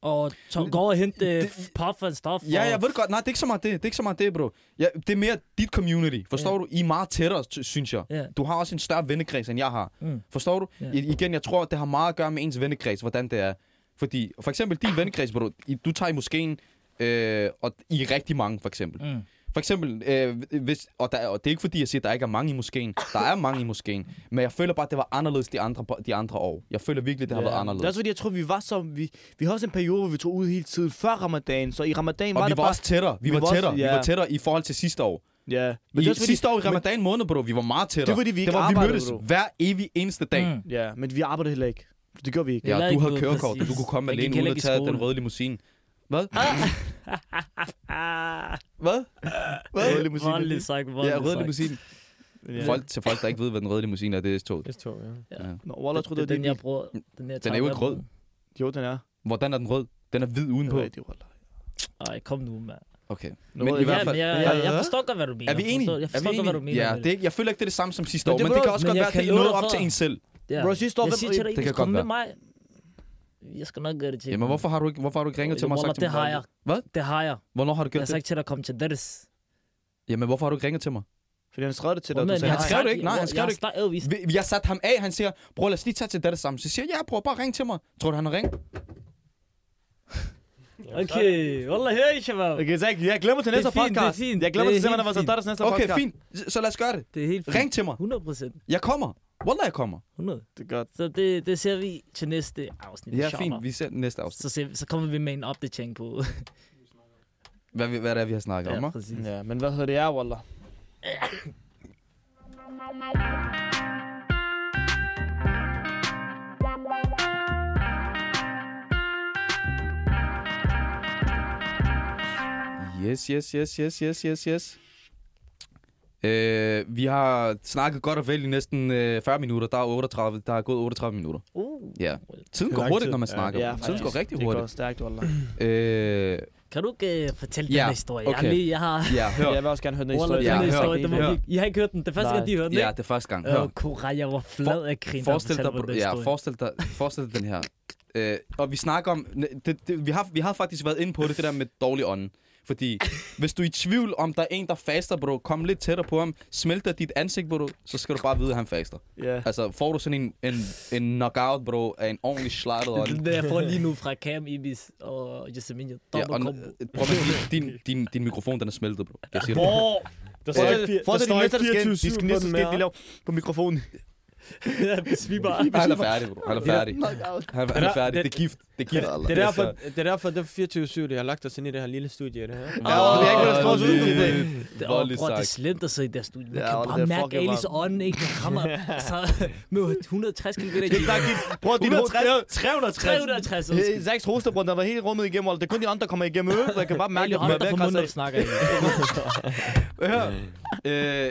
Speaker 3: og tage, gå og hente øh, det, pop og stof.
Speaker 4: Ja,
Speaker 3: og,
Speaker 4: jeg ved godt. Nej, det er ikke så meget det. Det er ikke så meget det, bro. Ja, det er mere dit community. Forstår
Speaker 3: Ja.
Speaker 4: du? I er meget tættere, ty- synes jeg.
Speaker 3: Ja.
Speaker 4: Du har også en større vennekreds, end jeg har.
Speaker 3: Mm.
Speaker 4: Forstår du?
Speaker 3: Ja.
Speaker 4: I, igen, jeg tror, det har meget at gøre med ens vennekreds, hvordan det er. Fordi, for eksempel din vennekreds, bro. I, du tager i moskeen, øh, og I er rigtig mange, for eksempel.
Speaker 3: Mm.
Speaker 4: For eksempel, øh, hvis, og, der, og det er ikke fordi, jeg siger, at der ikke er mange i moskeen. Der er mange i moskeen. Men jeg føler bare, at det var anderledes de andre, de andre år. Jeg føler virkelig, det har været
Speaker 1: Det er
Speaker 4: anderledes.
Speaker 1: også fordi, jeg tror, vi var så... Vi, vi havde også en periode, hvor vi tog ud hele tiden før ramadan. Så i ramadan var
Speaker 4: Og vi
Speaker 1: det
Speaker 4: var
Speaker 1: bare...
Speaker 4: også tættere. Vi,
Speaker 1: Vi
Speaker 4: var,
Speaker 1: var også-
Speaker 4: tættere.
Speaker 1: ja.
Speaker 4: Vi var tættere i forhold til sidste år.
Speaker 1: Ja.
Speaker 4: Men
Speaker 1: det er
Speaker 4: I,
Speaker 1: også fordi-
Speaker 4: sidste år i
Speaker 1: men-
Speaker 4: ramadan måned, bro, vi var meget tættere.
Speaker 1: Det var, fordi vi ikke
Speaker 4: det var, vi
Speaker 1: arbejdede,
Speaker 4: mødtes
Speaker 1: bro.
Speaker 4: hver evig eneste dag.
Speaker 3: Mm.
Speaker 4: Mm.
Speaker 1: Ja, men vi arbejdede heller ikke. Det gør vi ikke.
Speaker 3: Ja. Heller
Speaker 4: Ja, du
Speaker 3: ikke
Speaker 4: havde
Speaker 3: noget,
Speaker 4: kørekort, og du
Speaker 3: præcis.
Speaker 4: kunne komme
Speaker 3: Man gik
Speaker 4: alene
Speaker 3: heller
Speaker 4: uden at
Speaker 3: ikke i
Speaker 4: tage den
Speaker 3: skole.
Speaker 4: røde limousine.
Speaker 3: [laughs]
Speaker 4: Hvad?
Speaker 3: Ah,
Speaker 4: Hvad?
Speaker 1: Røde limousine.
Speaker 3: voldeligt sagt,
Speaker 4: Ja,
Speaker 3: voldeligt
Speaker 4: røde
Speaker 3: sagt.
Speaker 4: limousine.
Speaker 1: Ja.
Speaker 4: Folk, til folk, der ikke ved, hvad den røde limousine er, det er S-toget.
Speaker 2: S2, ja.
Speaker 1: Nå, Wallah, tror du, det,
Speaker 3: den, jeg
Speaker 1: det,
Speaker 3: bruger. Den, jeg
Speaker 4: Den er jo ikke rød.
Speaker 1: Jo, den er.
Speaker 4: Hvordan er den rød? Den er hvid
Speaker 1: Det er
Speaker 4: udenpå.
Speaker 1: rigtigt, Wallah.
Speaker 3: Nej, kom nu, mand.
Speaker 4: Okay.
Speaker 1: Nå,
Speaker 4: Men i
Speaker 1: jeg-
Speaker 4: hvert fald-
Speaker 3: Ja, men jeg, jeg, jeg forstår godt, hvad du mener.
Speaker 4: Er vi
Speaker 3: Jeg
Speaker 4: enige?
Speaker 3: forstår- Jeg forstår
Speaker 4: er vi
Speaker 3: godt, hvad du mener.
Speaker 4: Ja,
Speaker 3: med
Speaker 4: det er, ikke- jeg føler ikke, det er det samme som sidste
Speaker 1: Men
Speaker 4: år,
Speaker 1: det
Speaker 4: men det
Speaker 1: var-
Speaker 4: kan også
Speaker 3: men
Speaker 4: godt
Speaker 3: jeg
Speaker 4: være, at
Speaker 3: kan
Speaker 4: det er
Speaker 3: love
Speaker 4: noget
Speaker 3: dig
Speaker 4: op
Speaker 3: for-
Speaker 4: til en selv.
Speaker 3: Ja.
Speaker 1: Bro, sidste år-
Speaker 3: Jeg siger til dig,
Speaker 4: Det
Speaker 3: I
Speaker 4: kan
Speaker 3: skal komme
Speaker 4: godt
Speaker 3: med mig. Jeg skal nok gøre det til.
Speaker 4: Jamen, hvorfor har du ikke, hvorfor har du ikke ringet til mig og sagt til
Speaker 3: det
Speaker 4: mig?
Speaker 3: har jeg.
Speaker 4: Hvad?
Speaker 3: Det har jeg.
Speaker 4: Hvornår har du
Speaker 3: Jeg
Speaker 4: gjort
Speaker 3: har
Speaker 4: det?
Speaker 3: sagt til dig at komme til Ders.
Speaker 4: Jamen, hvorfor har du ikke ringet til mig?
Speaker 1: Fordi han skrev det til dig,
Speaker 3: Hvor
Speaker 1: du
Speaker 3: man-
Speaker 1: sagde,
Speaker 3: jeg
Speaker 1: han
Speaker 3: har
Speaker 4: skrev
Speaker 3: sagt-
Speaker 4: det ikke. Nej, han skrev det ikke.
Speaker 3: Jeg har snakket- øh, vi-
Speaker 4: Vi- Jeg satte ham af, han siger, bror, lad os lige tage til det sammen. Så siger jeg, ja, bror, bare ring til mig. Tror du, han har ringet?
Speaker 3: Okay, wallah, hey, shabab.
Speaker 1: Okay, Zach, jeg glemmer til
Speaker 3: Det er
Speaker 1: næste
Speaker 3: fint, det er
Speaker 1: podcast.
Speaker 3: fint.
Speaker 1: Jeg glemmer
Speaker 3: Det
Speaker 1: til
Speaker 3: er
Speaker 1: simpelthen, at
Speaker 3: helt
Speaker 1: der er næste
Speaker 4: Okay,
Speaker 1: podcast.
Speaker 4: fint. Så så lad os gøre det.
Speaker 3: Det er helt
Speaker 4: Ring til mig.
Speaker 3: 100 procent.
Speaker 4: Jeg kommer. Wallah, jeg kommer.
Speaker 3: 100.
Speaker 1: Det er godt.
Speaker 3: Så det, det ser vi til næste afsnit.
Speaker 4: Ja,
Speaker 3: inshallah.
Speaker 4: fint. Vi ser næste afsnit.
Speaker 3: Så, ser, så kommer vi med en opdatering på...
Speaker 4: Hvad, vi- hvad er det, vi har snakket om?
Speaker 3: ja,
Speaker 4: hva'?
Speaker 3: præcis.
Speaker 1: Ja, men hvad hedder det er, Wallah?
Speaker 4: Yes, yes, yes, yes, yes, yes, yes. Øh, vi har snakket godt og vel i næsten øh, 40 minutter. Der er 38, der er gået 38 minutter.
Speaker 3: Uh,
Speaker 4: Ja. Tiden
Speaker 6: Det er
Speaker 4: går
Speaker 6: lang
Speaker 4: hurtigt,
Speaker 6: tid.
Speaker 4: når man
Speaker 6: Ja,
Speaker 4: snakker.
Speaker 1: ja,
Speaker 4: Tiden
Speaker 1: faktisk.
Speaker 4: går rigtig
Speaker 1: Det går
Speaker 4: hurtigt.
Speaker 1: stærkt, Wallah.
Speaker 4: Øh,
Speaker 3: kan du ikke øh, fortælle
Speaker 4: Ja,
Speaker 3: den her historie? Jeg,
Speaker 4: okay.
Speaker 3: har lige, jeg har...
Speaker 4: ja, hør.
Speaker 1: Jeg vil også gerne høre den
Speaker 3: Wallah,
Speaker 1: historie.
Speaker 4: Ja,
Speaker 3: den her
Speaker 4: hør.
Speaker 3: historie, den
Speaker 4: Hør.
Speaker 3: var, I, I har ikke hørt den. Det er første
Speaker 1: Nej.
Speaker 3: gang, de hørte den,
Speaker 4: Ja,
Speaker 3: ikke?
Speaker 4: det er første gang. Hør.
Speaker 3: Åh, Korea, jeg var flad af krigen,
Speaker 4: Forestil dig,
Speaker 3: på
Speaker 4: ja,
Speaker 3: den historie.
Speaker 4: forestil dig, forestil dig den her. Øh, og vi snakker om... Det, det, vi, har, vi har faktisk været inde på det, det der med dårlig ånd. Fordi hvis du er i tvivl om, der er en, der faster, bro, kom lidt tættere på ham, smelter dit ansigt, bro, så skal du bare vide, at han faster.
Speaker 1: Ja.
Speaker 4: Altså, får du sådan en, en, en knockout, bro, af en ordentlig slattet ånd.
Speaker 3: [laughs] Den der, jeg får lige nu fra Cam Ibis og Jessemine.
Speaker 4: Ja, og,
Speaker 3: Dobbeltkombo.
Speaker 4: prøv at mærke, din, din, din, din mikrofon, den er smeltet, bro. Jeg siger det.
Speaker 1: Hvor?
Speaker 6: Der
Speaker 1: Fortsæt de næste, der skal ind. De skal
Speaker 6: på
Speaker 1: næste
Speaker 6: den
Speaker 1: skal ind, [laughs]
Speaker 6: her.
Speaker 1: de laver på mikrofonen.
Speaker 3: Hvis [laughs] vi bare...
Speaker 4: [laughs] Han er færdig, bro. Han er færdig.
Speaker 7: Knockout.
Speaker 4: Han han er
Speaker 2: Ja,
Speaker 4: færdig.
Speaker 2: det-
Speaker 4: Det er gift. Det er gift.
Speaker 2: Det er derfor, det er derfor, det er 24-7, det har lagt os ind i det her lille studie. Det her.
Speaker 7: Ja, og vi har ikke været stort ud i dag.
Speaker 3: Det er
Speaker 4: Voldeligt
Speaker 3: bror, det er
Speaker 4: sagt.
Speaker 3: slemt at sidde i der studie. Man
Speaker 7: Ja,
Speaker 3: ja, kan
Speaker 7: og det
Speaker 3: bare
Speaker 7: er
Speaker 3: mærke
Speaker 7: fucking
Speaker 3: Alis ånden, ikke? Den rammer
Speaker 4: [laughs]
Speaker 3: så med 160 km i timen.
Speaker 1: Prøv at din hoved...
Speaker 6: [laughs]
Speaker 5: 360.
Speaker 3: 360
Speaker 1: Øh, Zachs hostebrønd, der var helt rummet igennem, og det er kun de andre, der kommer igennem øret. Jeg kan bare mærke,
Speaker 3: Ali
Speaker 1: at
Speaker 3: holder
Speaker 1: man
Speaker 3: dig
Speaker 1: er
Speaker 3: for
Speaker 1: ved at
Speaker 3: munden, når
Speaker 1: krasse
Speaker 3: du snakker. egentlig.
Speaker 4: Hør. Øh,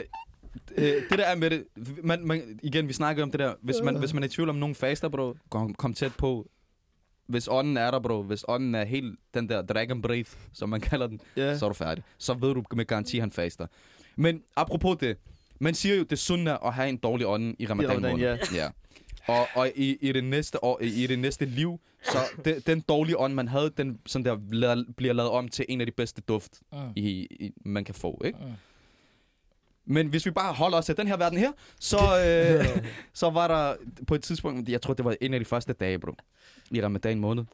Speaker 4: øh, det der er med det, man, man, igen, vi snakker om det der, hvis man, hvis man er i tvivl om nogen faster, bro, kom, kom tæt på. Hvis ånden er der, bro, hvis ånden er helt den der dragon breath, som man kalder den,
Speaker 1: af.
Speaker 4: så er du færdig. Så ved du med garanti, at han faster. Men apropos det, man siger jo, det er sundt at have en dårlig ånd i ramadan,
Speaker 1: Ramadan,
Speaker 4: måned. ja. Og, og i, i, det næste år, i det næste liv, så de, den dårlige ånd, man havde, den sådan der, la, bliver lavet om til en af de bedste duft,
Speaker 3: Mm.
Speaker 4: i, i, man kan få. Ikke?
Speaker 3: Mm.
Speaker 4: Men hvis vi bare holder os til den her verden her, så, øh, så var der på et tidspunkt, jeg tror, det var en af de første dage, bro, i ramadan måned.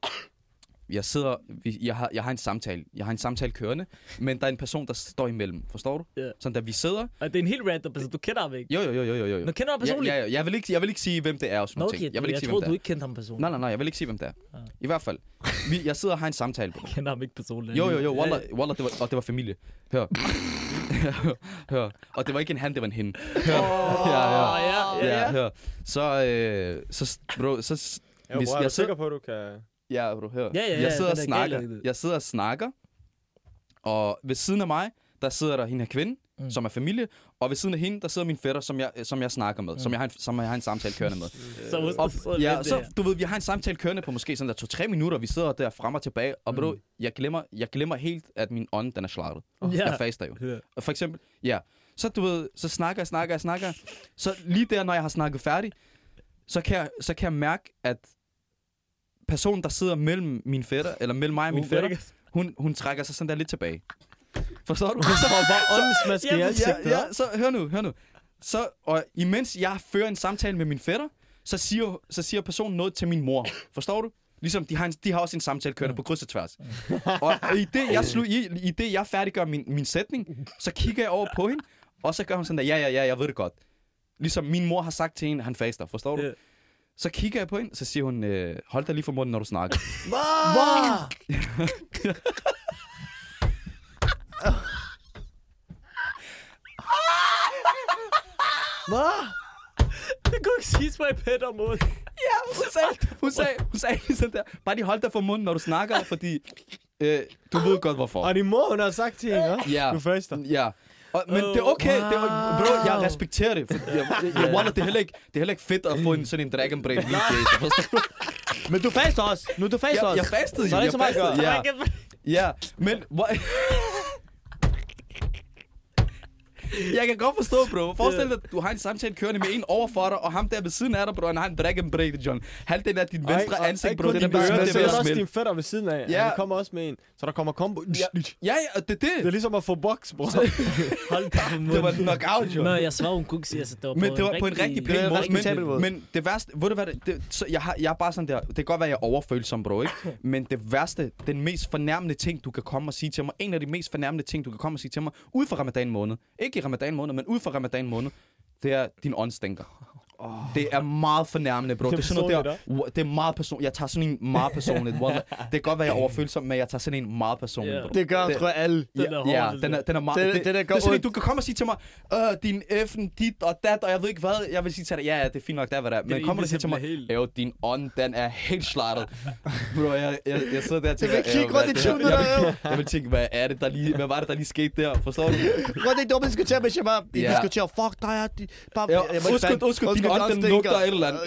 Speaker 4: Jeg sidder, vi- jeg har, jeg har en samtale, jeg har en samtale kørende, men der er en person, der står imellem, forstår du?
Speaker 3: Ja.
Speaker 4: Sådan der, vi sidder,
Speaker 3: Og det er en helt random person. Du kender ham ikke.
Speaker 4: jo, jo, jo, jo, jo, jo.
Speaker 3: Du kender ham
Speaker 4: Ja,
Speaker 3: personligt?
Speaker 4: ja, ja. Jeg, vil ikke, jeg vil ikke sige, hvem det er og sådan
Speaker 3: Nå,
Speaker 4: noget.
Speaker 3: okay,
Speaker 4: Jeg vil ikke
Speaker 3: jeg
Speaker 4: sige, hvem
Speaker 3: troede,
Speaker 4: det
Speaker 3: du
Speaker 4: er.
Speaker 3: ikke Ah. kendte ham personligt.
Speaker 4: Nej, nej, nej, jeg vil ikke sige, hvem det er. I hvert fald. Vi, jeg sidder og har en samtale, bro.
Speaker 3: Jeg kender ham ikke personligt.
Speaker 4: Jo, jo, jo, Walla, Walla det var, og det var familie. Hør. [laughs] hør. Og det var ikke en han, det var en hende. Hør. ja, ja. Ja, hør. Så, øh, så, bro, så, s-
Speaker 2: Ja,
Speaker 4: Hvis
Speaker 2: bro, er
Speaker 4: jeg
Speaker 2: du
Speaker 4: så-
Speaker 2: sikker på, at du kan...
Speaker 4: ja, bro, hør.
Speaker 3: Ja, ja, ja,
Speaker 4: jeg sidder og
Speaker 3: den der gale-
Speaker 4: snakker. Jeg sidder og snakker. Og ved siden af mig, der sidder der hende her kvinde,
Speaker 3: Mm.
Speaker 4: mm. som er familie. Og ved siden af hende, der sidder min fætter, som jeg, som jeg snakker med. Mm. Som, jeg har en, som jeg har en samtale kørende
Speaker 3: [laughs]
Speaker 4: med.
Speaker 3: Så hos
Speaker 4: Og,
Speaker 3: så-
Speaker 4: ja,
Speaker 3: det-
Speaker 4: så, du ved, vi har en samtale kørende på måske sådan der to-tre minutter, og vi sidder der frem og tilbage, og mm. bro, jeg glemmer, jeg glemmer helt, at min ånd, den er slagtet.
Speaker 3: Ja.
Speaker 4: Jeg faster jo.
Speaker 3: Ja.
Speaker 4: Og for eksempel, ja, så du ved, så snakker jeg, snakker jeg, snakker jeg. Så lige der, når jeg har snakket færdig, så kan jeg, så kan jeg mærke, at personen, der sidder mellem min fætter, eller mellem mig og min
Speaker 3: Uh,
Speaker 4: fætter,
Speaker 3: ikke?
Speaker 4: hun, hun trækker sig sådan der lidt tilbage. Forstår du?
Speaker 3: [laughs]
Speaker 2: Så bare åndensmaske i
Speaker 3: Ja,
Speaker 2: ansigtet.
Speaker 4: ja, så hør nu, hør nu. Så, og imens jeg fører en samtale med min fætter, så siger, så siger personen noget til min mor. Forstår du? Ligesom, de har, en, de har også en samtale kørende på kryds og tværs. Og i det, jeg, slu, i, i det, jeg færdiggør min, min sætning, så kigger jeg over på hende, og så gør hun sådan der, ja, ja, ja, jeg ved det godt. Ligesom min mor har sagt til hende, han faster, forstår du?
Speaker 3: Ja.
Speaker 4: Så kigger jeg på hende, så siger hun, øh, hold dig lige for munden, når du [laughs] snakker.
Speaker 3: Det kunne ikke siges på en bedre måde.
Speaker 4: hun sagde, hun sagde, hun sagde lige sådan der, bare lige hold dig for munden, når du snakker, fordi øh, du ved godt, hvorfor.
Speaker 2: Og din mor, hun har sagt til hende, også.
Speaker 4: Ja.
Speaker 2: Du faster.
Speaker 4: Ja. Og, men det er
Speaker 2: Oh,
Speaker 4: okay. Wow. Det er, bro, jeg respekterer det. For, jeg, jeg, jeg, Wallah, det, er heller ikke, det er heller ikke fedt at få en sådan en dragon brain lige i forstår du?
Speaker 1: Men du faster også. Nu du faster
Speaker 4: Jeg, jeg
Speaker 1: også.
Speaker 4: fastede
Speaker 1: Så
Speaker 4: jo.
Speaker 1: er det
Speaker 4: Jeg
Speaker 1: ikke så meget at
Speaker 4: fastede, ja. ja. Men... Hvor, [laughs] jeg kan godt forstå, bro. Forestil dig, at du har en samtale kørende med en overfor dig, og ham der ved siden af dig, bro, han har en dragon brain, John. Halvdelen af dit venstre
Speaker 2: og
Speaker 4: ansigt,
Speaker 2: ikke
Speaker 4: bro,
Speaker 2: kun
Speaker 4: det er
Speaker 2: dine ører,
Speaker 4: blevet
Speaker 2: det er
Speaker 4: smidt
Speaker 2: også
Speaker 4: med
Speaker 2: din fætter ved siden af.
Speaker 4: Ja.
Speaker 2: Ja. Han kommer også med en. Så der kommer combo.
Speaker 4: Ja. Ja, ja, og det er
Speaker 2: Det er
Speaker 4: det.
Speaker 2: ligesom at få boks, bror.
Speaker 3: Hold da på munden.
Speaker 4: Det var knockout, John.
Speaker 3: Nå, jeg svarer, hun kunne ikke sige, altså, det var
Speaker 4: Men
Speaker 3: på
Speaker 4: det var
Speaker 3: en
Speaker 4: på en rigtig
Speaker 3: rigtig
Speaker 4: pæn måde.
Speaker 1: respektabel
Speaker 4: Men,
Speaker 1: måde.
Speaker 4: men det værste, ved du hvad, det, det, så jeg, har, jeg er bare sådan der, det kan godt være, jeg er overfølsom, bro, ikke? Men det værste, den mest fornærmende ting, du kan komme og sige til mig, en af de mest fornærmende ting, du kan komme og sige til mig, ud for ramadan måned, ikke i ramadan måned, men ud for ramadan måned, det er din ånd stinker. Det er meget fornærmende, bro. Det er, sådan noget der, Ua, det er meget personligt. Jeg tager sådan en meget personligt. wallah. Det kan godt være, jeg er overfølsom, men jeg tager sådan en meget personligt,
Speaker 3: Ja.
Speaker 4: bro.
Speaker 1: Det gør,
Speaker 4: Det-
Speaker 1: tror jeg, alle.
Speaker 3: Den er hård,
Speaker 4: Ja,
Speaker 3: den
Speaker 4: den
Speaker 3: der.
Speaker 4: er, den er meget...
Speaker 1: Det-
Speaker 4: Det,
Speaker 1: det der
Speaker 4: det,
Speaker 1: gør
Speaker 4: er sådan,
Speaker 1: ondt.
Speaker 4: at du kan komme og sige til mig, øh, din F'en, dit og dat, og jeg ved ikke hvad. Jeg vil sige til dig, ja, ja, det er fint nok, der hvad der er. Men
Speaker 3: er
Speaker 4: kommer du og siger
Speaker 3: det,
Speaker 4: til
Speaker 3: der
Speaker 4: mig,
Speaker 3: bliver helt-
Speaker 4: jo, din ånd, den er helt
Speaker 3: [laughs]
Speaker 4: slattet. Bro, jeg, jeg, jeg sidder der og tænker,
Speaker 7: vil kigge
Speaker 4: "Æv, hvad
Speaker 7: rundt i
Speaker 4: er det her?"
Speaker 7: tunet
Speaker 4: jeg, vil- jeg vil tænke, hvad er det, der lige... Hvad var det, der lige skete der? Forstår du?
Speaker 1: Prøv at det er dumt, at diskutere med Shabab. I
Speaker 4: Ja.
Speaker 1: diskuterer, fuck dig, jeg, de, bare,
Speaker 4: Ja,
Speaker 1: jeg, må ikke
Speaker 4: Undskyld,
Speaker 1: fandme-
Speaker 4: undskyld, din ånd, den
Speaker 1: stinker.
Speaker 4: lugter et eller andet.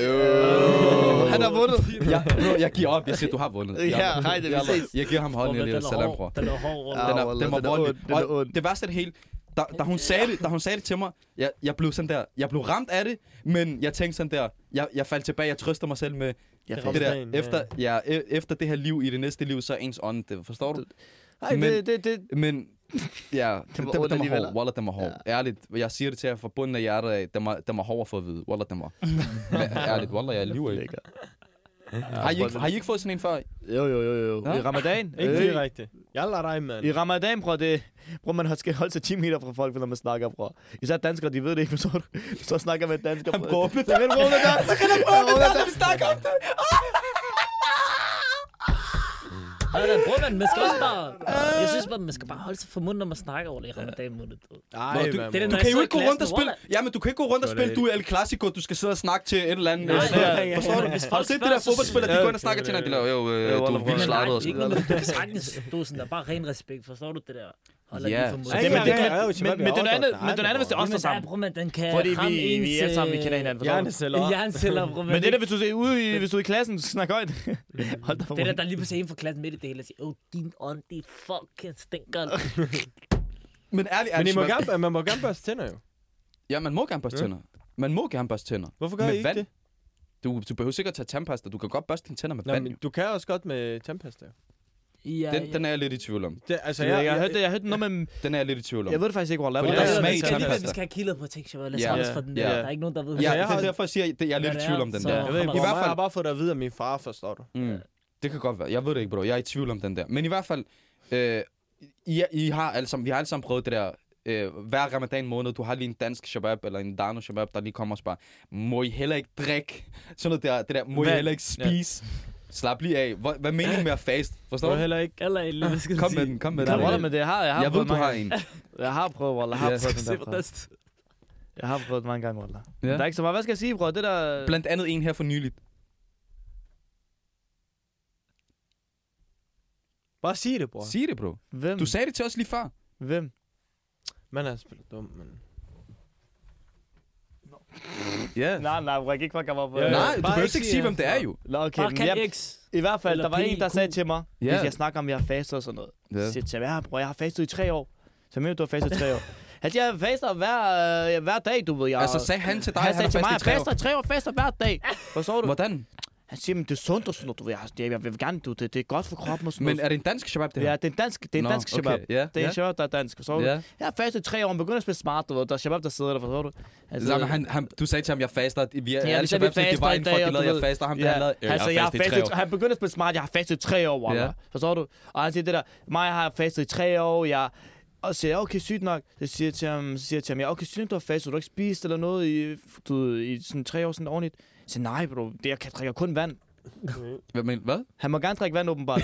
Speaker 4: Øh.
Speaker 1: Han har vundet.
Speaker 4: Jeg, bro, jeg giver op. Jeg siger, du har vundet. Jeg-
Speaker 7: Ja, hej, det vi
Speaker 4: jeg-
Speaker 7: ses.
Speaker 4: Jeg giver ham
Speaker 3: Åh, men
Speaker 4: hånden,
Speaker 3: den
Speaker 4: eller
Speaker 3: er
Speaker 4: salam, bror.
Speaker 3: hård. Den er hård, Roland.
Speaker 4: Den er,
Speaker 7: Wallah,
Speaker 4: den var
Speaker 7: den er
Speaker 4: voldelig.
Speaker 7: ond, den er
Speaker 4: Og
Speaker 7: ond.
Speaker 4: Det værste af det hele, da, da, hun sagde det, da hun sagde det til mig, jeg, jeg blev sådan der, jeg blev ramt af det, men jeg tænkte sådan der, jeg, jeg faldt tilbage, jeg trøster mig selv med
Speaker 2: Jeg
Speaker 4: det der, efter, ja, e- efter det her liv, i det næste liv, så er ens ånd, det, forstår du?
Speaker 1: Ej, det,
Speaker 4: Men-
Speaker 1: det, det,
Speaker 4: Men, ja, den,
Speaker 7: var
Speaker 4: den,
Speaker 7: ond
Speaker 4: den var
Speaker 7: alligevel,
Speaker 4: hård, Wallah, den var hård, ærligt, jeg siger det til jer fra bunden af hjertet af, den var, den var hård at få at vide, Wallah, den var, Men ærligt, Wallah, jeg lyver ikke. Har I ikke, har I ikke fået sådan en før?
Speaker 1: Jo, jo, jo, jo.
Speaker 4: Nå?
Speaker 1: I ramadan?
Speaker 2: Ikke
Speaker 1: Øh,
Speaker 2: direkte. Jalla dig, mand.
Speaker 1: I ramadan, bror, det... Bror, man skal holde sig 10 meter fra folk, når man snakker, bror. Især danskere, de ved det [laughs] ikke, men så, så snakker man dansker. Han går op lidt. Jeg vil bruge det der. Så kan jeg
Speaker 4: [laughs]
Speaker 1: bruge det der, vi snakker om det.
Speaker 3: Hvordan, bror, man, man skal også bare... Jeg synes bare, man skal bare holde sig for munden, når man snakker over det i ramadan måned. du ved.
Speaker 2: Ej,
Speaker 4: Nå,
Speaker 2: mand,
Speaker 4: du-
Speaker 3: det
Speaker 2: bror.
Speaker 3: er
Speaker 4: Du
Speaker 3: Når
Speaker 4: kan
Speaker 3: jeg
Speaker 4: jo
Speaker 3: sidder
Speaker 4: ikke gå
Speaker 3: i
Speaker 4: rundt og
Speaker 3: klassen,
Speaker 4: spille... Ja, men du kan ikke gå rundt og
Speaker 2: Så er det
Speaker 4: spille, du er El Clasico, du skal sidde og snakke til et eller andet.
Speaker 3: Nej,
Speaker 4: øh,
Speaker 3: ja, ja, ja.
Speaker 4: Forstår du?
Speaker 3: Hvis folk
Speaker 4: Har du set det
Speaker 3: spørger,
Speaker 4: der
Speaker 3: så-
Speaker 4: fodboldspiller, de
Speaker 2: Ja,
Speaker 4: går ind og snakker til hinanden, de laver jo, øh, du er
Speaker 1: Wallah,
Speaker 4: vildt
Speaker 1: Wallah.
Speaker 4: sladret og
Speaker 3: Nej,
Speaker 4: sådan
Speaker 3: ikke, men
Speaker 4: noget.
Speaker 3: du kan sagtens... Du er sådan der, bare ren respekt, forstår du det der? Holder
Speaker 4: Ja,
Speaker 3: lige
Speaker 4: så
Speaker 3: for munden.
Speaker 1: Men,
Speaker 4: det
Speaker 3: Ja,
Speaker 1: men, men,
Speaker 3: ja, ja.
Speaker 2: ja, ja, jo,
Speaker 1: men, men, den
Speaker 2: Shabab,
Speaker 1: anden,
Speaker 2: ja,
Speaker 1: men den anden, hvis det er os, der er
Speaker 3: Men der er,
Speaker 1: sammen.
Speaker 3: bror, man, den kan
Speaker 1: Fordi vi,
Speaker 3: ramme ens... øh,
Speaker 1: vi alle sammen, vi kender hinanden. forstår du?
Speaker 2: Hjerneceller.
Speaker 3: Hjerneceller, bror, man.
Speaker 1: Men det der, hvis du er ude i, hvis du er i klassen, så snakker højt. Hold da for
Speaker 3: Det der, der lige pludselig er en fra klassen midt i det hele og siger, åh, din ånd, det fucking
Speaker 4: [laughs]
Speaker 3: stinker.
Speaker 4: Men ærligt,
Speaker 2: Men I
Speaker 4: ærligt,
Speaker 2: må
Speaker 4: man-
Speaker 2: gerne, man må gerne børste tænder, jo.
Speaker 4: Ja, man må gerne børste
Speaker 2: Ja.
Speaker 4: tænder. Man må gerne børste tænder.
Speaker 2: Hvorfor gør
Speaker 4: Med
Speaker 2: I ikke
Speaker 4: vand?
Speaker 2: det?
Speaker 4: Du, du behøver sikkert tage tandpasta. Du kan godt børste dine tænder med
Speaker 2: Nå,
Speaker 4: vand.
Speaker 2: men
Speaker 4: jo.
Speaker 2: du kan også godt med tandpasta. jo.
Speaker 3: Ja,
Speaker 4: Den, den er jeg lidt i tvivl om.
Speaker 2: Det, altså,
Speaker 1: Jeg, jeg, jeg, hørte, det- jeg hørte noget med...
Speaker 4: Den er jeg lidt i tvivl om.
Speaker 1: Jeg ved det faktisk ikke, hvor
Speaker 4: Fordi
Speaker 1: det
Speaker 4: der er
Speaker 1: er.
Speaker 4: smag i
Speaker 3: vi skal, alligevel-
Speaker 4: tandpasta.
Speaker 3: vi skal have kilder på ting, Shabab. Lad os
Speaker 4: Ja.
Speaker 3: holde os for den
Speaker 4: Ja.
Speaker 3: der. Der er ikke nogen, der ved,
Speaker 4: Ja,
Speaker 3: hvad
Speaker 4: det
Speaker 2: Altså, har-
Speaker 4: er derfor, jeg siger, at jeg er lidt i
Speaker 3: Hvad det
Speaker 4: tvivl
Speaker 3: er,
Speaker 4: om den
Speaker 3: så-
Speaker 4: der.
Speaker 2: Jeg ved ikke,
Speaker 3: I
Speaker 2: hvor
Speaker 3: hvert
Speaker 2: meget jeg
Speaker 4: fald-
Speaker 2: har bare fået det at vide af min far, forstår du.
Speaker 4: Mm. Det kan godt være. Jeg ved det ikke, bro. Jeg er i tvivl om den der. Men i hvert fald, øh, I, I har alle sammen, vi har alle sammen prøvet det der, øh, hver ramadan måned, du har lige en dansk shabab, eller en dano shabab, der lige kommer og spørger, må I heller ikke drikke? [laughs] Sådan noget der, det der, må I
Speaker 2: Hvad?
Speaker 4: heller ikke
Speaker 2: Ja.
Speaker 4: spise? Slap lige af. Hvad, hvad er meningen med at faste?
Speaker 2: Du
Speaker 4: Forstår
Speaker 2: har
Speaker 4: du?
Speaker 2: heller ikke...
Speaker 3: Eller en lille, skal
Speaker 4: Kom med
Speaker 3: [laughs]
Speaker 4: den, kom med
Speaker 1: Der
Speaker 4: den.
Speaker 1: er roller, men det har jeg. har
Speaker 4: Jeg ved,
Speaker 1: prøvet
Speaker 4: du
Speaker 1: mange
Speaker 4: har
Speaker 1: gange.
Speaker 4: en.
Speaker 1: Jeg har prøvet, Walla. Jeg har
Speaker 4: Ja.
Speaker 1: prøvet den der,
Speaker 3: Se, hvordan
Speaker 1: bror. Jeg har prøvet mange gange, Walla.
Speaker 4: Ja.
Speaker 1: Ja. Der er ikke så meget. Hvad skal jeg sige, bror? Det der...
Speaker 4: Blandt andet en her for nyligt.
Speaker 2: Bare sig det, bror.
Speaker 4: Sig det, bro.
Speaker 1: Hvem?
Speaker 4: Du sagde det til os lige
Speaker 1: Øh,
Speaker 4: før.
Speaker 1: Hvem?
Speaker 2: Man er spillet dum, men...
Speaker 4: Ja.
Speaker 1: Nej, nej, bror. Jeg kan ikke fucking mig på
Speaker 2: Ja.
Speaker 1: det.
Speaker 4: Nej,
Speaker 2: Bare
Speaker 4: du behøver
Speaker 2: ikke
Speaker 4: ikke
Speaker 2: sige,
Speaker 4: sige, hvem det er jo.
Speaker 1: Nå, okay.
Speaker 3: Bare
Speaker 1: men
Speaker 3: kan
Speaker 1: jeg-
Speaker 3: X.
Speaker 1: I hvert fald,
Speaker 3: Eller
Speaker 1: der var en, der
Speaker 3: PQ.
Speaker 1: sagde til mig,
Speaker 4: Ja.
Speaker 1: hvis jeg snakker om, at jeg har fastet og sådan noget. Så siger jeg til mig, "Ja, bror, jeg har fastet i tre år. Så mener du, du har fastet i
Speaker 4: [laughs]
Speaker 1: tre år. Han siger, jeg faster hver, øh, hver dag, du ved. Jeg,
Speaker 4: Altså sagde han til dig,
Speaker 1: han sagde
Speaker 4: har
Speaker 1: til mig, jeg
Speaker 4: fastet i
Speaker 1: faster
Speaker 4: tre år.
Speaker 1: i tre år, faster hver dag. Forstår du?
Speaker 4: Hvordan?
Speaker 1: Han siger, men det er sundt og sådan noget, du ved. Jeg, jeg, jeg vil gerne, du, det, det er godt for kroppen og sådan
Speaker 4: Men
Speaker 1: noget.
Speaker 4: er det en dansk shabab, det her?
Speaker 1: Ja, det er en dansk, det er en
Speaker 4: Nå,
Speaker 1: dansk shabab.
Speaker 4: okay. Ja,
Speaker 1: Det er
Speaker 4: ja.
Speaker 1: en shabab, der er dansk. Så
Speaker 4: Ja.
Speaker 1: ja. Jeg er fast i tre år, men begynder at spille smart, du ved. Der er shabab, der sidder der, forstår du?
Speaker 4: Altså, Jamen, han, han, du sagde til ham, jeg faster. at Vi altså, er
Speaker 1: vi
Speaker 4: ja,
Speaker 1: sagde,
Speaker 4: alle shababs,
Speaker 1: vi faster
Speaker 4: det var
Speaker 1: i
Speaker 4: en
Speaker 1: dag,
Speaker 4: folk, der
Speaker 1: og du
Speaker 4: lavede, jeg
Speaker 1: ved-
Speaker 4: faster. Ham der, han lavede, øh,
Speaker 1: altså, jeg har
Speaker 4: i tre
Speaker 1: fastet,
Speaker 4: år.
Speaker 1: han begynder at spille smart, jeg har fastet i tre år,
Speaker 4: Ja.
Speaker 1: ja. forstår du? Og han siger det der, mig jeg har fastet i tre år, jeg... Og så siger jeg, okay, sygt nok. Så siger jeg til ham, så siger jeg til ham, ja, okay, sygt nok, du har fastet, du har ikke spist eller noget i, du, ved, i sådan tre år sådan ordentligt. Så siger, nej, bro, det, jeg kan drikke kun vand.
Speaker 4: Hvad, men, hvad?
Speaker 1: Han må gerne drikke vand,
Speaker 4: [laughs]
Speaker 1: åbenbart.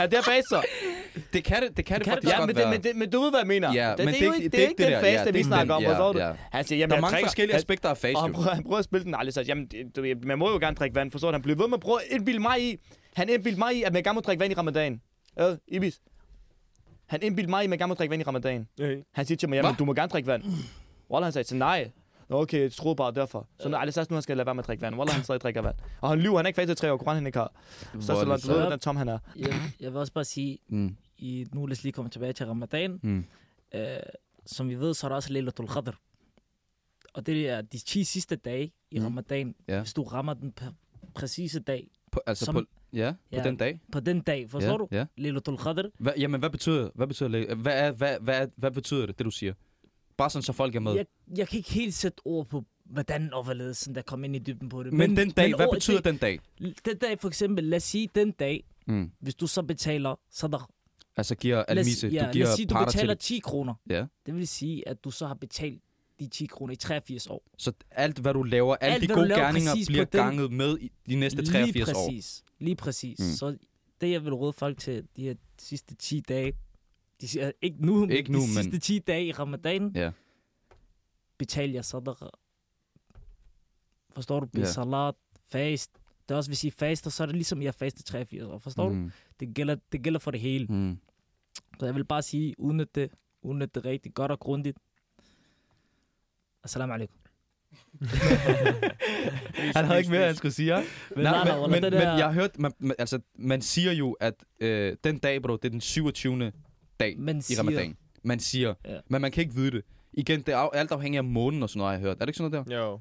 Speaker 1: ja, det er faster.
Speaker 4: Det kan det, det, kan det,
Speaker 3: Kan det
Speaker 4: faktisk
Speaker 1: Ja,
Speaker 4: godt
Speaker 1: men, det,
Speaker 4: være.
Speaker 1: men, det, men du ved, hvad jeg mener.
Speaker 4: Ja,
Speaker 1: det,
Speaker 4: men
Speaker 1: det, er jo
Speaker 4: det-
Speaker 1: ikke-
Speaker 4: det
Speaker 1: det
Speaker 4: er
Speaker 1: er ikke
Speaker 4: ikke det
Speaker 1: den
Speaker 4: der,
Speaker 1: fase,
Speaker 4: ja,
Speaker 1: vi
Speaker 4: det er
Speaker 1: snakker om,
Speaker 4: den, ja,
Speaker 1: forstår du?
Speaker 4: ja.
Speaker 1: Han siger, jamen,
Speaker 4: Der er
Speaker 1: jeg
Speaker 4: mange
Speaker 1: drikker-
Speaker 4: forskellige
Speaker 1: han-
Speaker 4: aspekter af faste,
Speaker 1: Og han
Speaker 4: jo.
Speaker 1: prøver, han prøver at spille den aldrig, så jamen, det- du, ved, man må jo gerne drikke vand, forstår du? Han bliver ved med at prøve at indbilde mig i, han indbildte mig i, at man gerne må drikke vand i ramadan. Øh, Ibis. Han indbildte mig i, at man gerne må drikke vand i ramadan.
Speaker 2: Øh.
Speaker 1: Han siger til mig, jamen,
Speaker 4: Hva?
Speaker 1: du må gerne drikke vand. Wallah, han sagde, så nej. Nå, okay, jeg troede bare derfor. Så nu, Alisas, nu han skal lade være med at drikke vand. Wallah, han stadig drikker vand. Og han lyver, han er ikke faktisk i tre år, Koran han ikke har. Så så langt, du ved,
Speaker 3: så-
Speaker 1: hvordan tom han er.
Speaker 3: Jeg, jeg vil også bare sige,
Speaker 4: Mm.
Speaker 3: i, nu lad os lige komme tilbage til ramadan.
Speaker 4: Mm.
Speaker 3: Øh, som vi ved, så er der også Laylatul Qadr. Og det er de 10 sidste dage i
Speaker 4: Mm.
Speaker 3: ramadan.
Speaker 4: Ja.
Speaker 3: Hvis du rammer den pr- præcise dag
Speaker 4: På, altså,
Speaker 3: Som-
Speaker 4: på, ja, på
Speaker 3: Ja.
Speaker 4: den dag.
Speaker 3: på den dag, forstår
Speaker 4: ja,
Speaker 3: du?
Speaker 4: Ja.
Speaker 3: Laylatul Qadr.
Speaker 4: Hva, jamen, hvad betyder, hvad betyder, læ- hvad, er, hvad, hvad, er- hvad betyder det, det du siger? Bare sådan, så folk er med.
Speaker 3: Jeg, jeg kan ikke helt sætte ord på, hvordan og hvorledes sådan der kom ind i dybden på det.
Speaker 4: men, den dag, hvad
Speaker 3: ord-
Speaker 4: betyder den dag?
Speaker 3: det? Den dag for eksempel, lad os sige den dag,
Speaker 4: Mm.
Speaker 3: hvis du så betaler sadaq.
Speaker 4: Altså, giver
Speaker 3: Lad os-
Speaker 4: almise,
Speaker 3: ja,
Speaker 4: du
Speaker 3: lad
Speaker 4: giver
Speaker 3: os sige, du
Speaker 4: parter til
Speaker 3: betaler
Speaker 4: det.
Speaker 3: 10 kroner.
Speaker 4: Ja.
Speaker 3: Det vil sige, at du så har betalt de 10 kroner i 83 år.
Speaker 4: Så alt, hvad du laver, alle
Speaker 3: Alt,
Speaker 4: de
Speaker 3: hvad du
Speaker 4: gode
Speaker 3: laver
Speaker 4: gerninger
Speaker 3: præcis på
Speaker 4: bliver
Speaker 3: den-
Speaker 4: ganget med i de næste 83
Speaker 3: Lige
Speaker 4: år.
Speaker 3: præcis. Lige præcis.
Speaker 4: Mm.
Speaker 3: Mm. Så det, jeg vil råde folk til de her sidste 10 dage, de, siger, ikke nu, men
Speaker 4: Ikke nu,
Speaker 3: de
Speaker 4: men-
Speaker 3: sidste 10 dage i ramadan,
Speaker 4: Ja.
Speaker 3: betal jer sadaq. Forstår du? Bil
Speaker 4: Ja.
Speaker 3: salat, fast. Det er også, hvis I faster, så er det ligesom, jeg faster 83 år. Forstår mm. du?
Speaker 4: Mm.
Speaker 3: Det gælder, det gælder for det hele.
Speaker 4: Mm.
Speaker 3: Så jeg vil bare sige, udnyt det. Udnyt det rigtig godt og grundigt. Assalamu alaikum.
Speaker 4: Han havde ikke mere, han skulle sige. Ja.
Speaker 3: Men
Speaker 4: Nej,
Speaker 3: nej, nej,
Speaker 4: men,
Speaker 3: under
Speaker 4: men,
Speaker 3: det
Speaker 4: men
Speaker 3: der-
Speaker 4: jeg har hørt, man, man, altså, man siger jo, at øh, den dag, bro, det er den 27. dag
Speaker 3: Man
Speaker 4: i
Speaker 3: siger-
Speaker 4: ramadan. Man siger, ja.
Speaker 3: Ja.
Speaker 4: men man kan ikke vide det. Igen, det er af- alt afhængig af månen og sådan noget, har jeg hørt. Er det ikke sådan noget der?
Speaker 2: Jo.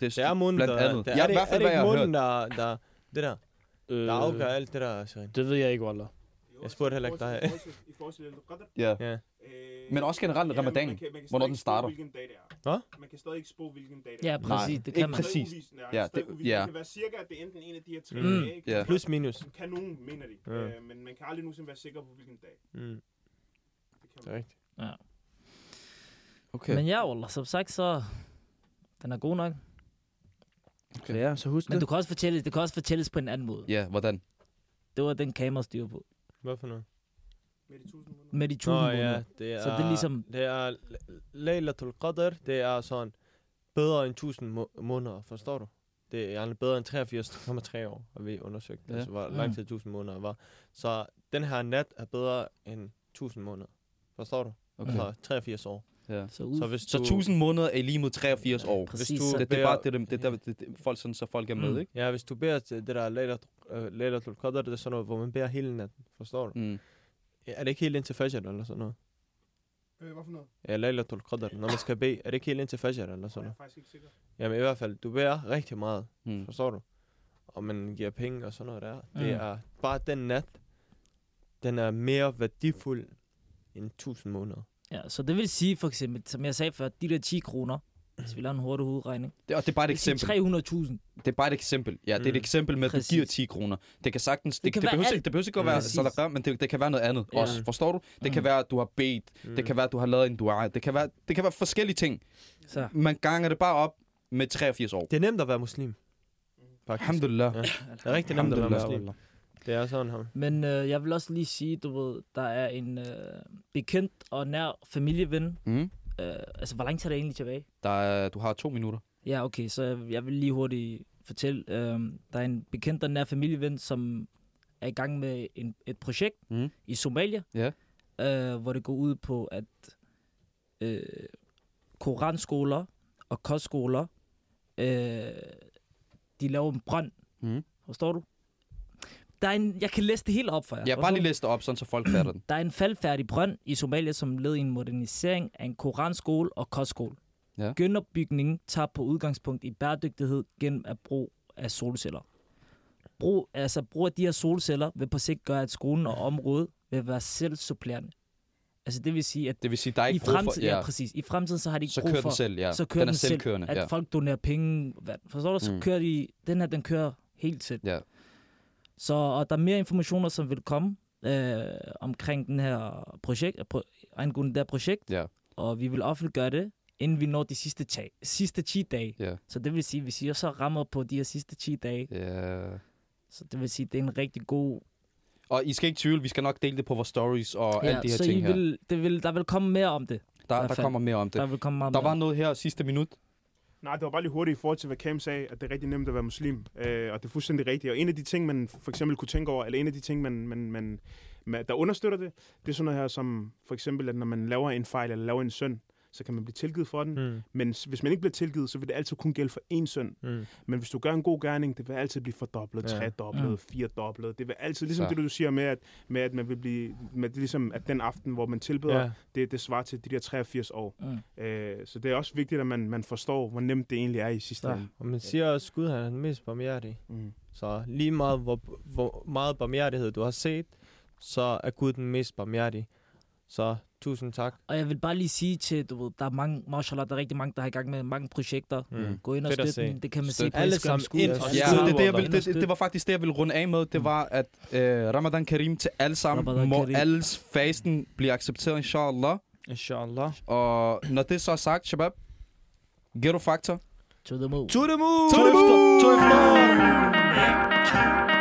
Speaker 4: Det
Speaker 2: Det er munden,
Speaker 4: blandt
Speaker 2: der...
Speaker 4: andet.
Speaker 2: der
Speaker 4: ja,
Speaker 2: er, det,
Speaker 4: i hvert fald,
Speaker 2: er
Speaker 4: hvad
Speaker 2: det
Speaker 4: jeg
Speaker 2: ikke
Speaker 4: har hørt.
Speaker 2: munden, der, der... Det der, der afgør alt det der, Søren.
Speaker 1: det Øh, ved jeg ikke, Wallah.
Speaker 2: Jeg spurgte heller ikke dig.
Speaker 6: I forhold til Al-Qadr,
Speaker 4: Ja.
Speaker 2: Ja.
Speaker 6: øh,
Speaker 4: Men også generelt
Speaker 6: ja,
Speaker 4: ramadan.
Speaker 6: man kan- man kan
Speaker 4: hvornår
Speaker 6: stadig
Speaker 4: den
Speaker 6: ikke spå,
Speaker 4: starter.
Speaker 6: Hvilken dag det er.
Speaker 2: Hvad?
Speaker 6: Man kan stadig ikke spå, hvilken dag det er.
Speaker 3: Ja, præcis. det kan
Speaker 4: ikke
Speaker 3: man.
Speaker 4: præcis.
Speaker 6: Ja,
Speaker 4: Ja,
Speaker 6: det,
Speaker 4: det-
Speaker 6: ja.
Speaker 4: ja.
Speaker 6: Det kan være cirka, at det er enten en af de her tre
Speaker 2: Mm.
Speaker 6: dage. ikke?
Speaker 4: Ja.
Speaker 2: Plus minus.
Speaker 6: Som kan nogen, mener de.
Speaker 2: Ja.
Speaker 6: Øh, men man kan aldrig nogensinde være sikker på, hvilken dag.
Speaker 2: Mm.
Speaker 6: Det kan
Speaker 2: Det
Speaker 6: man.
Speaker 2: er rigtigt.
Speaker 4: Okay.
Speaker 3: Men ja, Ola, som sagt, så... Den er god nok.
Speaker 1: Okay. Ja, så husk
Speaker 3: Men
Speaker 1: det.
Speaker 3: du kan også fortælle, det kan også fortælles på en anden måde.
Speaker 4: Ja, hvordan?
Speaker 3: Det var den kamera styrer på.
Speaker 2: Hvad for noget?
Speaker 6: Med de tusind måneder.
Speaker 3: Med de tusind
Speaker 2: Nå
Speaker 3: måneder.
Speaker 2: ja, det er...
Speaker 3: Så det er ligesom-
Speaker 2: Det er L- Laylatul Qadr, det er sådan bedre end 1000 må- måneder, forstår du? Det er bedre end 83,3 år, har vi undersøgt, ja.
Speaker 4: Ja.
Speaker 2: altså hvor
Speaker 3: Mm.
Speaker 2: lang tid 1000 måneder var. Så den her nat er bedre end 1000 måneder, forstår du? Okay.
Speaker 4: Okay.
Speaker 2: Så 83 år.
Speaker 4: Ja.
Speaker 3: Så ud.
Speaker 2: Så hvis
Speaker 4: Så
Speaker 2: du...
Speaker 4: 1000 måneder er lige mod 83 år.
Speaker 3: Præcis,
Speaker 2: hvis du-
Speaker 3: så,
Speaker 4: Det, det er bare det, det, det, det, det, det folk, sådan, så folk er med,
Speaker 3: Mm.
Speaker 4: ikke?
Speaker 2: Ja, hvis du beder til det der Laylat- øh, Laylatul Qadr, det er sådan noget, hvor man beder hele natten, forstår du?
Speaker 4: Mm.
Speaker 2: Er det ikke helt indtil Fajr eller sådan noget?
Speaker 6: Øh, hvad for noget?
Speaker 2: Ja, Laylatul Qadr, når man skal bede, er det ikke helt indtil Fajr eller sådan
Speaker 6: Jeg
Speaker 2: noget?
Speaker 6: er faktisk ikke sikker.
Speaker 2: Jamen i hvert fald, du bærer rigtig meget,
Speaker 4: Mm.
Speaker 2: forstår du? Og man giver penge og sådan noget der. Det
Speaker 3: Mm.
Speaker 2: er bare den nat, den er mere værdifuld end 1000 måneder.
Speaker 3: ja, så det vil sige for eksempel, som jeg sagde før, de der 10 kroner, hvis vi laver en hurtig hovedregning.
Speaker 4: Det, og det er bare et
Speaker 3: Det vil sige
Speaker 4: eksempel.
Speaker 3: 300.000.
Speaker 4: Det er bare et eksempel. Ja, det er
Speaker 2: Mm.
Speaker 4: et eksempel med, at
Speaker 3: Præcis.
Speaker 4: du giver 10 kroner. Det kan sagtens... Det, det, det,
Speaker 3: kan være
Speaker 4: behøver,
Speaker 3: alt.
Speaker 4: ikke, det behøver ikke at være
Speaker 3: Præcis.
Speaker 4: salat, men det, det kan være noget andet
Speaker 3: Ja.
Speaker 4: ja. også. Forstår du? Det
Speaker 3: Mm.
Speaker 4: kan være, at du har bedt.
Speaker 2: Mm.
Speaker 4: Det kan være, at du har lavet en dua. Det kan være, det kan være forskellige ting.
Speaker 3: Så.
Speaker 4: Man ganger det bare op med 83 år.
Speaker 2: det er nemt at være muslim. Faktisk.
Speaker 4: Alhamdulillah.
Speaker 2: Ja.
Speaker 4: Altså,
Speaker 2: Det er rigtig nemt at være muslim. Det er sådan ham.
Speaker 3: Men øh, jeg vil også lige sige, du ved, der er en øh, bekendt og nær familieven.
Speaker 4: Mm.
Speaker 3: Øh, altså, hvor lang tid er det egentlig tilbage?
Speaker 4: Der er, du har to minutter.
Speaker 3: Ja, okay, så jeg, jeg vil lige hurtigt fortælle. Øh, der er en bekendt og nær familieven, som er i gang med en, et projekt
Speaker 4: Mm.
Speaker 3: i Somalia,
Speaker 4: Ja.
Speaker 3: øh, hvor det går ud på, at øh, koranskoler og kostskoler, øh, de laver en brønd.
Speaker 4: Mm.
Speaker 3: Forstår du? Der er en, jeg kan læse det hele op for jer.
Speaker 4: Ja,
Speaker 3: forstår
Speaker 4: bare
Speaker 3: du?
Speaker 4: lige læs det op, sådan, så folk fatter den.
Speaker 3: Der er en faldfærdig brønd i Somalia, som led i en modernisering af en koranskole og kostskole.
Speaker 4: Ja.
Speaker 3: Genopbygningen tager på udgangspunkt i bæredygtighed gennem at brug af solceller. Brug, altså brug af de her solceller vil på sigt gøre, at skolen og området vil være selvsupplerende. Altså det vil sige, at
Speaker 4: Det vil sige, der er
Speaker 3: i
Speaker 4: ikke brug for...
Speaker 3: fremtiden, ja. præcis, i fremtiden så har de ikke
Speaker 4: Så
Speaker 3: brug
Speaker 4: kører
Speaker 3: for,
Speaker 4: den selv, ja.
Speaker 3: så kører
Speaker 4: den er
Speaker 3: den selv,
Speaker 4: selvkørende,
Speaker 3: at
Speaker 4: ja.
Speaker 3: folk donerer penge. Hvad, forstår du? Så
Speaker 4: Mm.
Speaker 3: kører de, den her, den kører helt selv.
Speaker 4: Ja.
Speaker 3: Så og der er mere informationer, som vil komme øh, omkring den her projekt, pro, angående det her projekt.
Speaker 4: Ja.
Speaker 3: Og vi vil offentliggøre det, inden vi når de sidste, tag, sidste 10 dage.
Speaker 4: Ja.
Speaker 3: Så det vil sige, at vi siger så rammer på de her sidste 10 dage.
Speaker 4: Ja.
Speaker 3: Så det vil sige, at det er en rigtig god...
Speaker 4: Og I skal ikke tvivle, vi skal nok dele det på vores stories og alle de her
Speaker 3: så
Speaker 4: ting
Speaker 3: I
Speaker 4: her.
Speaker 3: vil, det vil, der vil komme mere om det.
Speaker 4: Der, der
Speaker 3: hvert fald.
Speaker 4: kommer mere om det.
Speaker 3: Der vil komme meget
Speaker 4: Der
Speaker 3: mere.
Speaker 4: var noget her sidste minut.
Speaker 6: Nej, det var bare lige hurtigt i forhold til, hvad Cam sagde, at det er rigtig nemt at være muslim, øh, og det er fuldstændig rigtigt. Og en af de ting, man for eksempel kunne tænke over, eller en af de ting, man, man, man, man, der understøtter det, det er sådan noget her som, for eksempel, at når man laver en fejl eller laver en søn, så kan man blive tilgivet for den. Mm.
Speaker 2: Mm.
Speaker 6: Men s- hvis man ikke bliver tilgivet, så vil det altid kun gælde for én søn.
Speaker 2: Mm.
Speaker 6: Men hvis du gør en god gerning, det vil altid blive fordoblet,
Speaker 2: Ja.
Speaker 6: ja. tredoblet,
Speaker 3: Mm.
Speaker 6: mm. firedoblet. Det vil altid, ligesom
Speaker 4: Så.
Speaker 6: så. det du siger med, at, med at man vil blive, med, det, ligesom at den aften, hvor man tilbeder,
Speaker 2: Ja.
Speaker 6: ja. det, det svarer til de der 83 år.
Speaker 3: Mm.
Speaker 6: Øh, så det er også vigtigt, at man, man forstår, hvor nemt det egentlig er i sidste
Speaker 3: Ja.
Speaker 6: ende.
Speaker 2: Og man siger også, at Gud han er den mest barmhjertige.
Speaker 6: Mm.
Speaker 2: Så lige meget, hvor, hvor meget barmhjertighed du har set, så er Gud den mest barmhjertige. Så tusind tak.
Speaker 3: Og jeg vil bare lige sige til, du ved, der er mange, mashallah, der er rigtig mange, der har i gang med mange projekter.
Speaker 2: Mm.
Speaker 3: Gå ind og
Speaker 2: Fedt at
Speaker 3: støt
Speaker 2: se.
Speaker 3: dem. Det kan man se
Speaker 4: Støt.
Speaker 3: på
Speaker 2: Alle
Speaker 3: Instagram
Speaker 2: sammen
Speaker 3: School.
Speaker 2: ind og
Speaker 3: Alle
Speaker 2: støt.
Speaker 4: Ja,
Speaker 2: Stød,
Speaker 4: det, er
Speaker 3: sammen
Speaker 4: det, jeg
Speaker 3: ind og
Speaker 4: vil, det, det, det
Speaker 3: støt.
Speaker 4: var faktisk det, jeg ville runde af med. Det var, at øh, Ramadan Karim til alle sammen.
Speaker 3: Mm. Ramadan
Speaker 4: må
Speaker 3: Karim.
Speaker 4: alles fasten blive accepteret, inshallah.
Speaker 1: Inshallah.
Speaker 4: Og når det så er sagt, shabab, Ghetto Factor.
Speaker 3: To the moon.
Speaker 1: To the moon!
Speaker 4: To the moon!